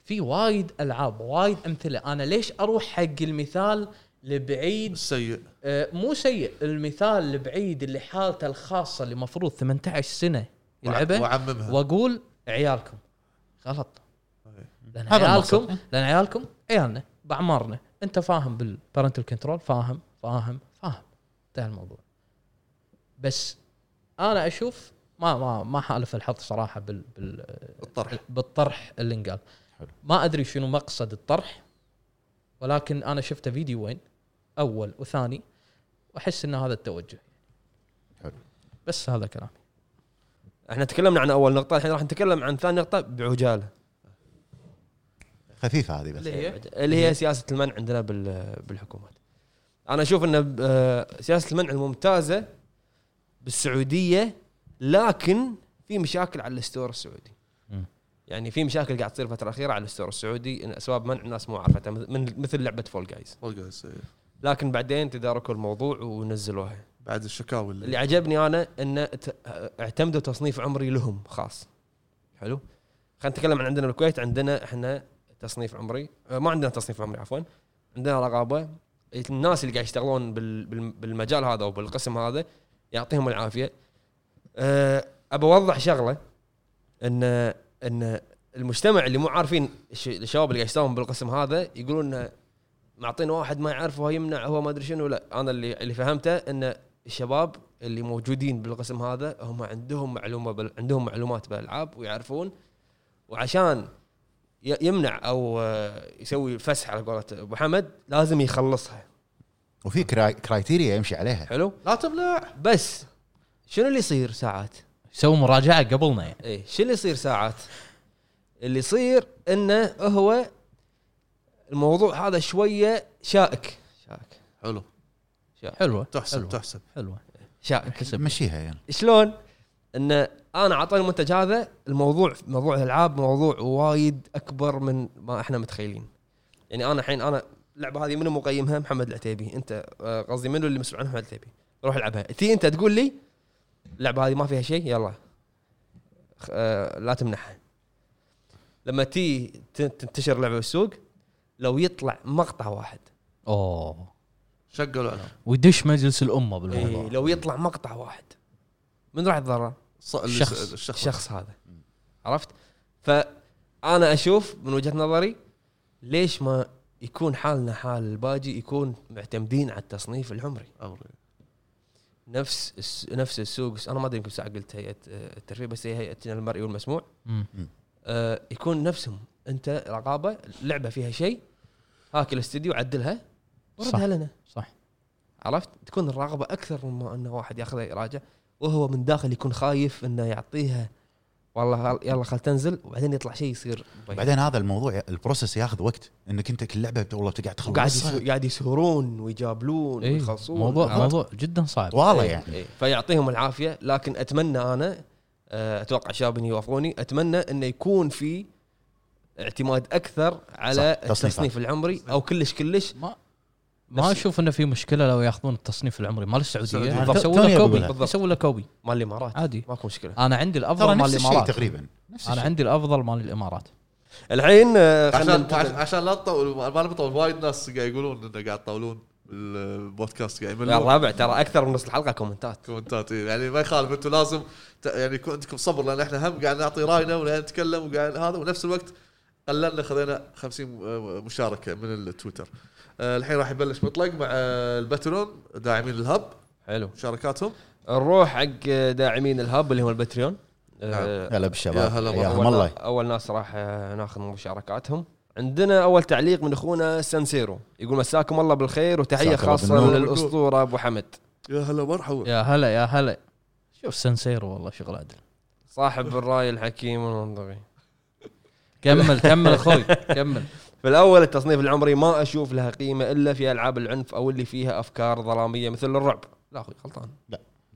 S4: في وايد العاب وايد امثله انا ليش اروح حق المثال لبعيد
S3: سيء
S4: آه، مو سيء المثال لبعيد اللي حالته الخاصه اللي مفروض 18 سنه يلعبه
S3: وعممها
S4: واقول عيالكم غلط
S2: طيب.
S4: لان
S2: هذا
S4: عيالكم
S2: المقصد.
S4: لان عيالكم عيالنا باعمارنا انت فاهم بالبارنتال كنترول فاهم فاهم فاهم انتهى الموضوع بس انا اشوف ما ما ما حالف الحظ صراحه بال, بال
S3: الطرح
S4: بالطرح اللي انقال
S2: حلو.
S4: ما ادري شنو مقصد الطرح ولكن انا شفته فيديوين اول وثاني واحس ان هذا التوجه
S2: حلو.
S4: بس هذا كلامي
S1: احنا تكلمنا عن اول نقطه الحين راح نتكلم عن ثاني نقطه بعجاله
S2: خفيفه هذه بس
S4: اللي هي
S1: اللي هي سياسه المنع عندنا بال- بالحكومات انا اشوف ان آه، سياسه المنع الممتازه بالسعوديه لكن في مشاكل على الستور السعودي
S4: مم.
S1: يعني في مشاكل قاعد تصير الفتره الاخيره على الستور السعودي إن اسباب منع الناس مو عارفتها من- مثل لعبه فول جايز
S3: والله سيء.
S1: لكن بعدين تداركوا الموضوع ونزلوها
S3: بعد الشكاوي
S1: اللي
S3: اللي
S1: عجبني انا ان ت- اعتمدوا تصنيف عمري لهم خاص حلو خلينا نتكلم عن عندنا بالكويت عندنا احنا تصنيف عمري آه، ما عندنا تصنيف عمري عفوا عندنا رقابه الناس اللي قاعد يشتغلون بال- بال- بالمجال هذا وبالقسم هذا يعطيهم العافيه أه ابى اوضح شغله ان ان المجتمع اللي مو عارفين الش- الشباب اللي قاعد يشتغلون بالقسم هذا يقولون إن معطينا واحد ما يعرفه يمنع هو ما ادري شنو لا انا اللي اللي فهمته ان الشباب اللي موجودين بالقسم هذا هم عندهم معلومه بال... عندهم معلومات بالالعاب ويعرفون وعشان ي- يمنع او آه، يسوي فسح على قولة ابو حمد لازم يخلصها
S2: وفي كراي... كرايتيريا يمشي عليها
S1: حلو
S3: لا تمنع
S1: بس شنو اللي يصير ساعات؟
S4: سووا مراجعه قبلنا يعني
S1: اي شو اللي يصير ساعات؟ اللي يصير انه هو الموضوع هذا شويه شائك شائك
S3: حلو
S4: حلوه
S3: تحسب
S4: حلوة.
S3: تحسب
S4: حلوه
S1: شائك
S2: مشيها يعني
S1: شلون؟ ان انا اعطاني المنتج هذا الموضوع موضوع الالعاب موضوع وايد اكبر من ما احنا متخيلين. يعني انا الحين انا اللعبه هذه منو مقيمها؟ محمد العتيبي، انت آه، قصدي منو اللي مسؤول عنها محمد العتيبي؟ روح العبها، تي انت تقول لي اللعبه هذه ما فيها شيء يلا خ- آه، لا تمنحها. لما تي ت- تنتشر لعبه بالسوق لو يطلع مقطع واحد
S4: اوه
S3: شقلوا عليهم
S4: ويدش مجلس الامه بالموضوع
S1: إيه لو يطلع مقطع واحد من راح يتضرر؟
S3: الص- اللي-
S4: الشخص.
S3: الشخص
S1: الشخص هذا عرفت فانا اشوف من وجهه نظري ليش ما يكون حالنا حال الباجي يكون معتمدين على التصنيف العمري
S3: امري
S1: نفس الس... نفس السوق انا ما ادري يمكن ساعه قلت هيئه آه، الترفيه بس هي هيئه المرئي والمسموع
S4: مم.
S1: آه، يكون نفسهم انت رقابه لعبه فيها شيء هاك الاستديو عدلها
S4: صح.
S1: وردها لنا
S4: صح
S1: عرفت تكون الرغبه اكثر مما انه واحد ياخذها يراجع وهو من داخل يكون خايف انه يعطيها والله هل- يلا خل تنزل وبعدين يطلع شيء يصير ضيق.
S2: بعدين هذا الموضوع البروسس ياخذ وقت انك انت كل لعبه بت- والله قاعد
S1: وقاعد
S2: تخلصها
S1: يسو- قاعد يسهرون ويجابلون
S4: إيه،
S1: ويخلصون
S4: موضوع
S1: عرفت؟
S4: موضوع جدا صعب
S2: طواله يعني
S1: إيه، فيعطيهم العافيه لكن اتمنى انا آه، اتوقع شابني يوافقوني اتمنى انه يكون في اعتماد اكثر على
S2: صح، تصنيفات.
S1: التصنيف العمري او كلش كلش
S4: ما ما اشوف انه في مشكله لو ياخذون التصنيف العمري مال السعوديه
S3: السعودية.
S2: بالضبط.
S4: يسوون
S2: توني
S4: له
S2: أقول
S1: لك.
S4: كوبي يسوون له كوبي
S1: مال الامارات
S4: عادي
S1: ماكو مشكله
S4: انا عندي
S2: ترى
S4: الافضل مال
S2: نفس الشيء
S4: الامارات
S2: تقريبا نفس
S4: انا
S2: الشيء
S4: عندي الافضل مال الامارات
S1: الحين آه، خلنا
S3: عشان عشان-
S1: ننتقل-
S3: عشان لا تطول ما نطول وايد ناس قاعد يقولون انه قاعد تطولون البودكاست قاعد
S1: لا،
S3: يملون
S1: الرابع ترى اكثر من نص الحلقه كومنتات
S3: كومنتات إيه. يعني ما يخالف انتم لازم ت- يعني يكون عندكم صبر لان احنا هم قاعد نعطي راينا وقاعد نتكلم وقاعد هذا ونفس الوقت قللنا خذينا 50 م- مشاركه من التويتر. آه، الحين راح يبلش مطلق مع آه، الباترون داعمين الهب
S1: حلو
S3: مشاركاتهم
S1: نروح حق داعمين الهاب اللي هم البتريون آه،
S2: هلا بالشباب
S3: يا هلا
S2: حياهم
S1: أول-
S2: الله
S1: اول ناس راح آه، ناخذ مشاركاتهم عندنا اول تعليق من اخونا سانسيرو يقول مساكم الله بالخير وتحيه
S2: مساك الله
S1: خاصه
S2: بالنور.
S1: للاسطوره ابو حمد
S3: يا هلا مرحبا
S4: يا هلا يا هلا شوف سنسيرو والله شغل عدل
S1: صاحب الراي الحكيم والمنطقي
S4: كمل كمل اخوي كمل
S1: في الاول التصنيف العمري ما اشوف لها قيمه الا في العاب العنف او اللي فيها افكار ظلاميه مثل الرعب لا اخوي غلطان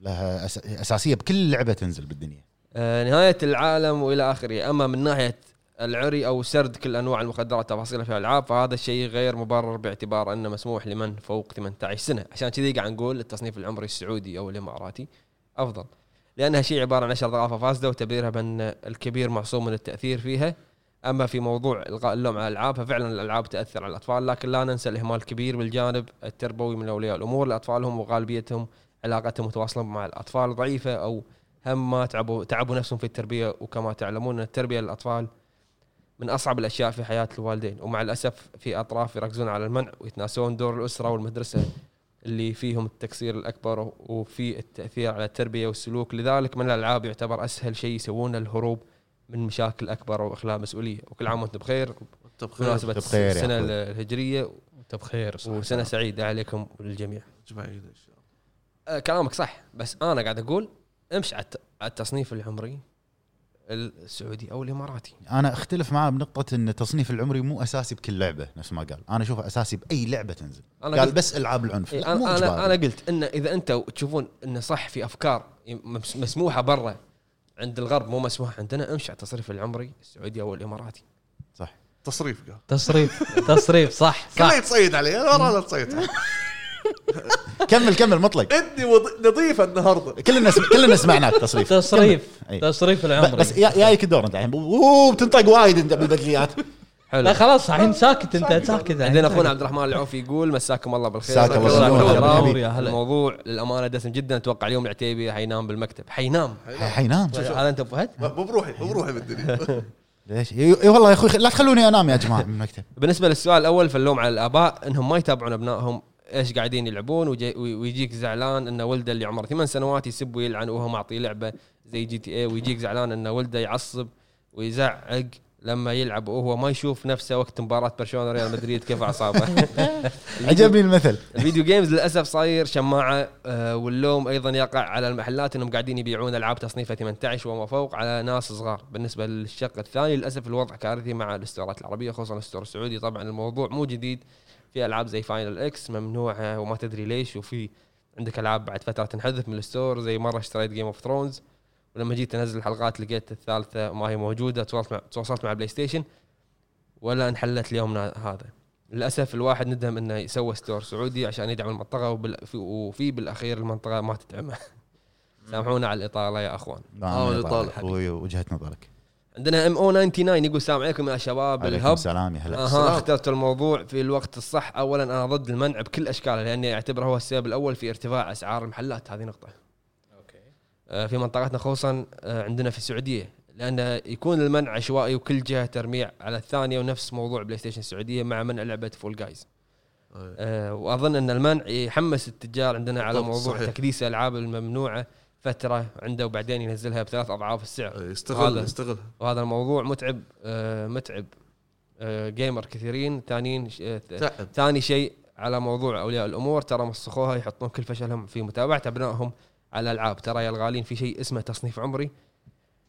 S2: لها أس- اساسيه بكل لعبه تنزل بالدنيا
S1: آه، نهاية العالم والى اخره، اما من ناحية العري او سرد كل انواع المخدرات تفاصيلها في الالعاب فهذا الشيء غير مبرر باعتبار انه مسموح لمن فوق 18 سنة، عشان كذي قاعد نقول التصنيف العمري السعودي او الاماراتي افضل. لانها شيء عبارة عن 10 ضعافة فاسدة وتبريرها بان الكبير معصوم من التاثير فيها. اما في موضوع الغاء اللوم على الالعاب ففعلا الالعاب تاثر على الاطفال لكن لا ننسى الاهمال الكبير بالجانب التربوي من اولياء الامور لاطفالهم وغالبيتهم علاقتهم متواصله مع الاطفال ضعيفه او هم ما تعبوا تعبوا نفسهم في التربيه وكما تعلمون ان التربيه للاطفال من اصعب الاشياء في حياه الوالدين ومع الاسف في اطراف يركزون على المنع ويتناسون دور الاسره والمدرسه اللي فيهم التقصير الاكبر وفي التاثير على التربيه والسلوك لذلك من الالعاب يعتبر اسهل شيء يسوونه الهروب من مشاكل اكبر واخلاء مسؤوليه وكل عام وانتم بخير
S3: انت بخير
S1: بمناسبه
S2: بخير يا
S1: السنه
S2: أخوي.
S1: الهجريه
S4: انت بخير
S1: وسنه سعيده عليكم وللجميع
S3: اجمعين ان شاء الله
S1: آه، كلامك صح بس انا قاعد اقول امشي على الت- على التصنيف العمري السعودي او الاماراتي
S2: انا اختلف معاه بنقطه ان التصنيف العمري مو اساسي بكل لعبه نفس ما قال انا اشوفه اساسي باي لعبه تنزل
S1: انا
S2: قال
S1: قلت
S2: بس العاب العنف
S1: إيه،
S2: لا مو
S1: انا انا
S2: إجباري.
S1: انا قلت ان اذا انتم تشوفون انه صح في افكار ممس- مسموحه برا عند الغرب مو مسموحه عندنا امشي على التصنيف العمري السعودي او الاماراتي
S2: صح
S3: تصريف قال
S4: تصريف تصريف صح
S3: كله
S4: صح
S3: يتصيد علي انا والله لا تصيد علي.
S2: كمل كمل مطلق
S3: اني وض- نظيفه النهارده
S2: كل الناس كل الناس سمعناك تصريف
S4: تصريف
S2: كمل. إي.
S4: تصريف
S2: ب-
S4: العمري
S2: بس يا- جايك الدور انت الحين أوه، بتنطق وايد انت بالبدليات
S1: حلو
S4: لا خلاص الحين ساكت انت ساكت الحين.
S1: عندنا اخونا عبد الرحمن العوفي يقول مساكم الله بالخير
S2: مساك الله
S1: جزاكم
S2: بالنور.
S1: بالخير.
S4: بالنور يا هلا.
S1: الموضوع للامانه دسم جدا اتوقع اليوم العتيبي حينام بالمكتب حينام
S2: حينام
S1: هذا انت أبو فهد
S3: مو بروحي مو بروحي بالدنيا
S2: ليش إي- إي والله يا اخوي خ- لا تخلوني انام يا جماعه من المكتب
S1: بالنسبه للسؤال الاول فاللوم على الاباء انهم ما يتابعون ابنائهم ايش قاعدين يلعبون وجي- وي- ويجيك زعلان ان ولده اللي عمره ثمان سنوات يسب ويلعن وهو معطيه لعبه زي جي تي اي ويجيك زعلان ان ولده يعصب ويزعق لما يلعب وهو ما يشوف نفسه وقت مباراه برشلونه ريال مدريد كيف اعصابه
S2: عجبني المثل
S1: الفيديو جيمز للاسف صاير شماعه آه، واللوم ايضا يقع على المحلات انهم قاعدين يبيعون العاب تصنيفها 18 وما فوق على ناس صغار بالنسبه للشق الثاني للاسف الوضع كارثي مع الاستورات العربيه خصوصا الاستور السعودي طبعا الموضوع مو جديد في العاب زي فاينل اكس ممنوعه وما تدري ليش وفي عندك العاب بعد فتره تنحذف من الستور زي مره اشتريت جيم اوف ثرونز ولما جيت انزل الحلقات لقيت الثالثه ما هي موجوده تواصلت مع تواصلت مع بلاي ستيشن ولا انحلت ليومنا هذا للاسف الواحد ندم انه يسوى ستور سعودي عشان يدعم المنطقه وبال- في- وفي بالاخير المنطقه ما تدعمه سامحونا على الاطاله يا اخوان
S3: آه،
S2: أنا
S3: طالع.
S2: اخوي وجهه نظرك
S1: عندنا ام او 99 يقول السلام عليكم يا شباب
S2: عليكم
S1: الهب
S2: السلام يا هلا
S1: اها اخترت الموضوع في الوقت الصح اولا انا ضد المنع بكل اشكاله لاني اعتبره هو السبب الاول في ارتفاع اسعار المحلات هذه نقطه آه، في منطقتنا خصوصا آه، عندنا في السعوديه لان يكون المنع عشوائي وكل جهه ترميع على الثانيه ونفس موضوع بلاي ستيشن السعوديه مع منع لعبه فول جايز آه، واظن ان المنع يحمس التجار عندنا على
S3: بالضبط،
S1: موضوع
S3: صحيح.
S1: تكديس الالعاب الممنوعه فتره عنده وبعدين ينزلها بثلاث اضعاف السعر
S3: يستغل
S1: هذا.
S3: يستغل
S1: وهذا الموضوع متعب آه، متعب آه، جيمر كثيرين ثانيين ش- آه، ث-
S3: تعب
S1: ثاني شيء على موضوع اولياء الامور ترى مسخوها يحطون كل فشلهم في متابعه ابنائهم على العاب ترى يا الغالين في شيء اسمه تصنيف عمري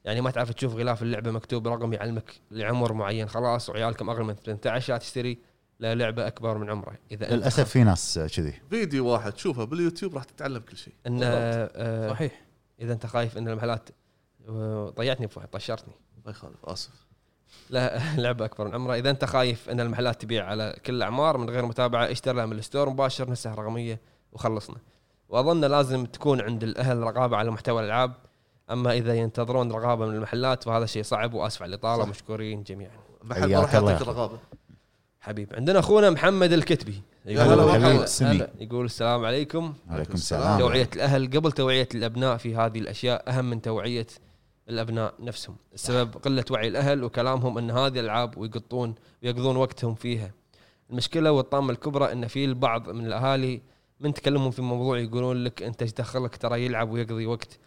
S1: يعني ما تعرف تشوف غلاف اللعبه مكتوب رقم يعلمك لعمر معين خلاص وعيالكم اغلى من 18 لا تشتري لا لعبه اكبر من عمره اذا أنت
S2: للاسف في ناس كذي
S3: فيديو واحد شوفه باليوتيوب راح تتعلم كل شيء
S1: ان
S4: بالضبط.
S1: آه،
S4: صحيح
S1: اذا انت خايف ان المحلات آه، ضيعتني بفهد طشرتني
S3: ما يخالف اسف
S1: لا لعبه اكبر من عمره اذا انت خايف ان المحلات تبيع على كل الاعمار من غير متابعه اشتر لها من الستور مباشر نسخ رقميه وخلصنا واظن لازم تكون عند الاهل رقابه على محتوى الالعاب اما اذا ينتظرون رقابه من المحلات فهذا شيء صعب واسف على الاطاله
S3: صح.
S1: مشكورين جميعا
S3: محل ما
S2: حياك
S3: راح
S2: الله
S3: يعطيك
S2: يا أخي.
S3: الرغابه
S1: حبيب عندنا اخونا محمد الكتبي
S3: يا هلا
S1: يقول,
S3: والله.
S2: خليل
S3: مرحبا.
S2: السمي
S4: هلا.
S1: يقول السلام عليكم
S2: عليكم
S3: نعم.
S2: السلام
S1: توعيه الاهل قبل توعيه الابناء في هذه الاشياء اهم من توعيه الابناء نفسهم، السبب قله وعي الاهل وكلامهم ان هذه الالعاب ويقطون ويقضون وقتهم فيها. المشكله والطامه الكبرى ان في البعض من الاهالي من تكلمهم في موضوع يقولون لك انت ايش دخلك ترى يلعب ويقضي وقت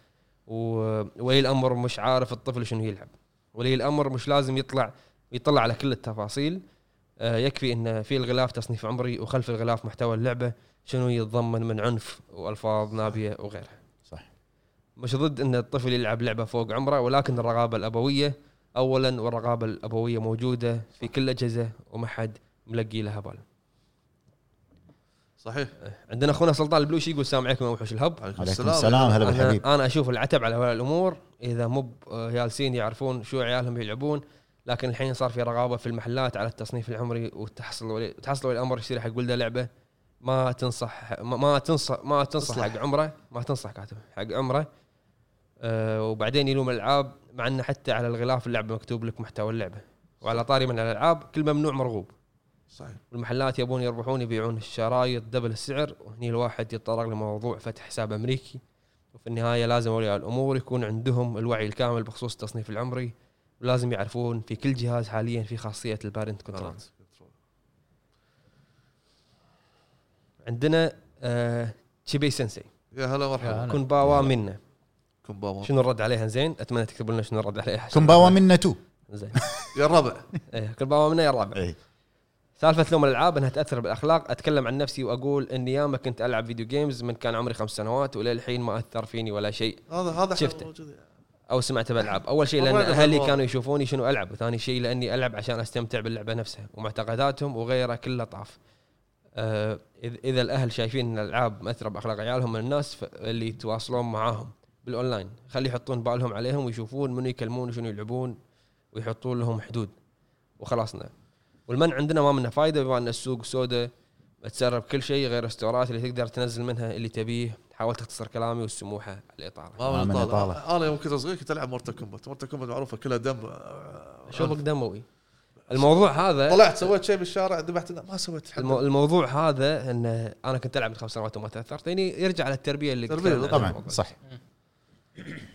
S1: و- وولي الامر مش عارف الطفل شنو يلعب. ولي الامر مش لازم يطلع يطلع على كل التفاصيل آه، يكفي ان في الغلاف تصنيف عمري وخلف الغلاف محتوى اللعبه شنو يتضمن من عنف والفاظ نابيه وغيرها.
S2: صح.
S1: مش ضد ان الطفل يلعب لعبه فوق عمره ولكن الرغابه الابويه اولا والرغابه الابويه موجوده في كل اجهزه وما حد ملقي لها بال.
S3: صحيح
S1: عندنا اخونا سلطان البلوشي يقول السلام عليكم يا وحوش الهب.
S2: عليكم السلام هلا بالحبيب
S1: انا انا اشوف العتب على اولياء الامور اذا مو جالسين يعرفون شو عيالهم يلعبون لكن الحين صار في رغابه في المحلات على التصنيف العمري وتحصل ولي تحصل ولي الامر يشتري حق ولده لعبه ما تنصح ما- ما تنصح ما تنصح
S3: تصلح.
S1: حق عمره ما تنصح كاتب حق عمره أه وبعدين يلوم الالعاب مع انه حتى على الغلاف اللعبه مكتوب لك محتوى اللعبه وعلى طاري من الالعاب كل ممنوع مرغوب
S3: صحيح
S1: والمحلات يبون يربحون يبيعون الشرايط دبل السعر وهني الواحد يتطرق لموضوع فتح حساب امريكي وفي النهايه لازم اولياء الامور يكون عندهم الوعي الكامل بخصوص التصنيف العمري ولازم يعرفون في كل جهاز حاليا في خاصيه البارنت كنترول عندنا آه تشيبي سensei
S3: يا هلا
S4: يا
S3: مرحبا
S4: هلا.
S1: كن باوا منا
S3: كن بابا
S1: شنو الرد عليها زين اتمنى تكتبوا لنا شنو الرد عليها
S2: كم باوا منا تو
S1: زين
S3: يا الربع
S1: إيه، كن باوا منا يا الرابع سالفه لوم الالعاب انها تاثر بالاخلاق اتكلم عن نفسي واقول اني ياما كنت العب فيديو جيمز من كان عمري خمس سنوات وللحين ما اثر فيني ولا شيء
S3: هذا هذا إحنا
S1: شفته.
S3: موجودين.
S4: آه،
S1: او سمعت بالعاب اول شيء لان
S3: والله أنا
S1: اهلي
S3: بالله.
S1: كانوا يشوفوني شنو العب وثاني شيء لاني العب عشان استمتع باللعبه نفسها ومعتقداتهم وغيره كله طاف آه، إذ- اذا الاهل شايفين ان الالعاب مأثره باخلاق عيالهم من الناس ف- اللي يتواصلون معاهم بالاونلاين خلي يحطون بالهم عليهم ويشوفون منو يكلمون وشنو يلعبون ويحطون لهم حدود وخلاصنا والمنع عندنا ما منه فايده بما ان السوق سوداء تسرب كل شيء غير الستورات اللي تقدر تنزل منها اللي تبيه حاولت اختصر كلامي والسموحه على الاطاله
S3: ما
S2: ما من
S3: من طالع
S2: إطالة.
S3: انا يوم كنت صغير كنت العب مورتا كومبات مورتا كومبات معروفه كلها دم آه،
S1: شوفك دموي الموضوع هذا
S3: طلعت سويت شيء بالشارع ذبحت لا، ما سويت حتى.
S1: المو الموضوع هذا ان انا كنت العب من خمس سنوات وما تاثرت يعني يرجع على التربيه اللي
S3: تربية،
S1: تكلمنا عنها
S2: طبعا
S1: قبل.
S2: صح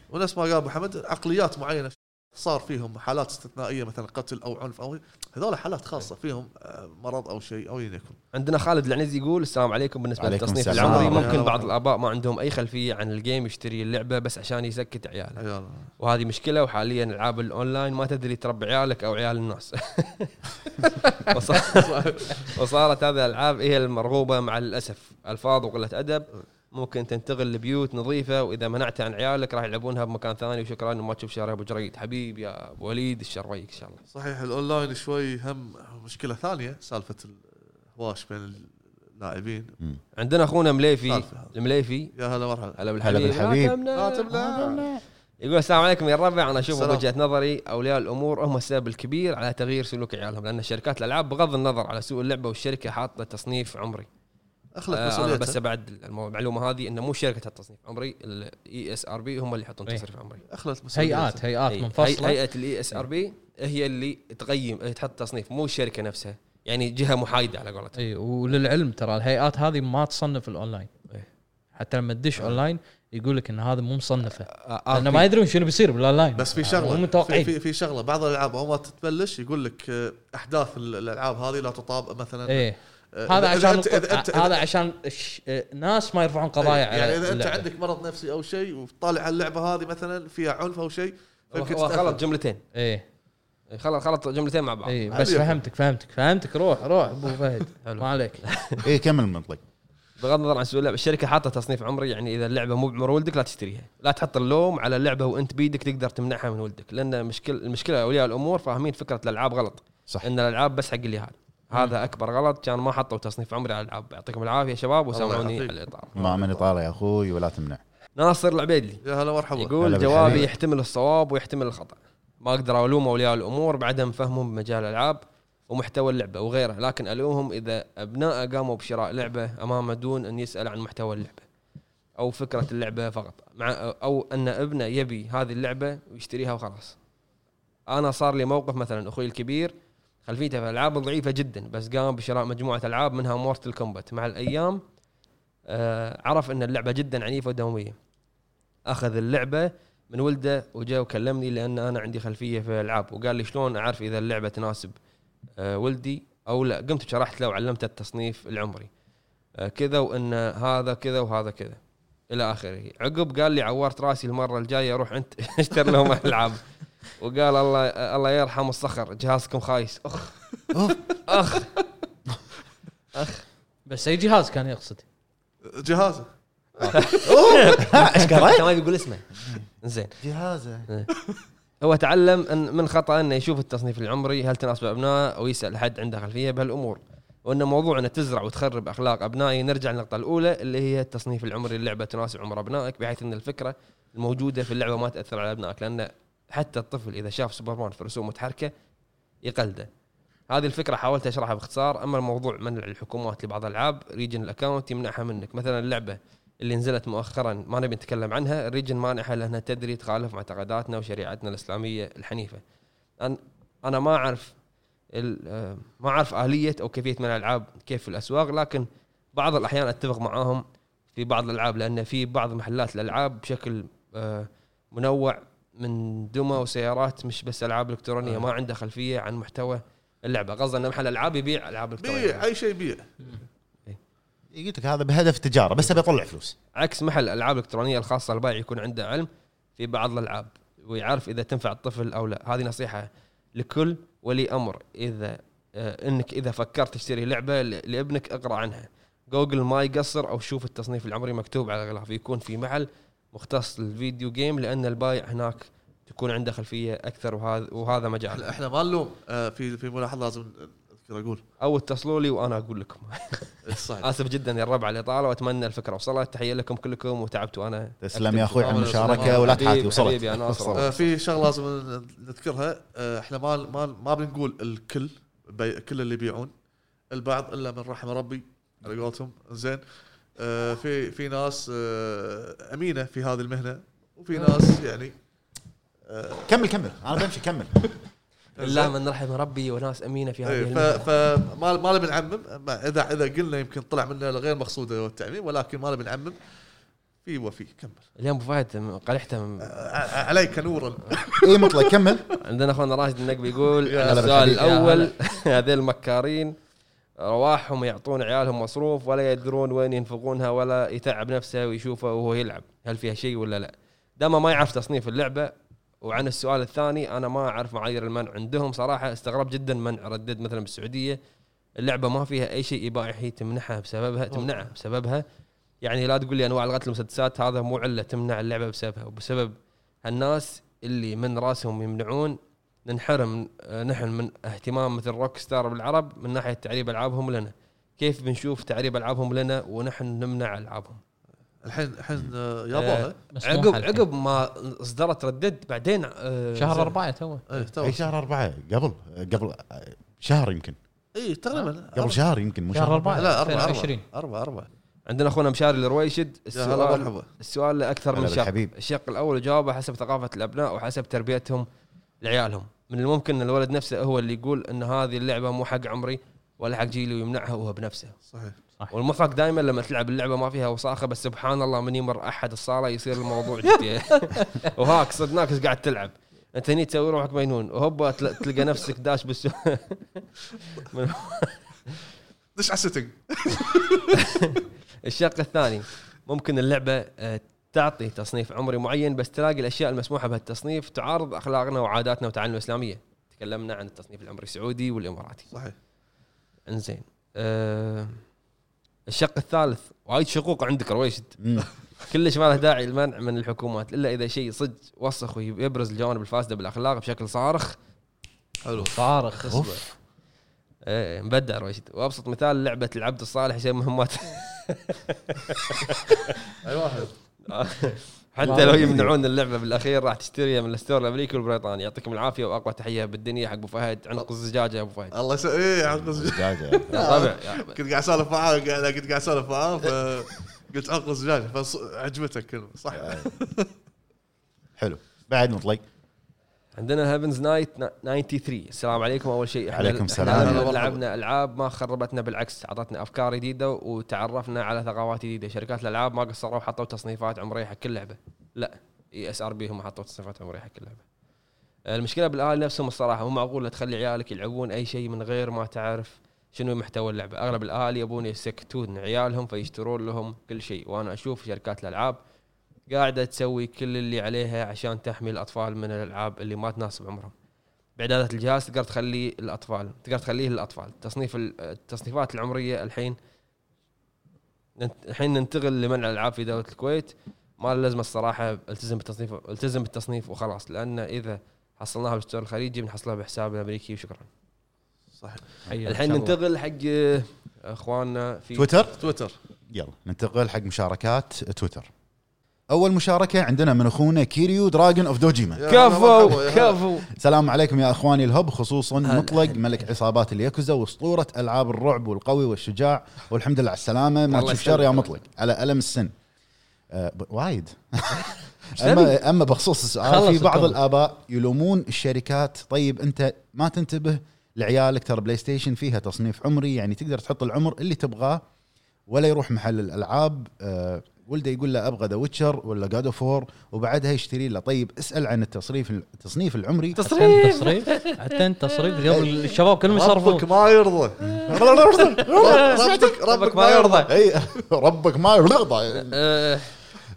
S3: ونفس ما قال ابو حمد عقليات معينه صار فيهم حالات استثنائيه مثلا قتل او عنف او هذول حالات خاصه فيهم آه، مرض او شيء او يكون
S1: عندنا خالد العنز يقول السلام عليكم بالنسبه
S2: عليكم
S1: للتصنيف
S2: السلام.
S1: العمري
S3: السلام.
S1: ممكن بعض الاباء ما عندهم اي خلفيه عن الجيم يشتري اللعبه بس عشان يسكت عياله
S4: نعم.
S3: عيال
S1: وهذه مشكله وحاليا العاب الاونلاين ما تدري تربي عيالك او عيال الناس وصار- وصارت هذه الالعاب هي المرغوبه مع الاسف الفاظ وقله ادب ممكن تنتقل لبيوت نظيفه واذا منعتها عن عيالك راح يلعبونها بمكان ثاني وشكرا وما تشوف شارع ابو جريد حبيب يا أبو وليد الشرويك ان شاء الله
S3: صحيح الاونلاين شوي هم مشكله ثانيه سالفه الهواش بين اللاعبين
S1: عندنا اخونا مليفي
S3: سالفة هذا.
S1: المليفي
S3: يا هلا مرحبا
S1: هلا بالحبيب
S2: هلا بالحبيب.
S1: لا تمنع.
S3: آه، لا تبلع.
S1: يقول السلام عليكم يا الربع انا اشوف من
S3: السلام.
S1: وجهه نظري اولياء الامور هم السبب الكبير على تغيير سلوك عيالهم لان شركات الالعاب بغض النظر على سوق اللعبه والشركه حاطه تصنيف عمري
S3: اخلف
S1: آه، انا بس
S3: مسؤوليتها
S1: ابعد المو- المعلومه هذه انه مو شركه التصنيف عمري E الاي اس ار بي هم اللي يحطون
S4: إيه. آه،
S1: تصنيف عمري إيه،
S3: اخلف مسؤوليتها
S4: هيئات هيئات
S1: هي- E
S4: منفصله
S1: هيئه الاي اس ار بي هي اللي تقيم تحط تصنيف مو الشركه نفسها يعني جهه محايده على قولتهم
S4: اي وللعلم ترى الهيئات هذه ما تصنف الاونلاين
S1: إيه.
S4: حتى لما
S3: آه.
S4: تدش اونلاين يقول لك ان هذا مو مصنفه
S1: آه،
S4: لانه
S1: آه،
S4: ما يدرون شنو بيصير بالاونلاين
S3: بس في
S4: مو
S3: شغله في,
S4: متوقعين
S3: في, في شغله بعض الالعاب اول ما تبلش يقول لك آه، احداث ال- الالعاب هذه لا تطابق مثلا
S4: ايه
S3: آه،
S4: هذا
S3: إذا- إذا
S4: عشان
S3: أنت- إذا أنت-
S4: الط- هذا عشان الش- ناس ما يرفعون قضايا على
S3: يعني اذا انت
S4: اللعبة.
S3: عندك مرض نفسي او شيء وتطالع على اللعبه هذه مثلا فيها عنف او شيء
S1: هو
S3: فيمكن
S1: هو
S3: تتأثر.
S1: غلط جملتين
S4: ايه
S1: خلط خلط جملتين مع بعض
S4: اي بس
S3: عليكم.
S4: فهمتك فهمتك فهمتك روح روح ابو فهد
S1: حلو.
S4: ما عليك
S2: اي إيه، كمل المنطق
S1: بغض النظر عن سوء اللعب الشركه حاطه تصنيف عمري يعني اذا اللعبه مو بعمر ولدك لا تشتريها لا تحط اللوم على اللعبه وانت بيدك تقدر تمنعها من ولدك لان مشكل المشكله اولياء الامور فاهمين فكره الالعاب غلط
S2: صح
S1: ان الالعاب بس حق اليهال هذا اكبر غلط كان ما حطوا تصنيف عمري على الالعاب يعطيكم العافيه يا شباب وسامحوني
S3: يعطيك.
S1: على الاطاله
S2: ما من اطاله يا اخوي ولا تمنع
S1: ناصر العبيدلي
S3: يا هلا مرحبا
S2: هلا
S1: يقول
S2: بالحبيب.
S1: جوابي يحتمل الصواب ويحتمل الخطا ما اقدر الوم اولياء الامور بعدم فهمهم بمجال الالعاب ومحتوى اللعبه وغيره لكن الومهم اذا ابناء قاموا بشراء لعبه امامه دون ان يسال عن محتوى اللعبه او فكره اللعبه فقط مع او ان ابنه يبي هذه اللعبه ويشتريها وخلاص انا صار لي موقف مثلا اخوي الكبير خلفيته في الالعاب ضعيفه جدا بس قام بشراء مجموعه العاب منها مورتل كومبات مع الايام آه عرف ان اللعبه جدا عنيفه ودمويه اخذ اللعبه من ولده وجاء وكلمني لان انا عندي خلفيه في الالعاب وقال لي شلون اعرف اذا اللعبه تناسب آه، ولدي او لا قمت شرحت له وعلمته التصنيف العمري آه، كذا وان هذا كذا وهذا كذا الى اخره عقب قال لي عورت راسي المره الجايه روح انت اشتري لهم العاب وقال الله آه، الله يرحم الصخر جهازكم خايس اخ
S2: أوف.
S1: اخ
S4: بس اي جهاز كان يقصد
S3: جهازه
S4: طيب.
S2: ايش قرأت؟
S1: ما بيقول اسمه زين
S2: جهازه
S1: هو تعلم ان من خطا انه يشوف التصنيف العمري هل تناسب ابنائه او يسال احد عنده خلفيه بهالامور وان موضوع انه تزرع وتخرب اخلاق ابنائي نرجع للنقطه الاولى اللي هي التصنيف العمري للعبه تناسب عمر ابنائك بحيث ان الفكره الموجوده في اللعبه ما تاثر على ابنائك لان حتى الطفل اذا شاف سوبرمان في رسوم متحركه يقلده هذه الفكره حاولت اشرحها باختصار اما الموضوع منع الحكومات لبعض الالعاب ريجن الاكونت يمنعها منك مثلا اللعبه اللي نزلت مؤخرا ما نبي نتكلم عنها الريجن مانعها لانها تدري تخالف معتقداتنا وشريعتنا الاسلاميه الحنيفه أن- انا ما اعرف ال- آه، ما اعرف اليه او كيفيه منع الالعاب كيف في الاسواق لكن بعض الاحيان اتفق معاهم في بعض الالعاب لان في بعض محلات الالعاب بشكل آه، منوع من دمى وسيارات مش بس العاب الكترونيه ما عنده خلفيه عن محتوى اللعبه قصدي ان محل العاب يبيع العاب
S3: بيع
S1: الكترونيه
S3: اي شيء بيع
S2: قلت لك هذا بهدف تجاره بس ابي اطلع فلوس
S1: عكس محل الالعاب الالكترونيه الخاصه البائع يكون عنده علم في بعض الالعاب ويعرف اذا تنفع الطفل او لا هذه نصيحه لكل ولي امر اذا آه، انك اذا فكرت تشتري لعبه ل- لابنك اقرا عنها جوجل ما يقصر او شوف التصنيف العمري مكتوب على الغلاف يكون في محل مختص للفيديو جيم لان البايع هناك تكون عنده خلفيه اكثر وهذا وهذا مجال
S3: احنا ما نلوم آه، في في ملاحظه لازم اذكر اقول
S1: او اتصلوا لي وانا اقول لكم
S3: صحيح
S1: اسف جدا يا الربع على الاطاله واتمنى الفكره وصلت تحيه لكم كلكم وتعبت وانا
S2: تسلم يا اخوي على
S3: تمام،
S2: المشاركه
S3: تمام.
S2: ولا تحاتي
S1: حبيبي-
S2: وصلت
S1: حبيبي يا ناصر.
S2: وصلت.
S3: آه، في شغله لازم نذكرها آه، احنا ما ما ما بنقول الكل بي- كل اللي يبيعون البعض الا من رحم ربي على قولتهم زين آه، في في ناس آه، امينه في هذه المهنه وفي ناس يعني آه،
S2: كمل كمل انا بمشي كمل
S1: الله من رحم ربي وناس امينه في هذه
S3: إيه، ف
S1: المهنة.
S3: فما ما نبي نعمم ما- اذا اذا قلنا يمكن طلع منا غير مقصوده التعميم ولكن ما نبي نعمم في وفي كمل
S1: اليوم ابو فهد م- قلحته م-
S3: ع- عليك نورا
S2: اي إيه، مطلق كمل
S1: عندنا اخونا راشد النقبي يقول
S3: يا
S1: على
S2: هلا
S1: السؤال
S2: بالحبيب.
S4: يا
S1: الاول هذيل المكارين رواحهم يعطون عيالهم مصروف ولا يدرون وين ينفقونها ولا يتعب نفسه ويشوفه وهو يلعب هل فيها شيء ولا لا دام ما يعرف تصنيف اللعبه وعن السؤال الثاني انا ما اعرف معايير المنع عندهم صراحه استغرب جدا منع ردد مثلا بالسعوديه اللعبه ما فيها اي شيء اباحي تمنحها بسببها تمنعها بسببها يعني لا تقول لي انواع القتل والمسدسات هذا مو عله تمنع اللعبه بسببها وبسبب هالناس اللي من راسهم يمنعون ننحرم آه، نحن من اهتمام مثل روك ستار بالعرب من ناحيه تعريب العابهم لنا كيف بنشوف تعريب العابهم لنا ونحن نمنع العابهم
S3: الحين الحين آه، يابوها
S4: مسموح
S1: عقب
S4: الحين.
S1: عقب ما اصدرت ردد بعدين آه،
S4: شهر
S1: زين.
S4: أربعة تو
S3: إيه، تو.
S2: اي شهر اربعه قبل قبل شهر يمكن
S3: اي تقريبا
S2: قبل شهر يمكن مو
S4: شهر
S2: شهر
S4: أربعة
S3: لا أربعة أربعة
S4: 2020.
S3: أربعة أربعة
S1: عندنا اخونا مشاري الرويشد
S3: يا هلا
S1: السؤال
S3: مرحبا
S1: السؤال له اكثر من
S2: هلا
S1: شق
S2: بالحبيب.
S1: الشق الاول جوابه حسب ثقافه الابناء وحسب تربيتهم لعيالهم من الممكن ان الولد نفسه هو اللي يقول ان هذه اللعبه مو حق عمري ولا حق جيلي ويمنعها هو بنفسه
S3: صحيح
S1: والمضحك دائما لما تلعب اللعبه ما فيها وساخه بس سبحان الله من يمر احد الصاله يصير الموضوع جدي وهاك صد ناكس قاعد تلعب انت هني تسوي روحك مجنون وهوبا تل- تلقى نفسك داش بالسوق
S3: دش على السيتنج
S1: الشق الثاني ممكن اللعبه آه، تعطي تصنيف عمري معين بس تلاقي الاشياء المسموحه بهالتصنيف تعارض اخلاقنا وعاداتنا وتعاليمنا الاسلاميه تكلمنا عن التصنيف العمري السعودي والاماراتي
S3: صحيح
S1: انزين أه الشق الثالث وايد شقوق عندك رويشد
S2: مم.
S1: كلش ما له داعي المنع من الحكومات الا اذا شيء صدق وسخ ويبرز الجوانب الفاسده بالاخلاق بشكل صارخ
S3: حلو
S1: صارخ اصبع ايه مبدع رويشد وابسط مثال لعبه العبد الصالح يسوي مهمات
S3: اي واحد
S1: حتى لو يمنعون اللعبه بالاخير راح تشتريها من الستور الامريكي والبريطاني يعطيكم العافيه واقوى تحيه بالدنيا حق ابو فهد عنق الزجاجه يا ابو فهد
S3: الله يسوي ايه عقص
S2: دجاجة.
S1: طبعا
S3: كنت قاعد اسولف معاه قاعد- كنت قاعد اسولف معاه فقلت عقص دجاج فعجبتك كلمه صح
S2: حلو بعد مطلق
S1: إيه. عندنا هيفنز نايت 93 السلام عليكم اول شيء إحنا-
S2: عليكم
S1: إحنا
S2: السلام.
S1: لما لعبنا العاب ما خربتنا بالعكس اعطتنا افكار جديده وتعرفنا على ثقافات جديده شركات الالعاب ما قصروا حطوا تصنيفات عمريه حق كل لعبه لا E اي اس ار بي هم حطوا تصنيفات عمريه حق كل لعبه المشكله بالاهل نفسهم الصراحه مو معقول لا تخلي عيالك يلعبون اي شيء من غير ما تعرف شنو محتوى اللعبه اغلب الاهالي يبون يسكتون عيالهم فيشترون لهم كل شيء وانا اشوف شركات الالعاب قاعده تسوي كل اللي عليها عشان تحمي الاطفال من الالعاب اللي ما تناسب عمرهم. باعدادات الجهاز تقدر تخلي الاطفال تقدر تخليه للاطفال، تصنيف ال- التصنيفات العمريه الحين ننت- الحين ننتقل لمنع الالعاب في دوله الكويت ما له لازمه الصراحه التزم بالتصنيف التزم بالتصنيف وخلاص لان اذا حصلناها بالستور الخليجي بنحصلها بحساب الامريكي وشكرا.
S3: صح
S4: أيوه.
S1: الحين ننتقل حق آه، اخواننا في
S2: تويتر
S3: تويتر
S2: يلا ننتقل حق مشاركات تويتر اول مشاركه عندنا من اخونا كيريو دراجون اوف دوجيما
S3: يا هلا
S1: كفو
S3: مرحبا، يا هلا.
S1: كفو
S2: السلام عليكم يا اخواني الهب خصوصا مطلق ملك عصابات الياكوزا واسطوره العاب الرعب والقوي والشجاع والحمد لله على السلامه ما
S1: الله
S2: تشوف شر يا
S1: يسلمك.
S2: مطلق على الم السن آه، ب- وايد
S1: تبي؟
S2: اما اما بخصوص السؤال
S4: خلص
S2: في بعض
S4: الطلب.
S2: الاباء يلومون الشركات طيب انت ما تنتبه لعيالك ترى بلاي ستيشن فيها تصنيف عمري يعني تقدر تحط العمر اللي تبغاه ولا يروح محل الالعاب آه، ولده يقول له ابغى ذا ويتشر ولا جاد اوف وبعدها يشتري له طيب اسال عن التصريف التصنيف العمري
S1: تصريف
S4: تصريف يعني حتى انت تصريف قبل الشباب كلهم
S3: ربك
S4: يصرفون
S3: ما يرضى ربك ربك ما
S2: اي
S3: يرضى
S2: إيه، ربك ما يرضى
S1: آه،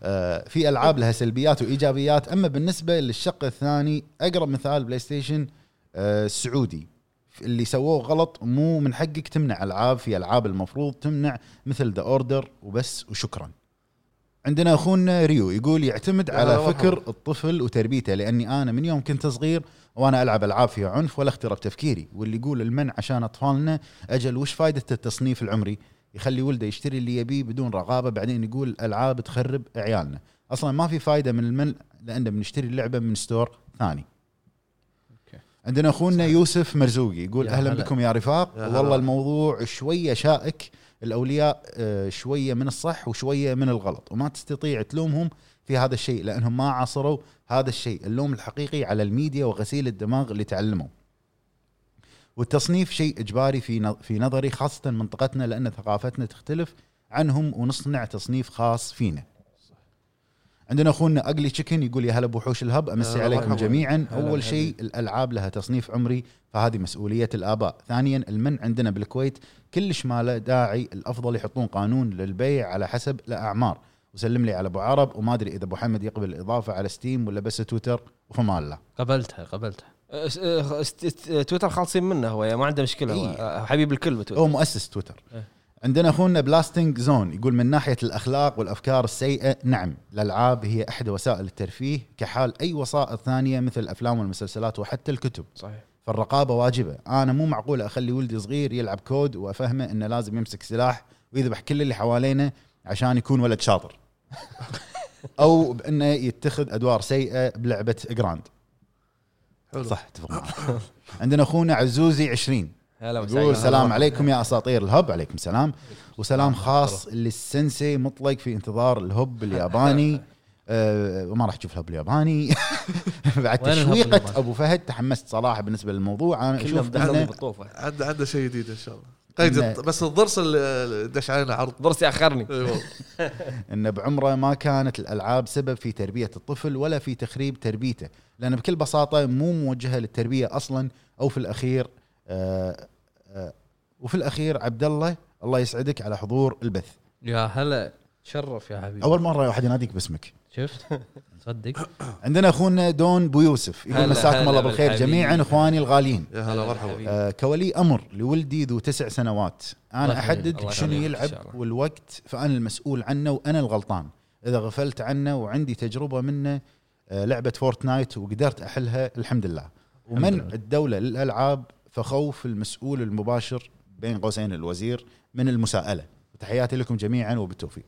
S2: آه، في العاب لها سلبيات وايجابيات اما بالنسبه للشق الثاني اقرب مثال بلاي ستيشن آه، السعودي اللي سووه غلط مو من حقك تمنع العاب في العاب المفروض تمنع مثل ذا اوردر وبس وشكرا عندنا اخونا ريو يقول يعتمد
S3: يا
S2: على
S3: هلا
S2: فكر
S3: مرحبا.
S2: الطفل وتربيته لاني انا من يوم كنت صغير وانا العب العاب فيها عنف ولا اخترب تفكيري واللي يقول المنع عشان اطفالنا اجل وش فائده التصنيف العمري يخلي ولده يشتري اللي يبيه بدون رغابه بعدين يقول العاب تخرب عيالنا اصلا ما في فائده من المنع لان بنشتري اللعبه من ستور ثاني عندنا اخونا يوسف مرزوقي يقول
S4: يا
S2: اهلا
S4: هلا.
S2: بكم يا رفاق
S3: يا هلا.
S2: والله الموضوع شويه شائك الاولياء آه، شويه من الصح وشويه من الغلط وما تستطيع تلومهم في هذا الشيء لانهم ما عاصروا هذا الشيء اللوم الحقيقي على الميديا وغسيل الدماغ اللي تعلموا والتصنيف شيء اجباري في نظ- في نظري خاصه منطقتنا لان ثقافتنا تختلف عنهم ونصنع تصنيف خاص فينا عندنا اخونا اقلي تشيكن يقول يا هلا بوحوش الهب امسي
S3: هلا
S2: عليكم
S3: مرحبا.
S2: جميعا
S4: هلا
S2: اول
S4: هلا.
S2: شيء الالعاب لها تصنيف عمري فهذه مسؤوليه الاباء ثانيا المنع عندنا بالكويت كلش ما له داعي الافضل يحطون قانون للبيع على حسب الاعمار وسلم لي على ابو عرب وما ادري اذا ابو حمد يقبل الاضافه على ستيم ولا بس تويتر وفما الله
S4: قبلتها قبلتها
S1: آه، آه، است- است- آه، تويتر خالصين منه هو يعني ما عنده مشكله هو
S2: إيه.
S1: آه، حبيب الكل بتويتر
S2: هو مؤسس تويتر
S4: إيه.
S2: عندنا اخونا بلاستنج زون يقول من ناحيه الاخلاق والافكار السيئه نعم الالعاب هي احدى وسائل الترفيه كحال اي وسائط ثانيه مثل الافلام والمسلسلات وحتى الكتب
S1: صحيح
S2: فالرقابه واجبه انا مو معقول اخلي ولدي صغير يلعب كود وافهمه انه لازم يمسك سلاح ويذبح كل اللي حوالينا عشان يكون ولد شاطر او بانه يتخذ ادوار سيئه بلعبه جراند
S3: حلو.
S2: صح اتفق معك. عندنا اخونا عزوزي 20
S1: هلا
S2: يقول سلام عليكم يا اساطير الهب عليكم سلام وسلام خاص للسنسي مطلق في انتظار الهب الياباني أه وما راح تشوف الهب الياباني بعد
S4: وين الهب
S2: تشويقه
S4: الياباني؟
S2: ابو فهد تحمست صراحه بالنسبه للموضوع انا
S1: كلهم
S2: اشوف
S1: دخلوا
S2: انه
S1: بالطوفه
S3: عنده عنده شيء جديد ان شاء الله قيد
S2: إنه-
S3: الط- بس الضرس اللي اللي دش علينا عرض
S1: ضرسي اخرني
S3: إي والله.
S2: ان بعمره ما كانت الالعاب سبب في تربيه الطفل ولا في تخريب تربيته لان بكل بساطه مو موجهه للتربيه اصلا او في الاخير أه أه وفي الاخير عبد الله الله يسعدك على حضور البث
S4: يا هلا شرف يا حبيبي
S2: اول مره واحد يناديك باسمك
S4: شفت صدق
S2: عندنا اخونا دون بو يوسف
S1: هلا،
S2: يقول مساكم
S1: هلا
S2: الله بالخير
S1: بالحبيب.
S2: جميعا اخواني الغاليين
S3: يا هلا مرحبا
S1: حبيبي.
S2: آه، كولي امر لولدي ذو تسع سنوات
S4: الله
S2: انا
S4: يخليك،
S2: احدد
S1: الله
S2: شنو
S1: يخليك،
S2: يلعب
S1: إن شاء الله.
S2: والوقت فانا المسؤول عنه وانا الغلطان اذا غفلت عنه وعندي تجربه منه آه، لعبه فورتنايت وقدرت احلها الحمد لله ومنع
S4: لله.
S2: الدوله للالعاب فخوف المسؤول المباشر بين قوسين الوزير من المساءله تحياتي لكم جميعا وبالتوفيق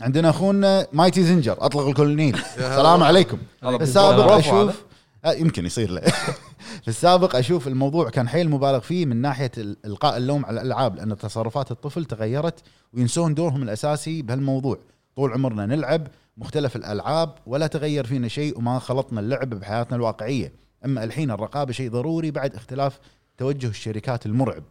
S2: عندنا اخونا مايتي زنجر اطلق الكولونيل السلام عليكم
S1: الله
S2: في السابق
S1: بالبرافو
S2: اشوف آه، يمكن يصير له في السابق اشوف الموضوع كان حيل مبالغ فيه من ناحيه ال- القاء اللوم على الالعاب لان تصرفات الطفل تغيرت وينسون دورهم الاساسي بهالموضوع طول عمرنا نلعب مختلف الالعاب ولا تغير فينا شيء وما خلطنا اللعب بحياتنا الواقعيه اما الحين الرقابه شيء ضروري بعد اختلاف توجه الشركات المرعب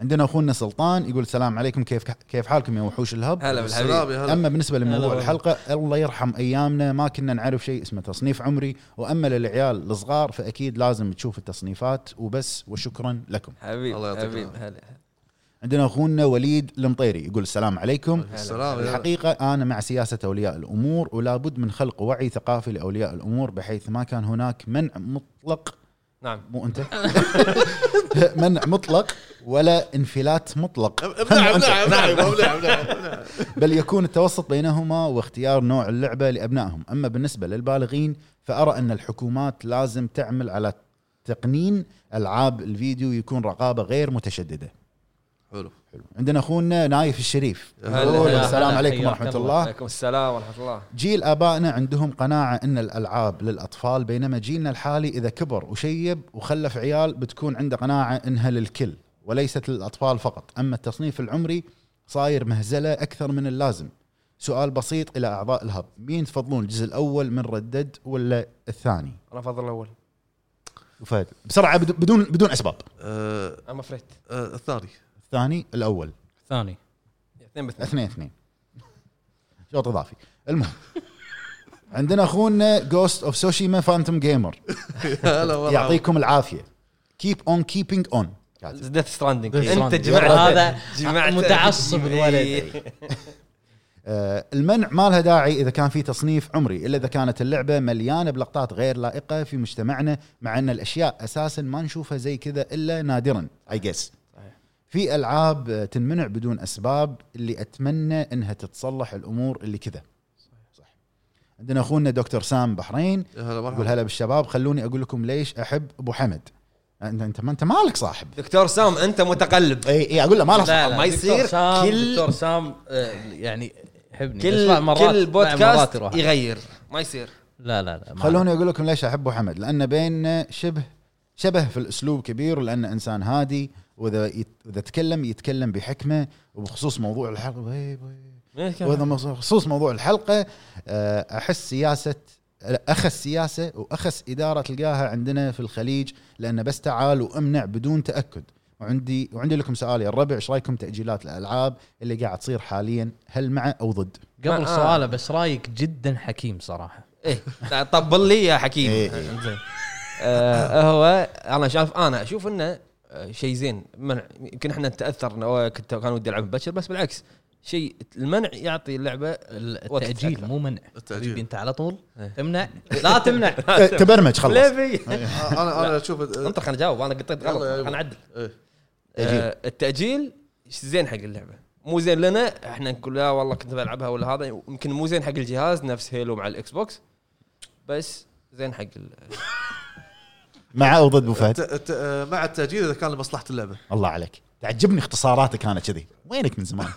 S2: عندنا اخونا سلطان يقول السلام عليكم كيف كيف حالكم يا وحوش الهب
S1: هلا بالحبيب
S3: السلام يا هلا
S2: اما بالنسبه
S4: هلا
S2: لموضوع
S4: والله.
S2: الحلقه الله يرحم ايامنا ما كنا نعرف شيء اسمه تصنيف عمري واما للعيال الصغار فاكيد لازم تشوف التصنيفات وبس وشكرا لكم.
S1: حبيب
S3: الله يعطيك
S1: حبيب
S3: العافية.
S1: هلا
S2: عندنا اخونا وليد المطيري يقول السلام عليكم.
S3: السلام يا هلا
S2: الحقيقة أنا مع سياسة أولياء الأمور ولا بد من خلق وعي ثقافي لأولياء الأمور بحيث ما كان هناك منع مطلق
S1: نعم
S2: مو أنت منع مطلق ولا انفلات مطلق
S3: امنع امنع امنع امنع امنع امنع.
S2: بل يكون التوسط بينهما واختيار نوع اللعبه لابنائهم، اما بالنسبه للبالغين فارى ان الحكومات لازم تعمل على تقنين العاب الفيديو يكون رقابه غير متشدده.
S3: حلو
S2: حلو. عندنا اخونا نايف الشريف
S3: هلا،
S2: يقول
S1: هلا،
S2: السلام
S4: هلا،
S2: عليكم
S4: حياك
S2: ورحمه
S4: الله.
S2: الله.
S1: عليكم السلام ورحمه الله
S2: جيل ابائنا عندهم قناعه ان الالعاب للاطفال بينما جيلنا الحالي اذا كبر وشيب وخلف عيال بتكون عنده قناعه انها للكل وليست للاطفال فقط، اما التصنيف العمري صاير مهزله اكثر من اللازم. سؤال بسيط الى اعضاء الهب، مين تفضلون الجزء الاول من ردد ولا الثاني؟
S1: انا افضل الاول
S2: وفهد بسرعه بدون- بدون بدون اسباب.
S3: آه،
S1: ام افريت
S3: آه، الثاني
S2: الثاني الاول،
S4: ثاني
S1: اثنين باثنين
S2: اثنين اثنين. شوط اضافي. المهم عندنا اخونا جوست اوف سوشيما فانتوم جيمر
S3: يا هلا مرحبا.
S2: يعطيكم العافيه كيب اون كيبينج اون
S1: ديث ستراندنج
S4: Death
S1: انت
S4: Stranding.
S1: جمعت
S4: هذا
S1: جمعت إيه.
S4: متعصب الولد.
S2: آه، المنع ما لها داعي اذا كان في تصنيف عمري الا اذا كانت اللعبه مليانه بلقطات غير لائقه في مجتمعنا مع ان الاشياء اساسا ما نشوفها زي كذا الا نادرا اي جس
S1: صحيح.
S2: في العاب آه، تنمنع بدون اسباب اللي اتمنى انها تتصلح الامور اللي كذا صح عندنا اخونا دكتور سام بحرين
S3: يا هلا
S2: يقول
S3: مرحبا
S2: هلا بالشباب خلوني اقول لكم ليش احب ابو حمد انت انت ما انت مالك صاحب
S1: دكتور سام انت متقلب
S2: اي اي اقول له ما له صاحب.
S1: ما يصير.
S4: دكتور سام
S1: كل-
S4: دكتور سام آه، يعني يحبني يسمع
S1: كل
S4: مرات-
S1: كل
S4: يسمع مرات
S1: بودكاست
S4: يروح.
S1: يغير ما يصير
S4: لا لا لا ما-
S2: خلوني اقول لكم ليش احب حمد لان بيننا شبه شبه في الاسلوب كبير ولانه انسان هادي واذا يت- اذا تكلم يتكلم بحكمه وبخصوص موضوع الحلقه وي- وي- واذا مص- بخصوص موضوع الحلقه آه، احس سياسه اخس سياسه واخس اداره تلقاها عندنا في الخليج لانه بس تعال وامنع بدون تاكد وعندي وعندي لكم سؤال يا الربع ايش رايكم تاجيلات الالعاب اللي قاعد تصير حاليا هل مع او ضد؟
S1: ما- آه.
S4: قبل سؤاله بس رايك جدا حكيم صراحه
S1: ايه طبل لي يا حكيم
S2: إيه.
S1: إنزين. آه، هو انا شايف انا اشوف انه آه، شيء زين منع يمكن احنا تاثرنا أو كنت كان ودي العب مبكر بس بالعكس شيء المنع يعطي اللعبه وقت
S4: التاجيل
S1: أكثر.
S4: مو منع
S3: التأجيل.
S4: حبيبي انت على طول
S1: إيه.
S4: تمنع لا تمنع
S1: آه،
S2: آه، تبرمج إيه، خلص إيه.
S1: ليفي
S3: آه، انا انا اشوف آه،
S1: انطر خليني اجاوب انا قطيت غلط
S3: يلا يا
S1: انا اعدل
S3: إيه.
S2: تأجيل.
S1: آه، التاجيل زين حق اللعبه مو زين لنا احنا نقول لا والله كنت بلعبها ولا هذا يمكن مو زين حق الجهاز نفس هيلو مع الاكس بوكس بس زين حق ال-
S2: مع او ضد ابو فهد؟
S3: الت- الت- آه، مع التاجيل اذا كان لمصلحه اللعبه
S2: الله عليك تعجبني اختصاراتك انا كذي وينك من زمان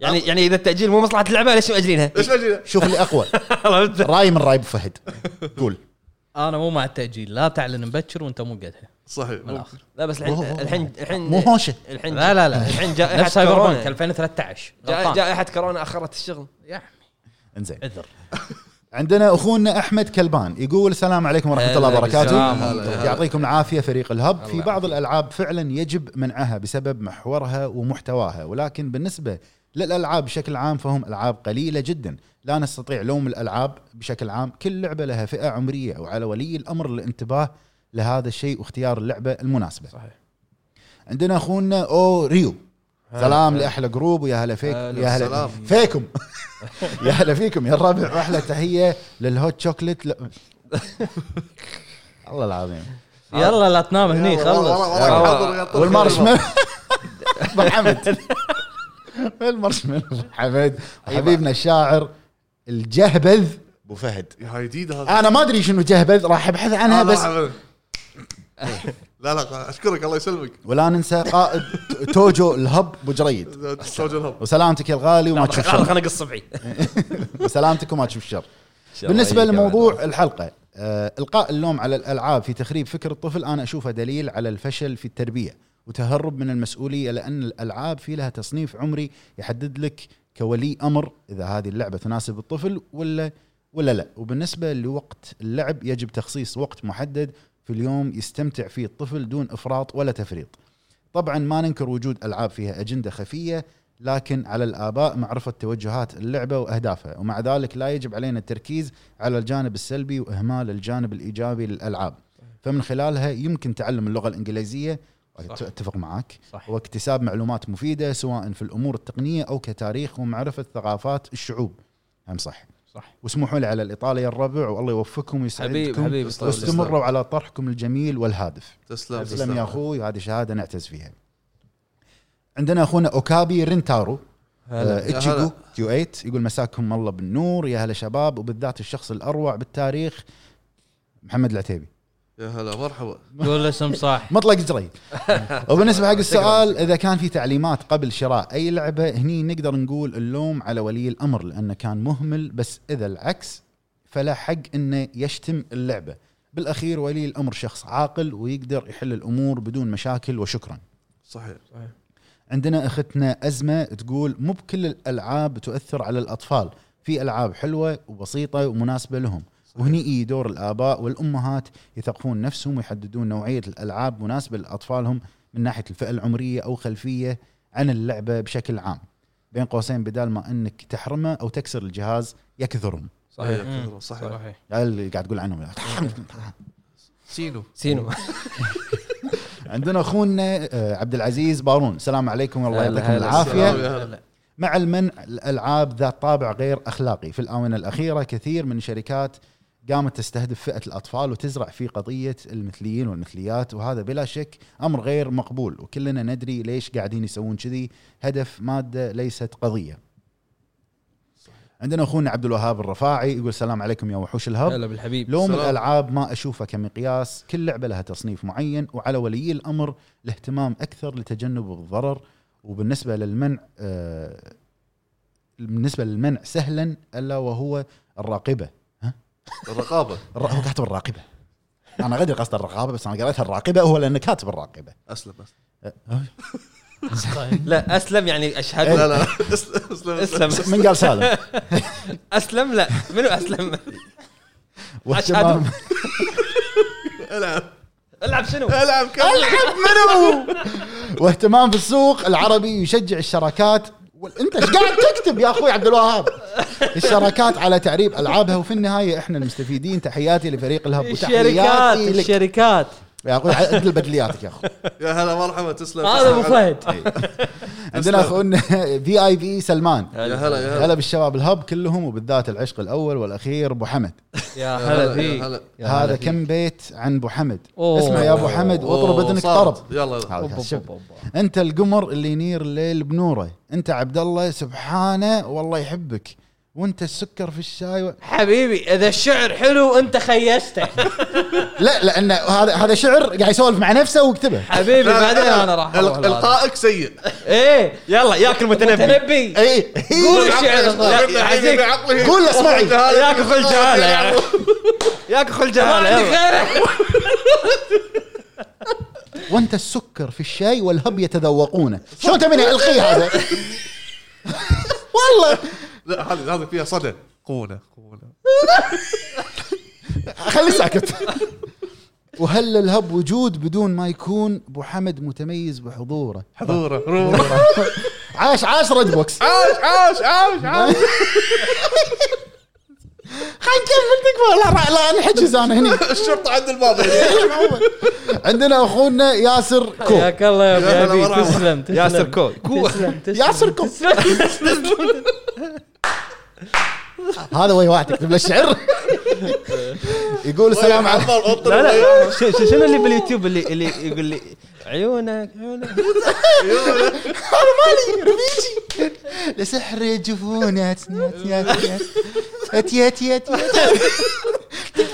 S1: يعني يعني اذا التاجيل مو مصلحه اللعبه ليش مؤجلينها؟
S3: ليش اجي
S2: شوف اللي اقوى
S1: عرفت؟
S2: راي من راي ابو فهد قول
S4: انا مو مع التاجيل لا تعلن مبكر وانت مو قدها
S3: صحيح
S4: من الاخر
S1: لا بس الحين الحين الحين
S2: مو هوشه
S1: الحين
S4: لا لا لا
S1: الحين جائحه
S4: نفس سايبر بانك
S1: كورونا
S4: 2013
S1: جا-
S4: غلطان
S1: جائحه كورونا اخرت الشغل
S4: يا عمي،
S2: انزين
S4: عذر
S2: عندنا اخونا احمد كلبان يقول السلام عليكم ورحمه الله
S1: هلا
S2: وبركاته
S1: بالسلام. هلا، هلا.
S2: يعطيكم العافيه فريق الهب في
S1: الله
S2: بعض الالعاب فعلا يجب منعها بسبب محورها ومحتواها ولكن بالنسبه للالعاب بشكل عام فهم العاب قليله جدا لا نستطيع لوم الالعاب بشكل عام كل لعبه لها فئه عمريه او على ولي الامر الانتباه لهذا الشيء واختيار اللعبه المناسبه
S1: صحيح
S2: عندنا اخونا او ريو سلام لاحلى جروب ويا هلا فيك
S1: هلا
S2: يا هلا
S3: سلام.
S2: فيكم يا هلا فيكم يا الربع واحلى تحيه للهوت شوكليت ل... الله العظيم
S4: يلا لا تنام هني خلص
S2: والمارشميلو أبو حمد المارشميلو أبو حمد حبيبنا الشاعر الجهبذ ابو فهد
S3: هاي جديده هذا
S2: انا ما ادري شنو جهبذ راح ابحث عنها
S3: آه، لا،
S2: بس
S3: لا، لا لا اشكرك الله يسلمك
S2: ولا ننسى قائد توجو الهب ابو جريد
S3: تستوجب الهب
S2: وسلامتك يا الغالي وما تشوف شر
S1: خلنا نقص صبعي
S2: وسلامتك وما تشوف شر بالنسبه لموضوع الحلقه آه، القاء اللوم على الالعاب في تخريب فكر الطفل انا اشوفه دليل على الفشل في التربيه وتهرب من المسؤوليه لان الالعاب في لها تصنيف عمري يحدد لك كولي امر اذا هذه اللعبه تناسب الطفل ولا ولا لا وبالنسبه لوقت اللعب يجب تخصيص وقت محدد في اليوم يستمتع فيه الطفل دون افراط ولا تفريط طبعا ما ننكر وجود العاب فيها اجنده خفيه لكن على الاباء معرفه توجهات اللعبه واهدافها ومع ذلك لا يجب علينا التركيز على الجانب السلبي واهمال الجانب الايجابي للالعاب فمن خلالها يمكن تعلم اللغه الانجليزيه
S4: صح.
S2: اتفق معك
S4: صح.
S2: واكتساب معلومات مفيده سواء في الامور التقنيه او كتاريخ ومعرفه ثقافات الشعوب هم صح
S4: صح.
S2: واسمحوا لي على الاطاله يا الربع والله يوفقكم
S1: حبيب
S2: ويسعدكم
S1: حبيب
S2: واستمروا على طرحكم الجميل والهادف
S3: تسلم
S2: تسلم يا اخوي هذه شهاده نعتز فيها عندنا اخونا اوكابي رينتارو
S1: هلا.
S3: يا
S2: اتشيجو
S3: هلا.
S2: كيو 8 يقول مساكم الله بالنور يا هلا شباب وبالذات الشخص الاروع بالتاريخ محمد العتيبي
S3: يا هلا مرحبا
S4: قول اسم صح
S2: مطلق جريد وبالنسبه حق السؤال اذا كان في تعليمات قبل شراء اي لعبه هني نقدر نقول اللوم على ولي الامر لانه كان مهمل بس اذا العكس فلا حق انه يشتم اللعبه بالاخير ولي الامر شخص عاقل ويقدر يحل الامور بدون مشاكل وشكرا
S3: صحيح
S2: عندنا اختنا ازمه تقول مو بكل الالعاب تؤثر على الاطفال في العاب حلوه وبسيطه ومناسبه لهم وهني إي دور الاباء والامهات يثقفون نفسهم ويحددون نوعيه الالعاب مناسبه لاطفالهم من ناحيه الفئه العمريه او خلفيه عن اللعبه بشكل عام بين قوسين بدال ما انك تحرمه او تكسر الجهاز يكثرهم
S3: صحيح
S4: مم.
S3: صحيح
S4: صحيح
S2: هذا اللي قاعد تقول عنهم
S3: سينو
S1: سينما
S2: عندنا اخونا آه، عبد العزيز بارون السلام عليكم والله
S1: هلا
S2: يعطيكم
S1: هلا.
S2: العافيه
S3: السلام يا هلا.
S2: مع المنع الالعاب ذات طابع غير اخلاقي في الاونه الاخيره كثير من الشركات قامت تستهدف فئه الاطفال وتزرع في قضيه المثليين والمثليات وهذا بلا شك امر غير مقبول وكلنا ندري ليش قاعدين يسوون كذي هدف ماده ليست قضيه. عندنا اخونا عبد الوهاب الرفاعي يقول السلام عليكم يا وحوش الهب
S4: هلا بالحبيب
S2: لوم
S3: سلام.
S2: الالعاب ما اشوفه كمقياس كل لعبه لها تصنيف معين وعلى ولي الامر الاهتمام اكثر لتجنب الضرر وبالنسبه للمنع آه بالنسبه للمنع سهلا الا وهو الراقبه
S3: الرقابه
S2: الر- هو كاتب الراقبه انا غير قصد الرقابه بس انا قريتها الراقبه هو لانه كاتب الراقبه
S3: اسلم بس
S1: لا اسلم يعني اشهد
S3: لا لا اسلم اسلم اسلم
S1: اسلم
S2: من قال سالم
S1: اسلم لا منو اسلم
S2: واهتمام
S3: العب
S1: العب شنو
S3: العب كمل
S2: واهتمام بالسوق العربي يشجع الشراكات وال- انت ايش قاعد تكتب يا اخوي عبد الوهاب الشراكات على تعريب العابها وفي النهايه احنا المستفيدين تحياتي لفريق الهب
S4: الشركات
S2: وتحياتي لك
S4: الشركات
S2: يا اخوي عدل بدلياتك يا اخوي
S3: يا هلا مرحبا تسلم
S4: هذا ابو فهد
S2: عندنا اخونا في اي في سلمان
S3: يا هلا يا هلا
S2: هلا بالشباب الهب كلهم وبالذات العشق الاول والاخير ابو حمد
S4: يا
S3: يا
S4: هلا
S3: يا
S4: فيك
S3: هلا
S4: يا هلا
S2: هذا
S4: فيك.
S2: كم بيت عن ابو حمد
S4: أوه.
S2: اسمع يا ابو حمد واطرب
S3: أوه،
S2: اذنك
S3: صارت.
S2: طرب
S3: يلا يلا
S2: هذا
S4: أوب،
S2: شوف.
S4: أوب، أوب، أوب.
S2: انت القمر اللي ينير الليل بنوره انت عبد الله سبحانه والله يحبك وانت السكر في الشاي و...
S4: حبيبي اذا الشعر حلو انت خيشته
S2: لا لان هذا هذا شعر قاعد يسولف مع نفسه وكتبه
S4: حبيبي
S3: لا، لا،
S4: بعدين
S3: لا.
S4: انا راح
S3: ال-
S4: أروح لهذا.
S3: القائك سيء
S4: ايه
S1: يلا ياكل متنبي
S4: متنبي
S2: اي
S4: قول الشعر
S3: عقله-
S4: الض- عزيز.
S3: عقله-
S2: قول له اسمعي.
S3: هذا-
S1: ياك خل جهاله يا عمي. ياك خل
S4: ما
S1: جهاله
S4: عندك
S1: يلا.
S4: غيره
S2: وانت السكر في الشاي والهب يتذوقونه شو تبيني القي هذا والله
S3: لا هذه هذه فيها صدى قونه قونه
S2: خلي ساكت وهل الهب وجود بدون ما يكون ابو حمد متميز بحضوره
S3: حضوره حضوره
S2: عاش عاش ريد بوكس
S3: عاش عاش عاش عاش
S2: خلينا نكمل تكفى لا لا انحجز انا هنا
S3: الشرطه عند الباب هنا.
S2: عندنا اخونا ياسر كو
S4: حياك الله يا ابو
S3: يلا
S4: حبيب
S3: ورا.
S4: تسلم تسلم
S1: ياسر كول كو
S4: تسلم تسلم
S2: ياسر كو هذا وي واحد يكتب له الشعر يقول السلام
S3: ويا
S2: عليكم
S3: عمار، أبطل
S1: لا
S3: ويا
S1: لا ش- ش- شنو اللي باليوتيوب اللي اللي يقول لي عيونك عيونك
S2: لسحر جفونك اتي اتي اتي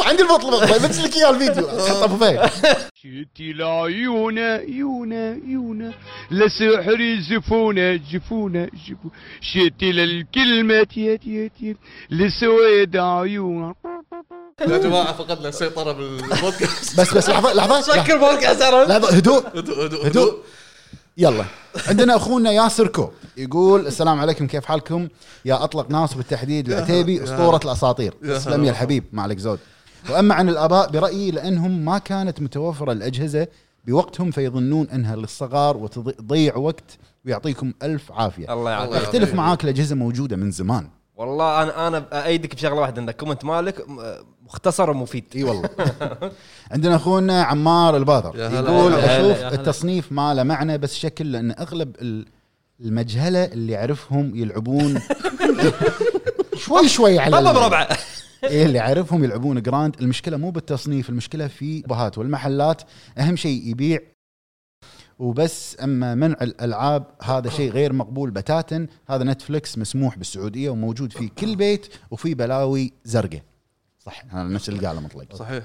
S2: عندي المطلب طيب بس لك اياه الفيديو حطه ابو فهد
S5: شتي لعيونا يونا يونا لسحر زفونا جفونا جفونا شتي للكلمة تيا تيا تيا لسويد عيونا
S3: يا جماعه فقدنا السيطره بالبودكاست
S2: بس بس لحظه لحظه
S4: سكر بودكاست عرفت؟
S2: لحظه هدوء
S3: هدوء هدوء
S2: هدوء يلا عندنا اخونا ياسر كو يقول السلام عليكم كيف حالكم يا اطلق ناس بالتحديد العتيبي اسطوره الاساطير
S3: يا
S2: اسلم
S3: هلا.
S2: يا الحبيب ما عليك زود واما عن الاباء برايي لانهم ما كانت متوفره الاجهزه بوقتهم فيظنون انها للصغار وتضيع وقت ويعطيكم الف عافيه
S1: الله
S3: الله
S1: يعافيك
S3: يعافيك.
S2: اختلف معاك الاجهزه موجوده من زمان
S1: والله انا انا ايدك بشغله واحده ان الكومنت مالك م- مختصر ومفيد
S2: اي والله عندنا اخونا عمار البادر
S3: يا هلا.
S2: يقول
S1: يا هلا.
S2: اشوف
S4: يا هلا.
S2: التصنيف ما له معنى بس شكل لان اغلب ال- المجهله اللي اعرفهم يلعبون شوي شوي على
S1: طبعا
S2: ال-
S1: بربعه
S2: إيه اللي اعرفهم يلعبون جراند المشكله مو بالتصنيف المشكله في بهات والمحلات اهم شيء يبيع وبس اما منع الالعاب هذا شيء غير مقبول بتاتا هذا نتفلكس مسموح بالسعوديه وموجود في كل بيت وفي بلاوي زرقاء صح هذا نفس اللي قاله مطلق
S3: صحيح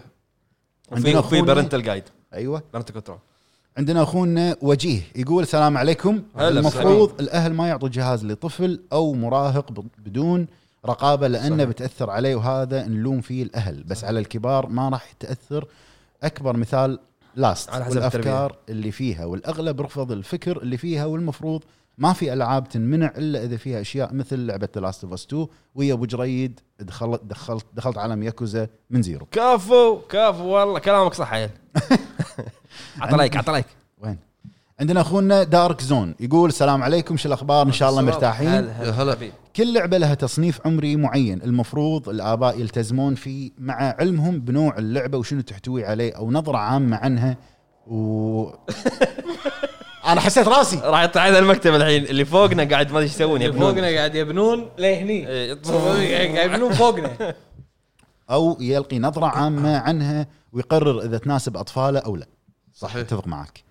S2: عندنا
S1: في في
S2: أخونا-
S1: بارنتال جايد
S2: ايوه
S1: بارنتال كنترول
S2: عندنا اخونا وجيه يقول السلام عليكم
S1: هلا
S2: المفروض الاهل ما يعطوا جهاز لطفل او مراهق ب- بدون رقابه لانه
S1: صحيح.
S2: بتاثر عليه وهذا نلوم فيه الاهل بس على الكبار ما راح تاثر اكبر مثال لاست
S1: على حسب
S2: والافكار اللي فيها والاغلب رفض الفكر اللي فيها والمفروض ما في العاب تنمنع الا اذا فيها اشياء مثل لعبه ذا لاست اوف اس 2 ويا ابو جريد دخلت دخلت دخلت عالم ياكوزا من زيرو
S1: كفو كفو والله كلامك صح عيل عطى لايك عطى لايك
S2: وين عندنا اخونا دارك زون يقول السلام عليكم شو الاخبار ان شاء الله مرتاحين
S1: هلا هلا حبيبي.
S2: كل لعبه لها تصنيف عمري معين المفروض الاباء يلتزمون فيه مع علمهم بنوع اللعبه وشنو تحتوي عليه او نظره عامه عنها و انا حسيت راسي
S1: راح يطلع هذا المكتب الحين اللي فوقنا قاعد ما ادري ايش يسوون
S4: اللي
S1: يبنون
S4: فوقنا قاعد يبنون لهني
S1: إيه،
S4: قاعد يبنون فوقنا
S2: او يلقي نظره عامه عنها ويقرر اذا تناسب اطفاله او لا صح
S3: صحيح.
S2: اتفق معك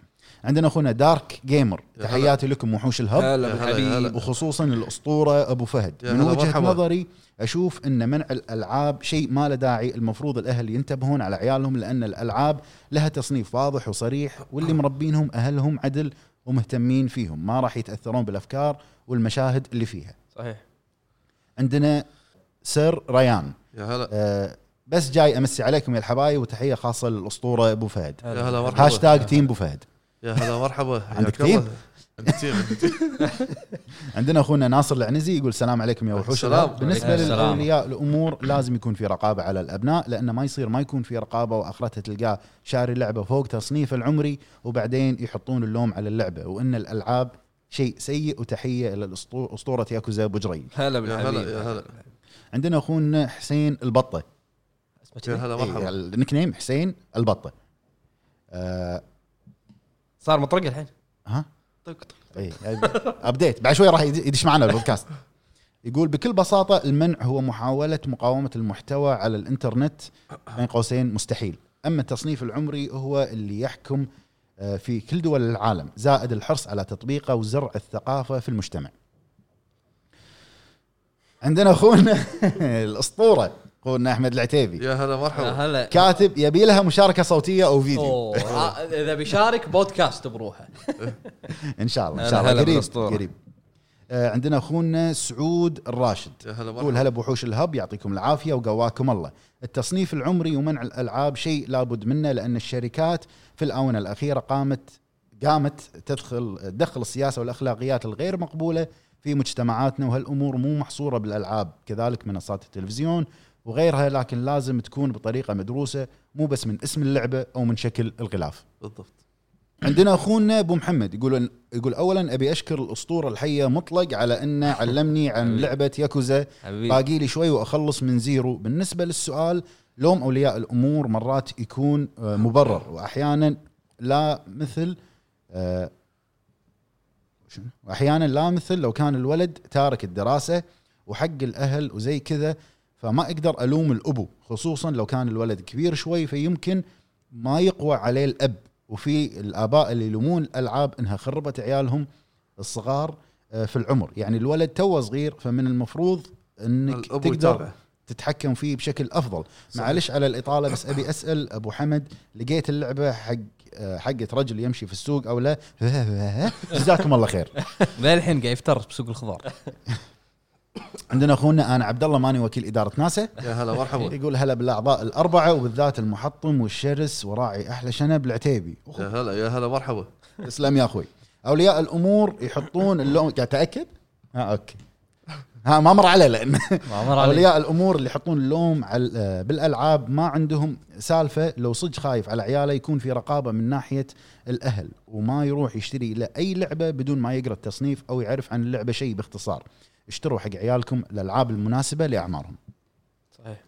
S2: عندنا اخونا دارك جيمر
S3: يا هلا.
S2: تحياتي لكم وحوش الهب
S1: هلا
S3: هلا، يا هلا.
S1: بالحبيب
S2: وخصوصا الاسطوره ابو فهد
S3: يا
S2: من
S3: هلا
S2: وجهه
S3: مرحبا.
S2: نظري اشوف ان منع الالعاب شيء ما له داعي المفروض الاهل ينتبهون على عيالهم لان الالعاب لها تصنيف واضح وصريح واللي مربينهم اهلهم عدل ومهتمين فيهم ما راح يتاثرون بالافكار والمشاهد اللي فيها
S1: صحيح
S2: عندنا سير ريان
S3: يا هلا
S2: أه بس جاي امسي عليكم يا الحبايب وتحيه خاصه للاسطوره ابو فهد
S3: يا هلا مرحبا
S2: هاشتاج تيم ابو فهد
S3: يا هلا مرحبا حياك
S2: عندك
S3: الله.
S2: تيم؟
S3: عندي تيم عندي تيم
S2: عندنا اخونا ناصر العنزي يقول السلام عليكم يا وحوش
S3: السلام.
S2: الأرض. بالنسبه
S1: عليكم السلام.
S2: للاولياء الامور لازم يكون في رقابه على الابناء لان ما يصير ما يكون في رقابه واخرتها تلقاه شاري لعبه فوق تصنيف العمري وبعدين يحطون اللوم على اللعبه وان الالعاب شيء سيء وتحيه الى الأسطو- اسطوره ياكوزا بجري
S1: هلا
S3: يا هلا
S1: بالحبيب
S3: يا هلا
S2: عندنا اخونا حسين البطه
S1: اسمه
S3: يا
S1: كذي؟
S3: هلا
S2: إيه،
S3: مرحبا
S2: النيك نيم حسين البطه آه
S1: صار مطرق الحين
S2: ها
S1: طق طق
S2: اي ابديت بعد شوي راح يد- يدش معنا البودكاست يقول بكل بساطه المنع هو محاوله مقاومه المحتوى على الانترنت بين قوسين مستحيل اما التصنيف العمري هو اللي يحكم آه، في كل دول العالم زائد الحرص على تطبيقه وزرع الثقافه في المجتمع عندنا اخونا الاسطوره اخونا احمد العتيبي
S3: يا هلا مرحبا
S4: هلا
S2: كاتب يبي لها مشاركه صوتيه او فيديو
S4: أوه، آه، اذا بيشارك بودكاست بروحه
S2: ان شاء الله ان
S1: هلا
S2: شاء الله
S1: هلا
S2: قريب
S1: بالأسطورة.
S2: قريب آه، عندنا اخونا سعود الراشد
S3: يا هلا
S2: يقول
S3: مرحبا
S2: هلا بوحوش الهب يعطيكم العافيه وقواكم الله. التصنيف العمري ومنع الالعاب شيء لابد منه لان الشركات في الاونه الاخيره قامت قامت تدخل تدخل السياسه والاخلاقيات الغير مقبوله في مجتمعاتنا وهالامور مو محصوره بالالعاب، كذلك منصات التلفزيون وغيرها لكن لازم تكون بطريقه مدروسه مو بس من اسم اللعبه او من شكل الغلاف.
S3: بالضبط
S2: عندنا اخونا ابو محمد يقول إن- يقول اولا ابي اشكر الاسطوره الحيه مطلق على انه علمني عن لعبه ياكوزا
S1: حبيبي
S2: باقي لي شوي واخلص من زيرو بالنسبه للسؤال لوم اولياء الامور مرات يكون آه، مبرر واحيانا لا مثل آه، شنو؟ واحيانا لا مثل لو كان الولد تارك الدراسه وحق الاهل وزي كذا فما اقدر الوم الابو خصوصا لو كان الولد كبير شوي فيمكن ما يقوى عليه الاب وفي الاباء اللي يلومون الالعاب انها خربت عيالهم الصغار آه، في العمر يعني الولد توه صغير فمن المفروض انك
S3: الابو
S2: تقدر
S3: يتابع
S2: تتحكم فيه بشكل افضل
S3: صحيح.
S2: معلش على الاطاله بس ابي اسال ابو حمد لقيت اللعبه حق آه، حقت رجل يمشي في السوق او لا جزاكم الله خير
S6: للحين قاعد يفتر بسوق الخضار
S2: عندنا اخونا انا عبد الله ماني وكيل اداره ناسا
S3: يا هلا مرحبا
S2: يقول هلا بالاعضاء الاربعه وبالذات المحطم والشرس وراعي احلى شنب العتيبي
S3: يا هلا يا هلا مرحبا
S2: تسلم يا اخوي اولياء الامور يحطون اللوم قاعد تاكد ها اوكي ها ما مر عليه لان
S6: ما مر علي
S2: اولياء الامور اللي يحطون اللوم على آه، بالالعاب ما عندهم سالفه لو صدق خايف على عياله يكون في رقابه من ناحيه الاهل وما يروح يشتري له اي لعبه بدون ما يقرا التصنيف او يعرف عن اللعبه شيء باختصار اشتروا حق عيالكم الالعاب المناسبه لاعمارهم
S1: صحيح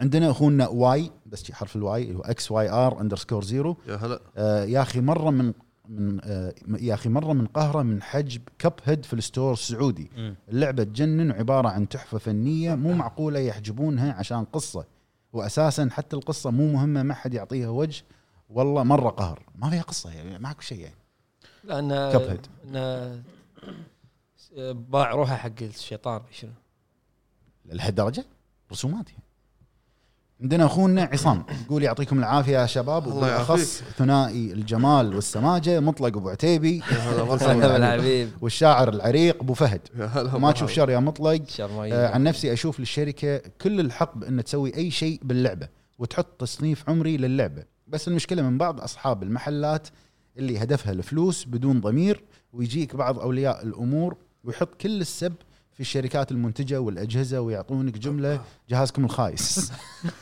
S2: عندنا اخونا واي بس شي حرف الواي اللي هو اكس واي ار اندرسكور زيرو
S3: يا هلا
S2: آه، يا اخي مره من من آه، يا اخي مره من قهره من حجب كب هيد في الستور السعودي
S6: مم.
S2: اللعبه تجنن وعباره عن تحفه فنيه مو معقوله يحجبونها عشان قصه واساسا حتى القصه مو مهمه ما حد يعطيها وجه والله مره قهر ما فيها قصه يعني ماكو شيء يعني
S1: لان
S2: Cuphead.
S1: لأن باع روحه حق الشيطان شنو
S2: لهالدرجه رسومات يعني. عندنا اخونا عصام يقول يعطيكم العافيه يا شباب
S3: الله
S2: وبالاخص ثنائي الجمال والسماجه مطلق ابو عتيبي
S3: يا هلا مرحبا
S1: هلا حبيب
S2: والشاعر العريق ابو فهد
S3: يا هلا
S2: ما
S3: مرحبا.
S2: تشوف شر يا مطلق آه،
S1: شرمية
S2: عن نفسي اشوف للشركه كل الحق بان تسوي اي شيء باللعبه وتحط تصنيف عمري للعبه بس المشكله من بعض اصحاب المحلات اللي هدفها الفلوس بدون ضمير ويجيك بعض اولياء الامور ويحط كل السب في الشركات المنتجه والاجهزه ويعطونك جمله جهازكم الخايس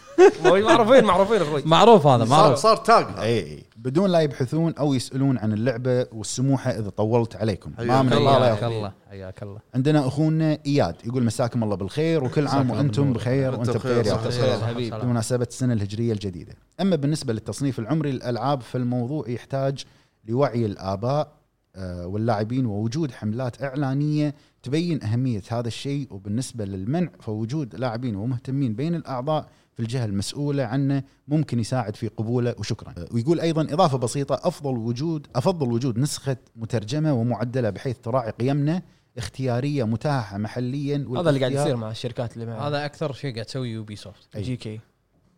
S1: معروفين معروفين اخوي
S4: معروف هذا
S3: صار
S4: معروف
S3: صار تاج
S2: اي إيه. بدون لا يبحثون او يسالون عن اللعبه والسموحه اذا طولت عليكم ما
S3: حياك
S2: من
S3: الله.
S2: الله لا
S4: حياك
S2: يغفر.
S4: الله حياك الله
S2: عندنا اخونا اياد يقول مساكم الله بالخير وكل عام وانتم بخير
S3: وأنت
S2: وانت
S3: بخير،
S2: بخير يا
S3: صحة
S2: أخوي.
S1: تخيل حبيب
S4: سلام.
S2: بمناسبة السنة الهجرية الجديدة أما بالنسبة للتصنيف العمري للألعاب فالموضوع يحتاج لوعي الآباء آه، واللاعبين ووجود حملات إعلانية تبين أهمية هذا الشيء وبالنسبة للمنع فوجود لاعبين ومهتمين بين الأعضاء في الجهة المسؤولة عنه ممكن يساعد في قبوله وشكرا آه، ويقول أيضا إضافة بسيطة أفضل وجود أفضل وجود نسخة مترجمة ومعدلة بحيث تراعي قيمنا اختيارية متاحة محليا
S1: هذا اللي قاعد
S2: والاختيار-
S1: يصير مع الشركات اللي معها
S4: هذا اكثر شيء قاعد تسوي يوبي سوفت
S2: أي.
S1: جي كي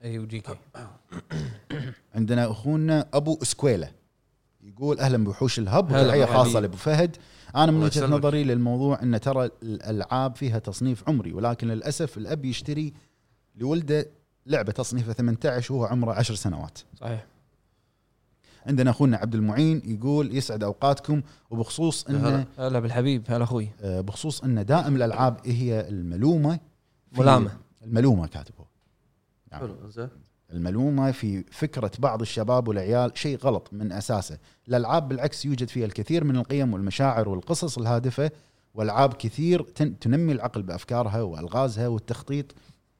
S4: اي وجي كي
S2: عندنا اخونا ابو اسكويله يقول اهلا بوحوش الهب
S1: هلا
S2: وتحيه
S1: مرحبا.
S2: خاصه لابو فهد انا من
S3: الله
S2: وجهه
S3: يسلمك.
S2: نظري للموضوع ان ترى الالعاب فيها تصنيف عمري ولكن للاسف الاب يشتري لولده لعبه تصنيفها 18 وهو عمره 10 سنوات
S1: صحيح
S2: عندنا اخونا عبد المعين يقول يسعد اوقاتكم وبخصوص
S3: يا
S2: ان
S3: هلا.
S1: هلا بالحبيب هلا اخوي
S2: آه، بخصوص ان دائم الالعاب هي الملومه في-
S1: ملامة.
S2: الملومه كاتبه نعم.
S3: حلو زين
S2: الملومه في فكره بعض الشباب والعيال شيء غلط من اساسه، الالعاب بالعكس يوجد فيها الكثير من القيم والمشاعر والقصص الهادفه والعاب كثير تن- تنمي العقل بافكارها والغازها والتخطيط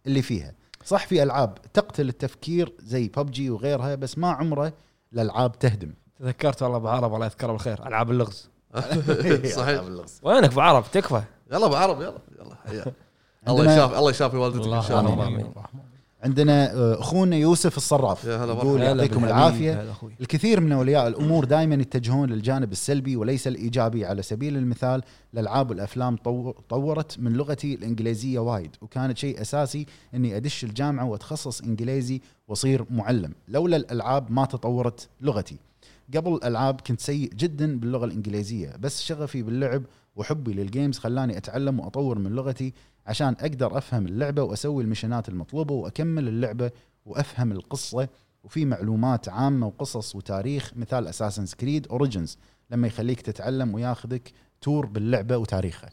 S2: اللي فيها. صح في العاب تقتل التفكير زي ببجي وغيرها بس ما عمره الالعاب تهدم.
S1: تذكرت والله ابو عرب الله يذكره بالخير العاب اللغز
S3: صحيح
S1: وينك ابو عرب تكفى
S3: يلا ابو عرب يلا يلا حياك. الله يشاف الله يشافي والدتك ان شاء
S1: الله.
S3: الله
S1: آمين.
S2: عندنا آه، اخونا يوسف الصراف
S3: يا هلا
S2: يقول
S3: مرحبا.
S1: هلا
S2: يعطيكم
S1: بالحبيب،
S2: العافيه
S1: هلا اخوي
S2: الكثير من اولياء الامور دائما يتجهون للجانب السلبي وليس الايجابي على سبيل المثال الالعاب والافلام طو- طورت من لغتي الانجليزيه وايد وكانت شيء اساسي اني ادش الجامعه واتخصص انجليزي واصير معلم لولا الالعاب ما تطورت لغتي قبل الالعاب كنت سيء جدا باللغه الانجليزيه بس شغفي باللعب وحبي للجيمز خلاني اتعلم واطور من لغتي عشان اقدر افهم اللعبه واسوي المشنات المطلوبه واكمل اللعبه وافهم القصه وفي معلومات عامه وقصص وتاريخ مثال اساسن كريد اوريجنز لما يخليك تتعلم وياخذك تور باللعبه وتاريخها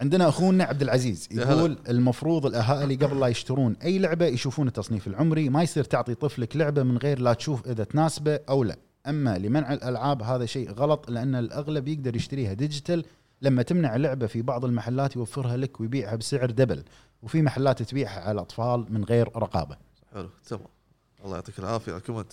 S2: عندنا اخونا عبد العزيز
S3: يا هلا.
S2: يقول المفروض الاهالي قبل لا يشترون اي لعبه يشوفون التصنيف العمري ما يصير تعطي طفلك لعبه من غير لا تشوف اذا تناسبه او لا اما لمنع الالعاب هذا شيء غلط لان الاغلب يقدر يشتريها ديجيتال لما تمنع لعبه في بعض المحلات يوفرها لك ويبيعها بسعر دبل وفي محلات تبيعها على اطفال من غير رقابه
S3: حلو تمام الله يعطيك العافيه على الكومنت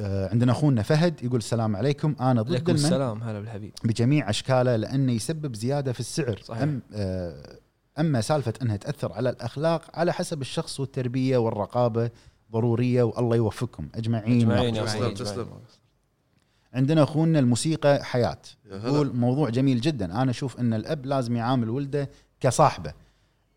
S2: آه، عندنا اخونا فهد يقول السلام عليكم انا ضد
S1: عليكم
S2: المنع
S1: السلام هلا بالحبيب
S2: بجميع اشكاله لانه يسبب زياده في السعر
S1: صحيح.
S2: أم آه، اما سالفه انها تاثر على الاخلاق على حسب الشخص والتربيه والرقابه ضروريه والله يوفقكم اجمعين,
S1: اجمعين يا
S3: تسلم،
S1: أخوي،
S3: تسلم.
S1: أجمعين.
S2: عندنا اخونا الموسيقى حياه
S3: يا هلا.
S2: يقول موضوع جميل جدا انا اشوف ان الاب لازم يعامل ولده كصاحبه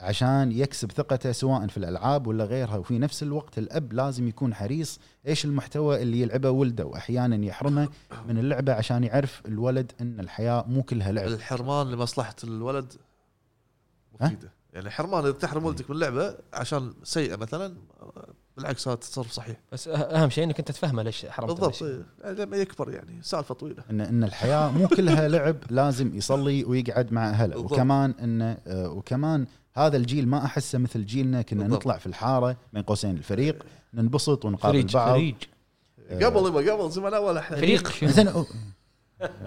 S2: عشان يكسب ثقته سواء في الالعاب ولا غيرها وفي نفس الوقت الاب لازم يكون حريص ايش المحتوى اللي يلعبه ولده واحيانا يحرمه من اللعبه عشان يعرف الولد ان الحياه مو كلها لعب
S3: الحرمان لمصلحه الولد مفيده يعني حرمان اذا تحرم ولدك من لعبه عشان سيئه مثلا بالعكس هذا تصرف صحيح
S1: بس أه- اهم شيء انك انت تفهمه ليش حرمت
S3: بالضبط
S1: الأشياء.
S3: إيه. يعني لما يكبر يعني سالفه طويله
S2: ان ان الحياه مو كلها لعب لازم يصلي ويقعد مع اهله
S3: بالضبط.
S2: وكمان انه آه، وكمان هذا الجيل ما احسه مثل جيلنا كنا
S3: بالضبط.
S2: نطلع في الحاره بين قوسين الفريق ننبسط ونقابل
S6: فريج
S2: بعض
S6: فريج
S2: آه.
S3: إيه. قبل يبا قبل زمان اول احنا
S6: فريق شنو؟
S2: زين هو-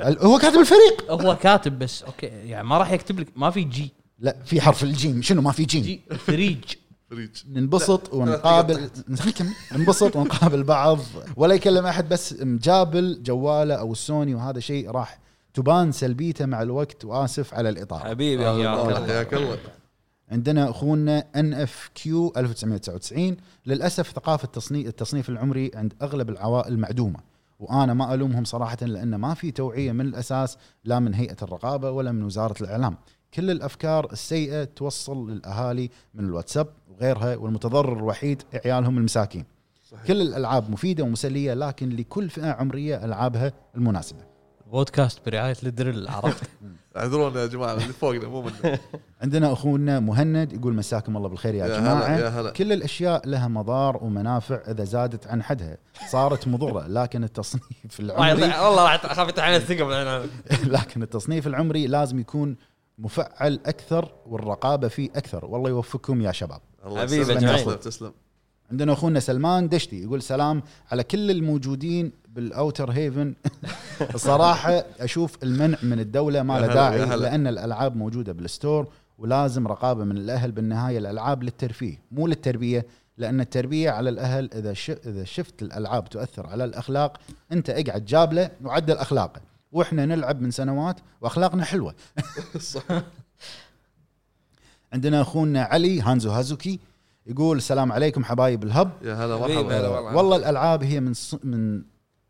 S2: هو كاتب الفريق
S6: هو كاتب بس اوكي يعني ما راح يكتب لك ما في جي
S2: لا في حرف الجيم شنو ما في جيم
S6: جي فريج
S3: فريج
S2: ننبسط
S3: لا،
S2: ونقابل نكمل. ننبسط ونقابل بعض ولا يكلم احد بس مجابل جواله او السوني وهذا شيء راح تبان سلبيته مع الوقت واسف على الاطاله
S1: حبيبي يا
S3: الله،
S1: أخوي.
S3: حياك الله
S2: عندنا اخونا ان اف كيو 1999 للاسف ثقافه التصنيف التصنيف العمري عند اغلب العوائل معدومه وانا ما الومهم صراحه لان ما في توعيه من الاساس لا من هيئه الرقابه ولا من وزاره الاعلام كل الافكار السيئه توصل للاهالي من الواتساب وغيرها والمتضرر الوحيد عيالهم المساكين
S3: صحيح.
S2: كل الالعاب مفيده ومسليه لكن لكل فئه عمريه العابها المناسبه
S6: بودكاست برعايه للدرل عرفت
S3: اعذرونا يا جماعه اللي فوقنا مو منا
S2: عندنا اخونا مهند يقول مساكم الله بالخير يا,
S3: يا
S2: جماعه
S3: هلا، يا هلا.
S2: كل الاشياء لها مضار ومنافع اذا زادت عن حدها صارت مضره لكن التصنيف العمري
S1: والله راح اخاف يطلع الثقه بالعنان.
S2: لكن التصنيف العمري لازم يكون مفعل اكثر والرقابه فيه اكثر والله يوفقكم يا شباب
S3: الله
S1: حبيبي
S3: يسلمك
S1: أجمعين.
S3: تسلم تسلم
S2: عندنا اخونا سلمان دشتي يقول سلام على كل الموجودين بالاوتر هيفن صراحه اشوف المنع من الدوله ما
S3: يا
S2: له
S3: هلا، يا
S2: داعي
S3: هلا.
S2: لان الالعاب موجوده بالستور ولازم رقابه من الاهل بالنهايه الالعاب للترفيه مو للتربيه لان التربيه على الاهل اذا ش... اذا شفت الالعاب تؤثر على الاخلاق انت اقعد جابله وعدل اخلاقه واحنا نلعب من سنوات واخلاقنا حلوه
S3: صح
S2: عندنا اخونا علي هانزو هازوكي يقول السلام عليكم حبايب الهب
S3: يا هلا
S1: حبيبي، هلا
S3: مرحبا
S1: والله.
S2: والله الالعاب هي من ص... من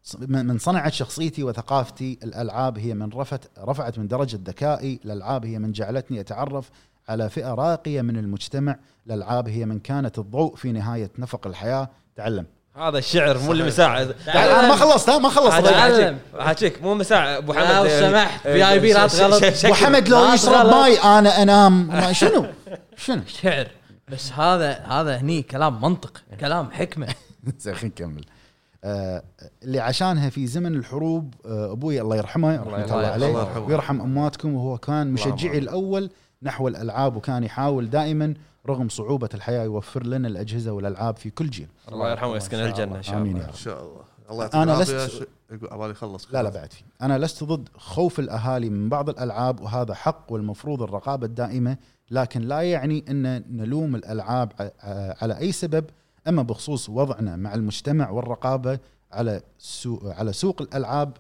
S2: ص- من من صنعت شخصيتي وثقافتي الالعاب هي من رفعت رفعت من درجه ذكائي الالعاب هي من جعلتني اتعرف على فئه راقيه من المجتمع الالعاب هي من كانت الضوء في نهايه نفق الحياه تعلم
S1: هذا الشعر مو اللي مساعد
S2: تعال انا ما خلصت ها ما خلصت
S1: عاد- عاد-
S4: تعلم.
S1: حاجيك مو مساعد ابو حمد
S4: لو
S1: يعني-
S4: سمحت،
S1: آه،
S4: في آي بي لا
S1: ش-
S4: تغلط.
S1: ش- ش-
S2: ابو حمد لو
S4: لا
S2: يشرب
S4: تغلط.
S2: ماي انا انام ما شنو شنو
S6: شعر بس هذا هذا هني كلام منطق كلام حكمه
S2: زين خلينا نكمل آه، اللي عشانها في زمن الحروب آه، ابوي الله يرحمه رحمه الله
S1: يرحمه.
S2: عليه
S3: الله يرحمه.
S2: ويرحم امواتكم وهو كان
S1: اللهم
S2: مشجعي
S1: آمين.
S2: الاول نحو الالعاب وكان يحاول دائما رغم صعوبه الحياه يوفر لنا الاجهزه والالعاب في كل جيل
S1: الله يرحمه ويسكن الجنه ان شاء
S2: آمين
S1: الله
S2: يا رب.
S3: ان شاء الله الله
S2: أنا
S3: يعطيك
S2: لست-
S3: العافيه يقول عبالي يخلص
S2: لا لا بعد في انا لست ضد خوف الاهالي من بعض الالعاب وهذا حق والمفروض الرقابه الدائمه لكن لا يعني ان نلوم الالعاب ع- ع- على اي سبب اما بخصوص وضعنا مع المجتمع والرقابه على سوق على سوق الالعاب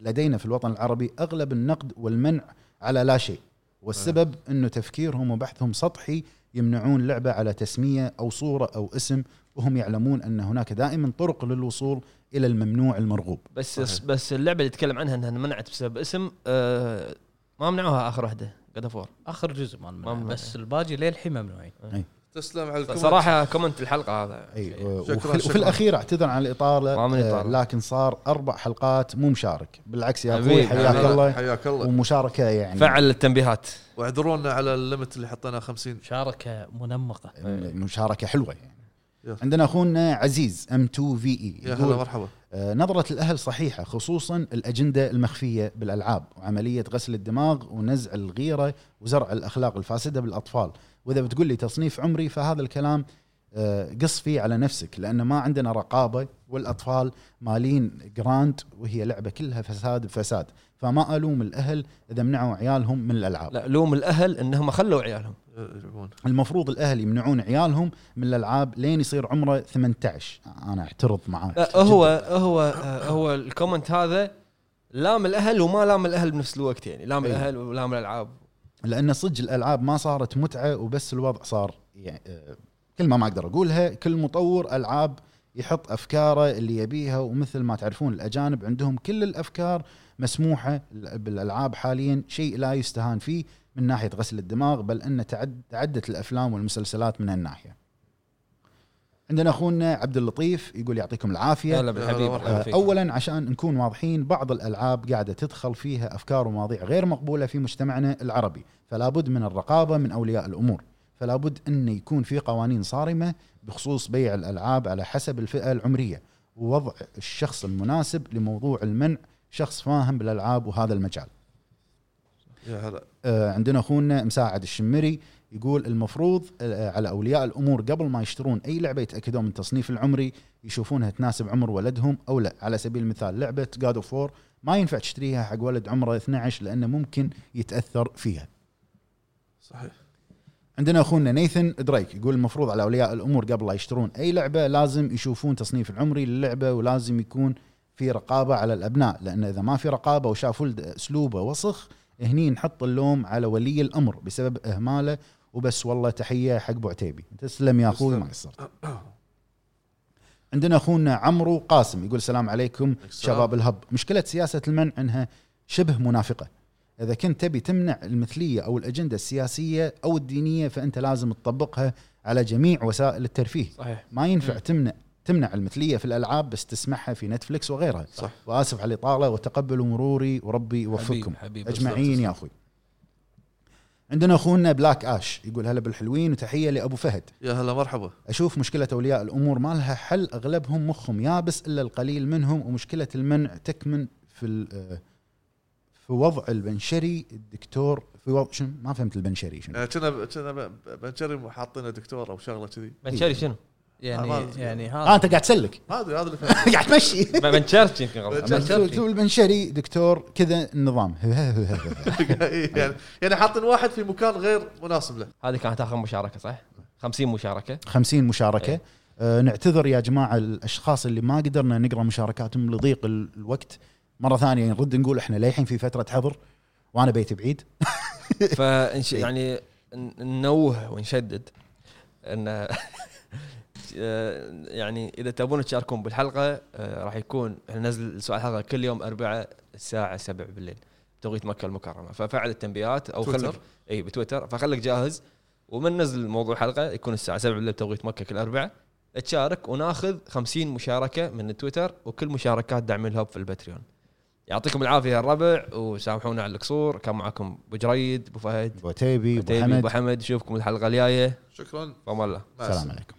S2: لدينا في الوطن العربي اغلب النقد والمنع على لا شيء والسبب انه تفكيرهم وبحثهم سطحي يمنعون لعبه على تسميه او صوره او اسم وهم يعلمون ان هناك دائما طرق للوصول الى الممنوع المرغوب
S1: بس بس اللعبه اللي تكلم عنها انها منعت بسبب اسم آه، ما منعوها اخر واحده قد فور
S6: اخر جزء ما
S1: ما
S6: منع
S1: منع.
S6: بس الباقي للحين ممنوعين
S3: تسلم على الكومنت
S1: صراحه كومنت الحلقه هذا
S2: اي
S1: شيء.
S2: وفي,
S3: شكراً،
S2: وفي
S3: شكراً.
S2: الاخير اعتذر عن الاطاله
S1: ما من
S2: آه،
S1: إطالة.
S2: لكن صار اربع حلقات مو مشارك بالعكس يا اخوي
S1: حبيبي،
S2: حياك
S1: حبيبي.
S2: الله
S3: حياك الله
S2: ومشاركه يعني
S1: فعل التنبيهات
S3: واعذرونا على الليمت اللي حطيناه 50
S6: مشاركه منمقه
S2: إيه. مشاركه حلوه يعني
S3: يلا.
S2: عندنا اخونا عزيز ام 2 في اي
S3: يا هلا مرحبا
S2: آه، نظرة الأهل صحيحة خصوصا الأجندة المخفية بالألعاب وعملية غسل الدماغ ونزع الغيرة وزرع الأخلاق الفاسدة بالأطفال وإذا بتقول لي تصنيف عمري فهذا الكلام آه، قص فيه على نفسك لان ما عندنا رقابه والاطفال مالين جراند وهي لعبه كلها فساد بفساد فما الوم الاهل اذا منعوا عيالهم من الالعاب
S1: لا لوم الاهل انهم خلوا عيالهم
S3: يلعبون
S2: المفروض الاهل يمنعون عيالهم من الالعاب لين يصير عمره 18 انا اعترض معاك
S1: لا أه، هو هو آه، هو الكومنت هذا لام الاهل وما لام الاهل بنفس الوقت يعني لام
S2: أي.
S1: الاهل ولام الالعاب
S2: لان صدق الالعاب ما صارت متعه وبس الوضع صار يعني آه، كلمه ما اقدر اقولها كل مطور العاب يحط افكاره اللي يبيها ومثل ما تعرفون الاجانب عندهم كل الافكار مسموحه بالالعاب حاليا شيء لا يستهان فيه من ناحيه غسل الدماغ بل ان تعد تعدت الافلام والمسلسلات من هالناحيه. عندنا اخونا عبد اللطيف يقول يعطيكم العافيه
S1: هلا بالحبيب
S3: هلا
S1: الله
S2: آه،
S1: يعافيك.
S2: اولا عشان نكون واضحين بعض الالعاب قاعده تدخل فيها افكار ومواضيع غير مقبوله في مجتمعنا العربي فلا بد من الرقابه من اولياء الامور فلا بد ان يكون في قوانين صارمه بخصوص بيع الالعاب على حسب الفئه العمريه ووضع الشخص المناسب لموضوع المنع شخص فاهم بالالعاب وهذا المجال
S3: يا هلا
S2: آه، عندنا اخونا مساعد الشمري يقول المفروض آه، على اولياء الامور قبل ما يشترون اي لعبه يتاكدون من التصنيف العمري يشوفونها تناسب عمر ولدهم او لا على سبيل المثال لعبه جاد اوف وور ما ينفع تشتريها حق ولد عمره 12 لانه ممكن يتاثر فيها
S3: صحيح
S2: عندنا اخونا نيثن دريك يقول المفروض على اولياء الامور قبل لا يشترون اي لعبه لازم يشوفون تصنيف العمري للعبه ولازم يكون في رقابه على الابناء لان اذا ما في رقابه وشاف ولد اسلوبه وسخ هني نحط اللوم على ولي الامر بسبب اهماله وبس والله تحيه حق ابو عتيبي تسلم يا اخوي
S3: تسلم.
S2: ما قصرت عندنا اخونا عمرو قاسم يقول السلام عليكم
S3: السلام.
S2: شباب الهب مشكله سياسه المنع انها شبه منافقه اذا كنت تبي تمنع المثليه او الاجنده السياسيه او الدينيه فانت لازم تطبقها على جميع وسائل الترفيه
S1: صحيح
S2: ما ينفع تمنع تمنع المثليه في الالعاب بس تسمعها في نتفلكس وغيرها
S3: صح.
S2: واسف على الاطاله وتقبلوا مروري وربي يوفقكم
S4: حبيب حبيب
S2: اجمعين يا اخوي عندنا اخونا بلاك اش يقول هلا بالحلوين وتحيه لابو فهد
S3: يا هلا مرحبا
S2: اشوف مشكله اولياء الامور ما لها حل اغلبهم مخهم يابس الا القليل منهم ومشكله المنع تكمن في ال- آه، في وضع البنشري الدكتور في وضع شنو ما فهمت البنشري شنو
S3: آه، كنا كنا ب- بنشري حاطينه دكتور او شغله كذي
S1: بنشري شنو؟
S3: آه،
S6: يعني يعني
S2: اه
S6: هذا
S2: انت قاعد تسلك
S3: هذا هذا اللي فهمته.
S2: قاعد تمشي
S1: بنشرش يمكن غلط
S3: بنشرش.
S1: بنشرش.
S2: تقول البنشري دكتور كذا النظام
S3: إيه، يعني يعني حاطين واحد في مكان غير مناسب له
S1: هذه كانت اخر مشاركه صح؟ 50 مشاركه
S2: 50 مشاركه
S1: إيه.
S2: آه نعتذر يا جماعه الاشخاص اللي ما قدرنا نقرا مشاركاتهم لضيق ال- الوقت مره ثانيه نرد نقول احنا للحين في فتره حظر وانا بيتي بعيد
S1: فنش يعني ن- ننوه ونشدد ان يعني اذا تبون تشاركون بالحلقه آه، راح يكون ننزل سؤال الحلقه كل يوم اربعاء الساعه 7 بالليل بتوقيت مكه المكرمه ففعل التنبيهات او
S3: تويتر.
S1: خلك اي بتويتر فخلك جاهز ومن نزل موضوع حلقه يكون الساعه 7 بالليل بتوقيت مكه كل اربعاء تشارك وناخذ 50 مشاركه من تويتر وكل مشاركات دعم الهب في الباتريون يعطيكم العافيه يا الربع وسامحونا على القصور كان معكم ابو جريد ابو فهد
S2: ابو عتيبي ابو
S1: تيمي ابو
S2: حمد
S1: حمد نشوفكم الحلقه الجايه
S3: شكرا
S1: فما الله
S3: مع السلامه
S2: السلام عليكم